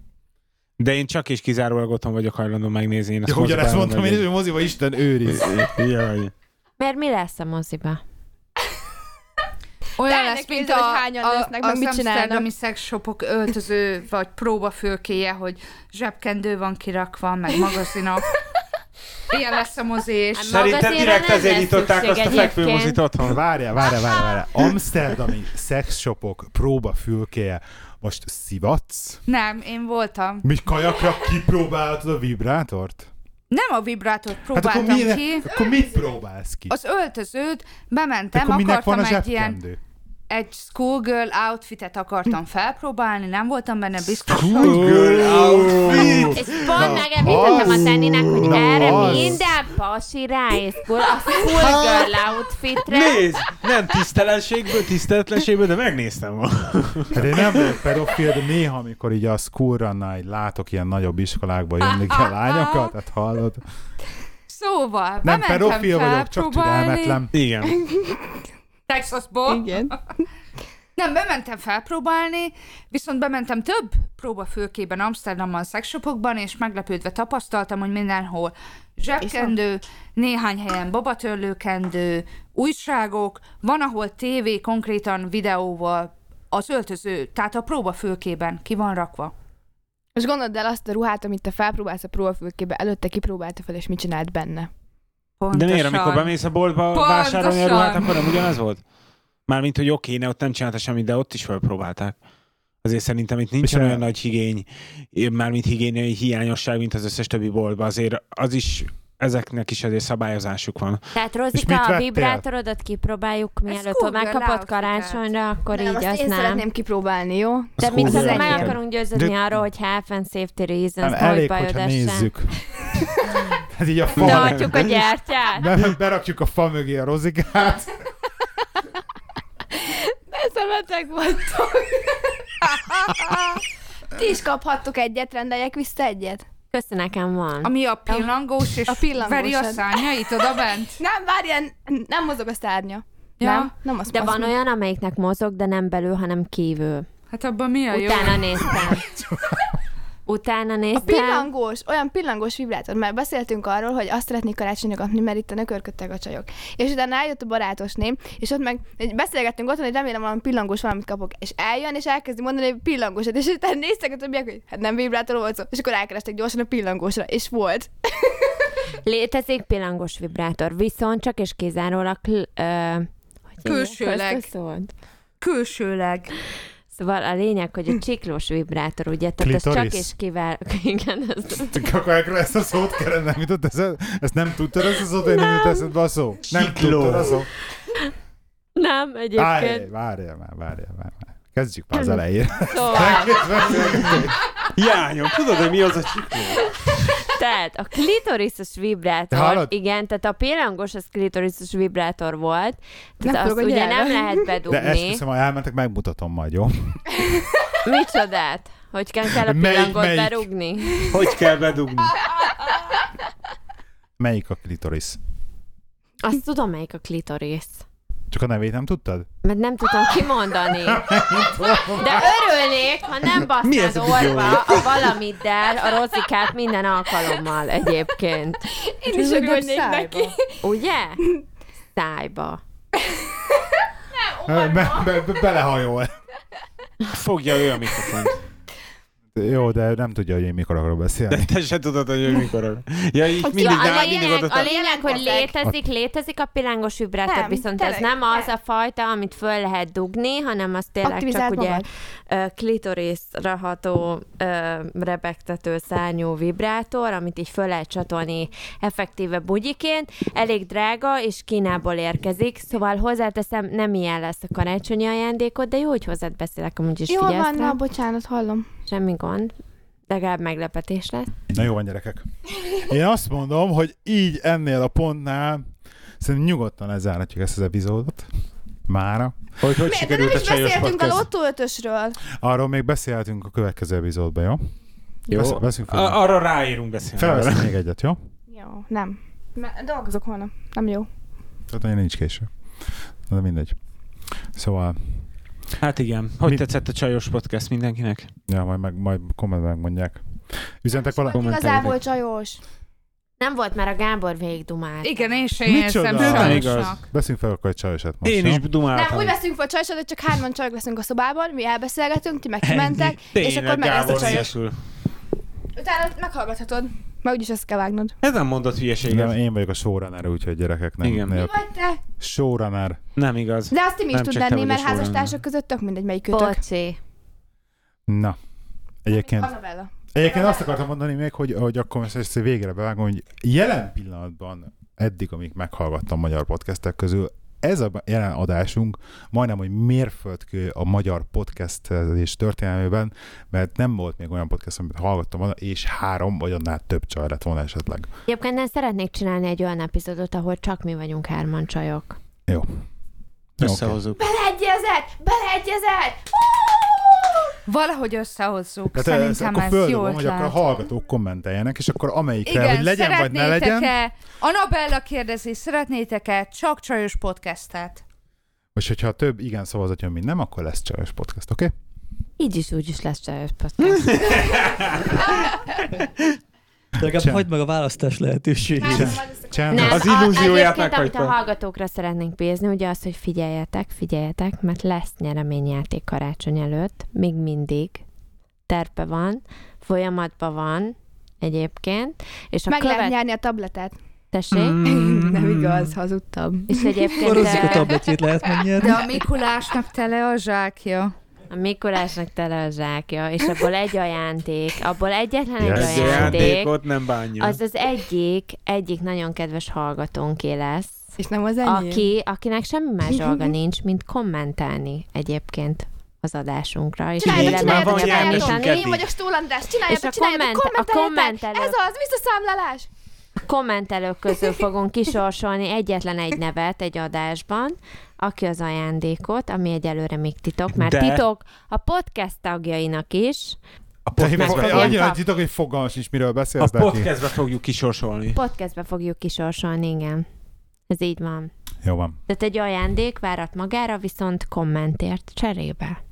Speaker 4: De én csak és kizárólag otthon vagyok hajlandó megnézni. Én ezt
Speaker 3: Ja, ugyanezt
Speaker 4: moziban
Speaker 3: mondtam én is,
Speaker 4: elmegyek.
Speaker 3: hogy moziba Isten őriz.
Speaker 4: Jaj.
Speaker 2: Mert mi lesz a moziba?
Speaker 5: Olyan
Speaker 6: De
Speaker 5: lesz,
Speaker 6: ennek
Speaker 5: mint
Speaker 6: képzeld,
Speaker 5: a,
Speaker 6: hogy hányan
Speaker 5: a,
Speaker 6: lesznek, meg
Speaker 5: az
Speaker 6: mit csinálnak.
Speaker 5: amsterdami szexshopok
Speaker 6: <laughs>
Speaker 5: öltöző vagy próbafülkéje, hogy zsebkendő van kirakva, meg
Speaker 6: <laughs>
Speaker 5: magazinok. Ilyen lesz a mozi és...
Speaker 2: Hát
Speaker 4: Szerintem
Speaker 2: Magazinra
Speaker 4: direkt
Speaker 2: nem
Speaker 4: ezért
Speaker 2: lesz
Speaker 4: nyitották
Speaker 2: szükség
Speaker 4: azt a
Speaker 2: egyébként.
Speaker 4: fekvőmozit otthon.
Speaker 3: Várjál, várjál, várjál, várjál. Amsterdami szexshopok próbafülkéje. Most szivatsz?
Speaker 5: Nem, én voltam.
Speaker 3: Mi kajakra kipróbáltad a vibrátort?
Speaker 5: Nem a vibrátort
Speaker 3: Hát akkor,
Speaker 5: próbáltam
Speaker 3: mi,
Speaker 5: ki,
Speaker 3: akkor mit próbálsz ki?
Speaker 5: az öltözőt
Speaker 3: De
Speaker 5: bementem,
Speaker 3: akkor minek van
Speaker 5: akartam
Speaker 3: a
Speaker 5: egy ilyen
Speaker 3: zsebkendő?
Speaker 5: egy schoolgirl outfitet akartam
Speaker 3: Hm.
Speaker 5: felpróbálni, nem voltam benne biztos.
Speaker 2: És pont megemlítettem
Speaker 3: az-
Speaker 2: a Daninek, hogy erre
Speaker 3: az. Hát,
Speaker 2: minden pasi ráészkul a full girl outfitre.
Speaker 4: Nézd! Nem tisztelenségből, tiszteletlenségből, de megnéztem volna.
Speaker 3: Hát én nem vagyok pedofil, de néha, amikor így a school run látok ilyen nagyobb iskolákba jönni ki a lányokat, hát hallod.
Speaker 5: Szóval,
Speaker 3: Nem
Speaker 5: bementem
Speaker 3: pedofil vagyok, csak
Speaker 5: felpróbálni.
Speaker 3: türelmetlen.
Speaker 4: Igen.
Speaker 2: Oh.
Speaker 5: Texasból.
Speaker 6: Igen.
Speaker 5: Nem, bementem felpróbálni, viszont bementem több próbafülkében Amsterdamban, szexshopokban, és meglepődve tapasztaltam, hogy mindenhol zsebkendő, néhány helyen babatörlőkendő, újságok, van, ahol tévé konkrétan videóval az öltöző, tehát a próbafülkében ki van rakva.
Speaker 6: Most gondold el azt a ruhát, amit te felpróbálsz a próbafülkébe, előtte kipróbálta fel, és mit csinált benne.
Speaker 4: De miért,
Speaker 5: Pontosan.
Speaker 4: amikor bemész a boltba
Speaker 5: Pontosan.
Speaker 4: vásárolni a ruhát, akkor nem ugyanaz volt? Mármint, hogy oké, ne, ott nem csinálta semmit, de ott is felpróbálták. Azért szerintem itt nincsen
Speaker 3: És a-
Speaker 4: olyan nagy higény, mármint higiéniai hiányosság, mint az összes többi boltban. Azért az is, ezeknek is azért szabályozásuk van.
Speaker 2: Tehát
Speaker 3: mit
Speaker 2: Rozika,
Speaker 3: vettél?
Speaker 2: a vibrátorodat kipróbáljuk, mielőtt
Speaker 5: cool girl
Speaker 2: megkapod
Speaker 5: outfit.
Speaker 2: karácsonyra, akkor
Speaker 6: hát.
Speaker 2: így
Speaker 6: Nem, azt
Speaker 2: azt
Speaker 6: én
Speaker 2: nem.
Speaker 6: szeretném kipróbálni, jó?
Speaker 2: De
Speaker 4: Az cool
Speaker 2: mi
Speaker 6: girl
Speaker 2: meg
Speaker 6: outfit.
Speaker 2: akarunk győződni
Speaker 3: De-
Speaker 2: arról, hogy health and safety reasons,
Speaker 3: Nem,
Speaker 2: nem, hogy
Speaker 3: elég, hogyha
Speaker 2: bajodassá.
Speaker 5: <laughs>
Speaker 3: nézzük. Tehát így a fa
Speaker 2: De
Speaker 3: <laughs>
Speaker 2: adjuk a gyertyát.
Speaker 3: Be, berakjuk a fa mögé a rozikát. <laughs>
Speaker 6: Persze beteg voltok. <laughs> Ti is kaphattok egyet, rendeljek vissza egyet.
Speaker 2: Köszönöm, nekem van.
Speaker 5: Ami a pillangós, és
Speaker 6: A
Speaker 5: a
Speaker 6: pillangós.
Speaker 5: veri a szárnyait oda bent.
Speaker 6: <laughs> Nem, várjál, nem mozog a szárnya.
Speaker 5: Ja.
Speaker 6: Nem, nem azt
Speaker 2: De
Speaker 6: azt
Speaker 2: van
Speaker 6: mondom.
Speaker 2: olyan, amelyiknek mozog, de nem belül, hanem kívül.
Speaker 6: <laughs>
Speaker 5: Hát abban mi a jó?
Speaker 2: Utána néztem. utána
Speaker 6: A
Speaker 2: néztem.
Speaker 6: pillangós, olyan pillangós vibrátor, mert beszéltünk arról, hogy azt szeretnék karácsonyra kapni, mert itt a nökörködtek a csajok. És utána eljött a barátosném, és ott meg egy- beszélgettünk otthon, hogy remélem valami pillangós valamit kapok. És eljön, és elkezdi mondani, hogy pillangósat, és utána néztek a többiek, hogy hát nem vibrátor volt szó. És akkor elkerestek gyorsan a pillangósra, és volt.
Speaker 2: Létezik pillangos vibrátor, viszont csak és kizárólag... Ö, hogy hívják
Speaker 5: Külsőleg.
Speaker 2: azt a szót?
Speaker 5: Külsőleg.
Speaker 2: Szóval a lényeg, hogy a csiklós vibrátor, ugye, tehát ez csak
Speaker 3: Klitoris?
Speaker 2: és kivál... <laughs> Igen, ez...
Speaker 3: Akkor erről ezt a szót kellene, nem jutott eszed? Ezt nem tudtad ezt a szót, hogy nem jutott eszedbe a szó? Nem
Speaker 4: Sikló.
Speaker 3: tudtad a szó?
Speaker 2: Nem, egyébként.
Speaker 3: Várjál, várjál már, várjál már. már. Kezdjük már az elején. <laughs>
Speaker 2: Szóval,
Speaker 4: Jányom, tudod, hogy mi az a csikló?
Speaker 2: tehát a klitoriszos
Speaker 3: Te
Speaker 2: vibrátor,
Speaker 3: hallod?
Speaker 2: igen, tehát a pillangos az klitoriszos vibrátor volt,
Speaker 6: Nem
Speaker 2: tehát azt
Speaker 6: forgodj
Speaker 2: ugye
Speaker 6: el.
Speaker 2: nem <laughs> lehet
Speaker 3: De
Speaker 2: bedugni.
Speaker 3: esküszöm, ha elmentek, megmutatom majd, jó?
Speaker 2: Micsodát? Hogy kell kell a
Speaker 3: Melyik,
Speaker 2: pillangot
Speaker 3: melyik?
Speaker 2: berúgni?
Speaker 4: Hogy kell bedugni?
Speaker 3: Melyik a klitoris?
Speaker 2: Azt tudom, melyik a klitorisz.
Speaker 3: Csak a nevét nem tudtad?
Speaker 2: Mert nem tudom kimondani. De örülnék, ha nem
Speaker 4: Mi ez
Speaker 2: basznád
Speaker 4: a videó?
Speaker 2: orva a valamiddel, a rozikát minden alkalommal egyébként.
Speaker 6: Én is örülnék
Speaker 5: szájba.
Speaker 6: neki.
Speaker 2: Ugye? Szájba.
Speaker 3: Be, be, be, belehajol.
Speaker 4: Fogja ő a mikrofont.
Speaker 3: Jó, de nem tudja, hogy én mikor akarok beszélni.
Speaker 4: De te se tudod, hogy ő mikor. Ja, így mindig,
Speaker 2: Ja,
Speaker 4: nem,
Speaker 2: a,
Speaker 4: mindig
Speaker 2: lényeg,
Speaker 4: adott
Speaker 2: a
Speaker 4: a...
Speaker 2: lényeg, hogy
Speaker 6: Jelentek.
Speaker 2: létezik, létezik a pillangos vibrátor,
Speaker 6: Nem,
Speaker 2: viszont ez
Speaker 6: tényleg,
Speaker 2: nem
Speaker 6: nem.
Speaker 2: az a fajta, amit föl lehet dugni, hanem az tényleg
Speaker 6: Aktivizáld
Speaker 2: csak ugye
Speaker 6: magad.
Speaker 2: ö, klitoriszra ható ö, rebegtető szárnyú vibrátor, amit így föl lehet csatolni effektíve bugyiként. Elég drága, és Kínából érkezik, szóval hozzáteszem, nem ilyen lesz a karácsonyi ajándékod, de jó, hogy hozzád beszélek, amúgy is
Speaker 6: Jól van,
Speaker 2: figyelsz rá.
Speaker 6: na, bocsánat, hallom.
Speaker 2: Semmi gond. Legalább meglepetés lesz.
Speaker 3: Na jó van, gyerekek. Én azt mondom, hogy így ennél a pontnál szerintem nyugodtan lezárhatjuk ezt az epizódot. Mára.
Speaker 4: Hogy hogy
Speaker 6: Miért de nem
Speaker 4: sikerült a
Speaker 6: is
Speaker 4: csajos
Speaker 6: beszéltünk a
Speaker 4: podcast?
Speaker 6: lottó ötösről?
Speaker 3: Arról még beszélhetünk a következő epizódban, jó? Vesz, veszünk fel.
Speaker 4: A- Arra ráírunk beszélni.
Speaker 3: Felveszünk még egyet, jó?
Speaker 6: Jó, nem. Mert dolgozok holnap. Nem jó.
Speaker 3: Tehát annyira nincs késő. Na, De mindegy. Szóval,
Speaker 4: Hát igen. Hogy
Speaker 3: Mi-
Speaker 4: tetszett a csajos podcast mindenkinek?
Speaker 3: ja, majd, meg, majd kommentben megmondják. Üzentek valami?
Speaker 6: Igazából csajos.
Speaker 2: Nem volt már a Gábor végigdumált.
Speaker 5: Igen, én se érzem
Speaker 3: Micsoda?
Speaker 4: Nem igaz.
Speaker 5: sajnosnak.
Speaker 3: Beszünk fel akkor egy csajosat most,
Speaker 4: Én
Speaker 3: jó?
Speaker 4: is
Speaker 6: Nem,
Speaker 4: dumáltam.
Speaker 6: úgy veszünk fel csajosat, hogy csak hárman csajok leszünk a szobában, mi elbeszélgetünk, ti meg kimentek, és
Speaker 4: Tényleg,
Speaker 6: akkor meg lesz a
Speaker 4: Gábor
Speaker 6: csajos.
Speaker 4: hülyesul.
Speaker 6: Utána meghallgathatod. Mert úgyis ezt kell vágnod.
Speaker 4: Ez nem mondott hülyeséget.
Speaker 3: Igen, én vagyok a showrunner, úgyhogy gyerekek nem.
Speaker 4: Igen.
Speaker 3: Ne,
Speaker 6: Vagy te.
Speaker 3: showrunner.
Speaker 4: Nem igaz.
Speaker 6: De azt ti mi is
Speaker 4: Nem,
Speaker 6: tud
Speaker 4: csak te
Speaker 6: lenni,
Speaker 4: vagy
Speaker 6: mert
Speaker 4: a showrunner.
Speaker 6: házastársak között tök mindegy, melyik kötök.
Speaker 2: Bocsi.
Speaker 3: Na. Egyébként,
Speaker 6: Annabella.
Speaker 3: egyébként azt akartam mondani még, hogy, hogy akkor most ezt végre bevágom, hogy jelen pillanatban eddig, amíg meghallgattam magyar podcastek közül, ez a jelen adásunk majdnem, hogy mérföldkő a magyar podcastezés történelmében, mert nem volt még olyan podcast, amit hallgattam volna, és három vagy annál több csaj lett volna esetleg.
Speaker 2: Egyébként nem szeretnék csinálni egy olyan epizódot, ahol csak mi vagyunk hárman csajok.
Speaker 3: Jó. Jó, oké.
Speaker 4: Összehozzuk.
Speaker 6: Beleegyezett! Beleegyezett!
Speaker 5: Valahogy összehozzuk.
Speaker 3: Tehát Hát, ez,
Speaker 5: Szerintem
Speaker 3: akkor
Speaker 5: ez jó
Speaker 3: földobom, hogy
Speaker 5: ötlet.
Speaker 3: akkor a hallgatók kommenteljenek, és akkor amelyikre,
Speaker 5: Igen,
Speaker 3: hogy legyen vagy ne legyen,
Speaker 5: szeretnétek-e- Anabella kérdezi, szeretnétek-e csak csajos podcastet?
Speaker 3: és hogyha több igen szavazat jön, mint nem, akkor lesz csajos podcast, oké? Okay?
Speaker 2: Így is, úgy is lesz csajos
Speaker 3: <laughs>
Speaker 2: podcast.
Speaker 3: Sem.
Speaker 1: Legalább hagyd meg a választás lehetőséget.
Speaker 6: Hát, majd ezt akkor-
Speaker 3: Csend.
Speaker 2: Nem,
Speaker 3: Az...
Speaker 4: Az illúzióját
Speaker 2: a, egyébként, amit a
Speaker 4: meghagyta.
Speaker 2: hallgatókra szeretnénk bízni, ugye az, hogy figyeljetek, figyeljetek, mert lesz nyereményjáték karácsony előtt, még mindig. Terpe van, folyamatban van egyébként, és a
Speaker 6: Meg lehet
Speaker 2: követ...
Speaker 6: nyerni a tabletet.
Speaker 2: Tessék,
Speaker 3: Mm.
Speaker 4: Mm.
Speaker 6: <laughs> Nem igaz, hazudtam.
Speaker 2: és egyébként
Speaker 1: Orozik a
Speaker 2: eh,
Speaker 1: tabletjét lehet megnyerni.
Speaker 5: De a Mikulásnak tele a zsákja.
Speaker 2: a Mikulásnak tele a zsákja, és abból egy ajándék, abból egyetlen egy
Speaker 3: Yes.
Speaker 4: Ezt a
Speaker 2: ajándék,
Speaker 4: játékot nem bánja.
Speaker 2: Az az egyik, egyik nagyon kedves hallgatónké lesz,
Speaker 6: És nem az enyém.
Speaker 2: aki, akinek semmi más dolga nincs, mint kommentálni egyébként az adásunkra. És
Speaker 6: Csináljátok,
Speaker 4: Már
Speaker 2: véleményt
Speaker 6: csináljátok,
Speaker 4: van
Speaker 2: nyilvánítani.
Speaker 4: nyertesünk
Speaker 6: csináljátok. Én
Speaker 4: eddig.
Speaker 6: vagyok Stól András,
Speaker 2: És a
Speaker 6: csináljátok, csináljátok,
Speaker 2: komment- a
Speaker 6: kommenteljátok.
Speaker 2: kommentelők.
Speaker 6: Ez az, visszaszámlálás.
Speaker 2: Kommentelők közül fogunk kisorsolni egyetlen egy nevet egy adásban, aki az ajándékot, ami egyelőre még titok, mert
Speaker 4: De-
Speaker 2: titok a podcast tagjainak is,
Speaker 4: A
Speaker 2: fogja-
Speaker 4: podcastbe,
Speaker 3: Annyira
Speaker 2: kap.
Speaker 3: titok, hogy fogalmas nincs, miről
Speaker 4: a
Speaker 3: beszélsz, de ki-
Speaker 4: podcastbe fogjuk kisorsolni.
Speaker 2: podcastbe fogjuk kisorsolni, igen. Ez így van.
Speaker 3: Jó van.
Speaker 2: Tehát egy ajándék várat magára, viszont kommentért cserébe.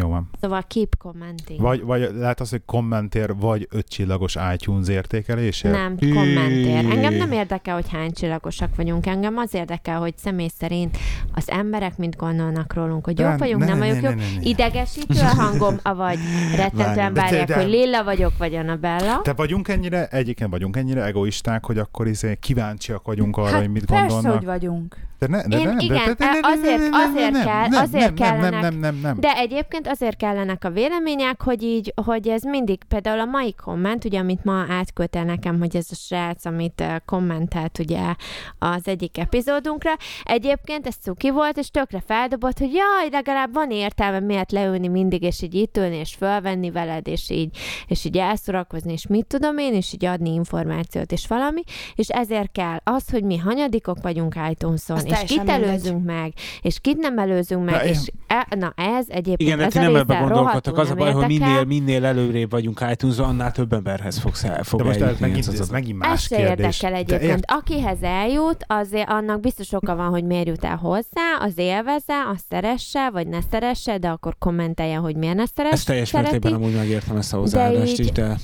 Speaker 3: Jó van.
Speaker 2: Szóval keep commenting.
Speaker 3: Vagy, vagy lehet az, hogy kommentér, vagy ötcsillagos iTunes értékelésért?
Speaker 2: Nem, kommentér. Engem nem érdekel, hogy hány csillagosak vagyunk. Engem az érdekel, hogy személy szerint az emberek mit gondolnak rólunk, hogy
Speaker 3: Nem,
Speaker 2: jók vagyunk,
Speaker 3: ne,
Speaker 2: nem
Speaker 3: ne,
Speaker 2: vagyok
Speaker 3: ne,
Speaker 2: jók.
Speaker 3: ne, ne, ne.
Speaker 2: Idegesítő a hangom, <laughs> avagy rettentően
Speaker 3: Várj, de
Speaker 2: várják,
Speaker 3: te-
Speaker 2: hogy
Speaker 3: de-
Speaker 2: Lilla vagyok, vagy Annabella.
Speaker 3: Te vagyunk ennyire, egyébként vagyunk ennyire egoisták, hogy akkor izé kíváncsiak vagyunk arra,
Speaker 5: hát
Speaker 3: hogy mit
Speaker 5: persze,
Speaker 3: gondolnak.
Speaker 5: hogy vagyunk.
Speaker 3: De ne, de
Speaker 2: Én
Speaker 3: nem, de-
Speaker 2: igen, e,
Speaker 3: de- de- de- de-
Speaker 2: azért-
Speaker 3: de- de- de-
Speaker 2: azért
Speaker 3: nem,
Speaker 2: kell-
Speaker 3: nem,
Speaker 2: azért
Speaker 3: nem, nem,
Speaker 2: kellenek.
Speaker 3: Nem, nem, nem, nem.
Speaker 2: De egyébként azért kellenek a vélemények, hogy így, hogy ez mindig, például a mai komment, ugye, amit ma átküldte nekem, hogy ez a srác, amit eh, kommentelt ugye az egyik epizódunkra, egyébként ez cuki volt, és tökre feldobott, hogy jaj, legalább van értelme miért leülni mindig, és így itt ülni, és fölvenni veled, és így, és így elszórakozni, és mit tudom én, és így adni információt, és valami, és ezért kell az, hogy mi hanyadikok vagyunk iTunes-on,
Speaker 6: Az
Speaker 2: és
Speaker 6: teljesen
Speaker 2: kit előzünk meg, és kit nem előzünk meg,
Speaker 3: Na, én-
Speaker 2: és E, na ez egyébként
Speaker 4: Igen, de
Speaker 2: ez
Speaker 4: ti
Speaker 2: a
Speaker 4: nem ebbe
Speaker 2: része
Speaker 4: gondolkodtak.
Speaker 2: rohadtul
Speaker 4: Az a
Speaker 2: nem
Speaker 4: baj, hogy
Speaker 2: érdekel.
Speaker 4: minél, minél előrébb vagyunk itunes annál több emberhez fogsz el, fog
Speaker 3: De most ez
Speaker 4: eljutni
Speaker 3: megint,
Speaker 4: az
Speaker 3: ez
Speaker 4: adat.
Speaker 3: megint
Speaker 2: Ez
Speaker 3: más
Speaker 2: se
Speaker 3: kérdés.
Speaker 2: érdekel
Speaker 3: De
Speaker 2: egyébként.
Speaker 3: ért-
Speaker 2: Akihez eljut, azért annak biztos oka van, hogy miért jut el hozzá, az élvezze, azt szeresse, vagy ne szeresse, de akkor kommentelje, hogy miért ne szeresse.
Speaker 4: Ezt teljes
Speaker 2: szereti.
Speaker 4: mértékben amúgy megértem ezt a hozzáállást
Speaker 2: így-
Speaker 4: is, de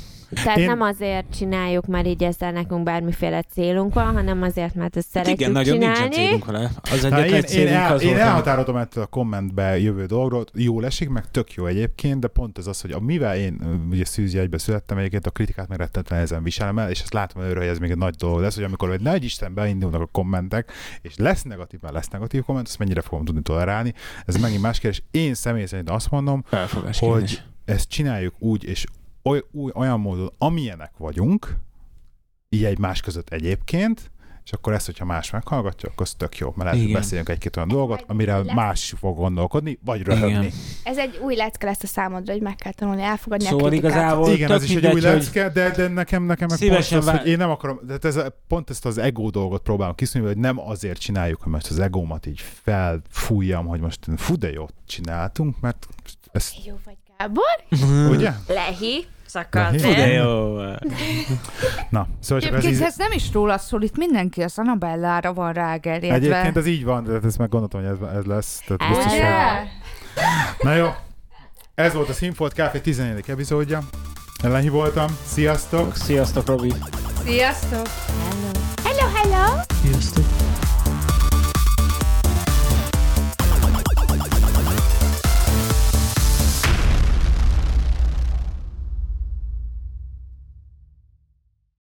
Speaker 2: Tehát
Speaker 3: Én-
Speaker 2: nem azért csináljuk, mert így ezzel nekünk bármiféle célunk van, hanem azért, mert ezt
Speaker 4: Hát
Speaker 2: szeretjük
Speaker 4: igen, nagyon nincsen
Speaker 2: csinálni.
Speaker 4: célunk vele. Az
Speaker 3: Na,
Speaker 4: egyetlen
Speaker 3: én, én,
Speaker 4: célunk
Speaker 3: el,
Speaker 4: az
Speaker 3: én
Speaker 4: volt, hogy-
Speaker 3: elhatároltam ettől a kommentbe jövő dolgot, jól esik, meg tök jó egyébként, de pont ez az, hogy a, mivel én ö, ugye szűzi egybe születtem egyébként, a kritikát meg rettentően nehezen viselem el, és azt látom előre, hogy ez még egy nagy dolog lesz, hogy amikor egy nagy Isten beindulnak a kommentek, és lesz negatív, mert lesz negatív komment, azt mennyire fogom tudni tolerálni, ez megint más kérdés. Én személy szerint azt mondom,
Speaker 4: Felfogás
Speaker 3: hogy
Speaker 4: kérdés.
Speaker 3: ezt csináljuk úgy, és oly, új, olyan módon, amilyenek vagyunk, így egymás között egyébként, és akkor ezt, hogyha más meghallgatja, akkor az tök jó, mert lehet, hogy
Speaker 4: Igen.
Speaker 3: beszéljünk egy-két olyan dolgot, amire
Speaker 6: Lesz.
Speaker 3: más fog gondolkodni, vagy röhögni.
Speaker 4: Igen.
Speaker 6: Ez egy új lecke lesz a számodra, hogy meg kell tanulni, elfogadni a
Speaker 4: Szóval
Speaker 6: kritikát.
Speaker 4: igazából
Speaker 3: Igen,
Speaker 4: tök
Speaker 3: ez is egy új
Speaker 4: mindegy, hogy
Speaker 3: lecke, de, de nekem, nekem meg pont
Speaker 4: Szívesen
Speaker 3: az,
Speaker 4: vá-
Speaker 3: hogy én nem akarom, de hát ez, a- pont ezt az ego dolgot próbálom kiszűrni, hogy nem azért csináljuk, hogy most az egómat így felfújjam, hogy most fú de jót csináltunk, mert ez,
Speaker 6: Jó vagy, Gábor?
Speaker 3: ugye?
Speaker 2: Lehi,
Speaker 3: Lehi?
Speaker 2: szakadt.
Speaker 3: Fú,
Speaker 4: <laughs> de
Speaker 2: el.
Speaker 4: jó.
Speaker 3: Na, szóval csak ez
Speaker 5: Egyébként
Speaker 3: így,
Speaker 5: ez nem is róla szól, itt mindenki az Anabellára van rágerjedve.
Speaker 3: Egyébként ez így van, de hát ezt meg gondoltam, hogy ez, ez lesz. Tehát biztos,
Speaker 2: Ez-
Speaker 3: hogy...
Speaker 5: De?
Speaker 3: Na jó, ez volt a Színfolt Café 14. epizódja. Ellenhi voltam, sziasztok!
Speaker 4: Sziasztok, Robi.
Speaker 5: Sziasztok!
Speaker 6: Hello, hello!
Speaker 1: Sziasztok.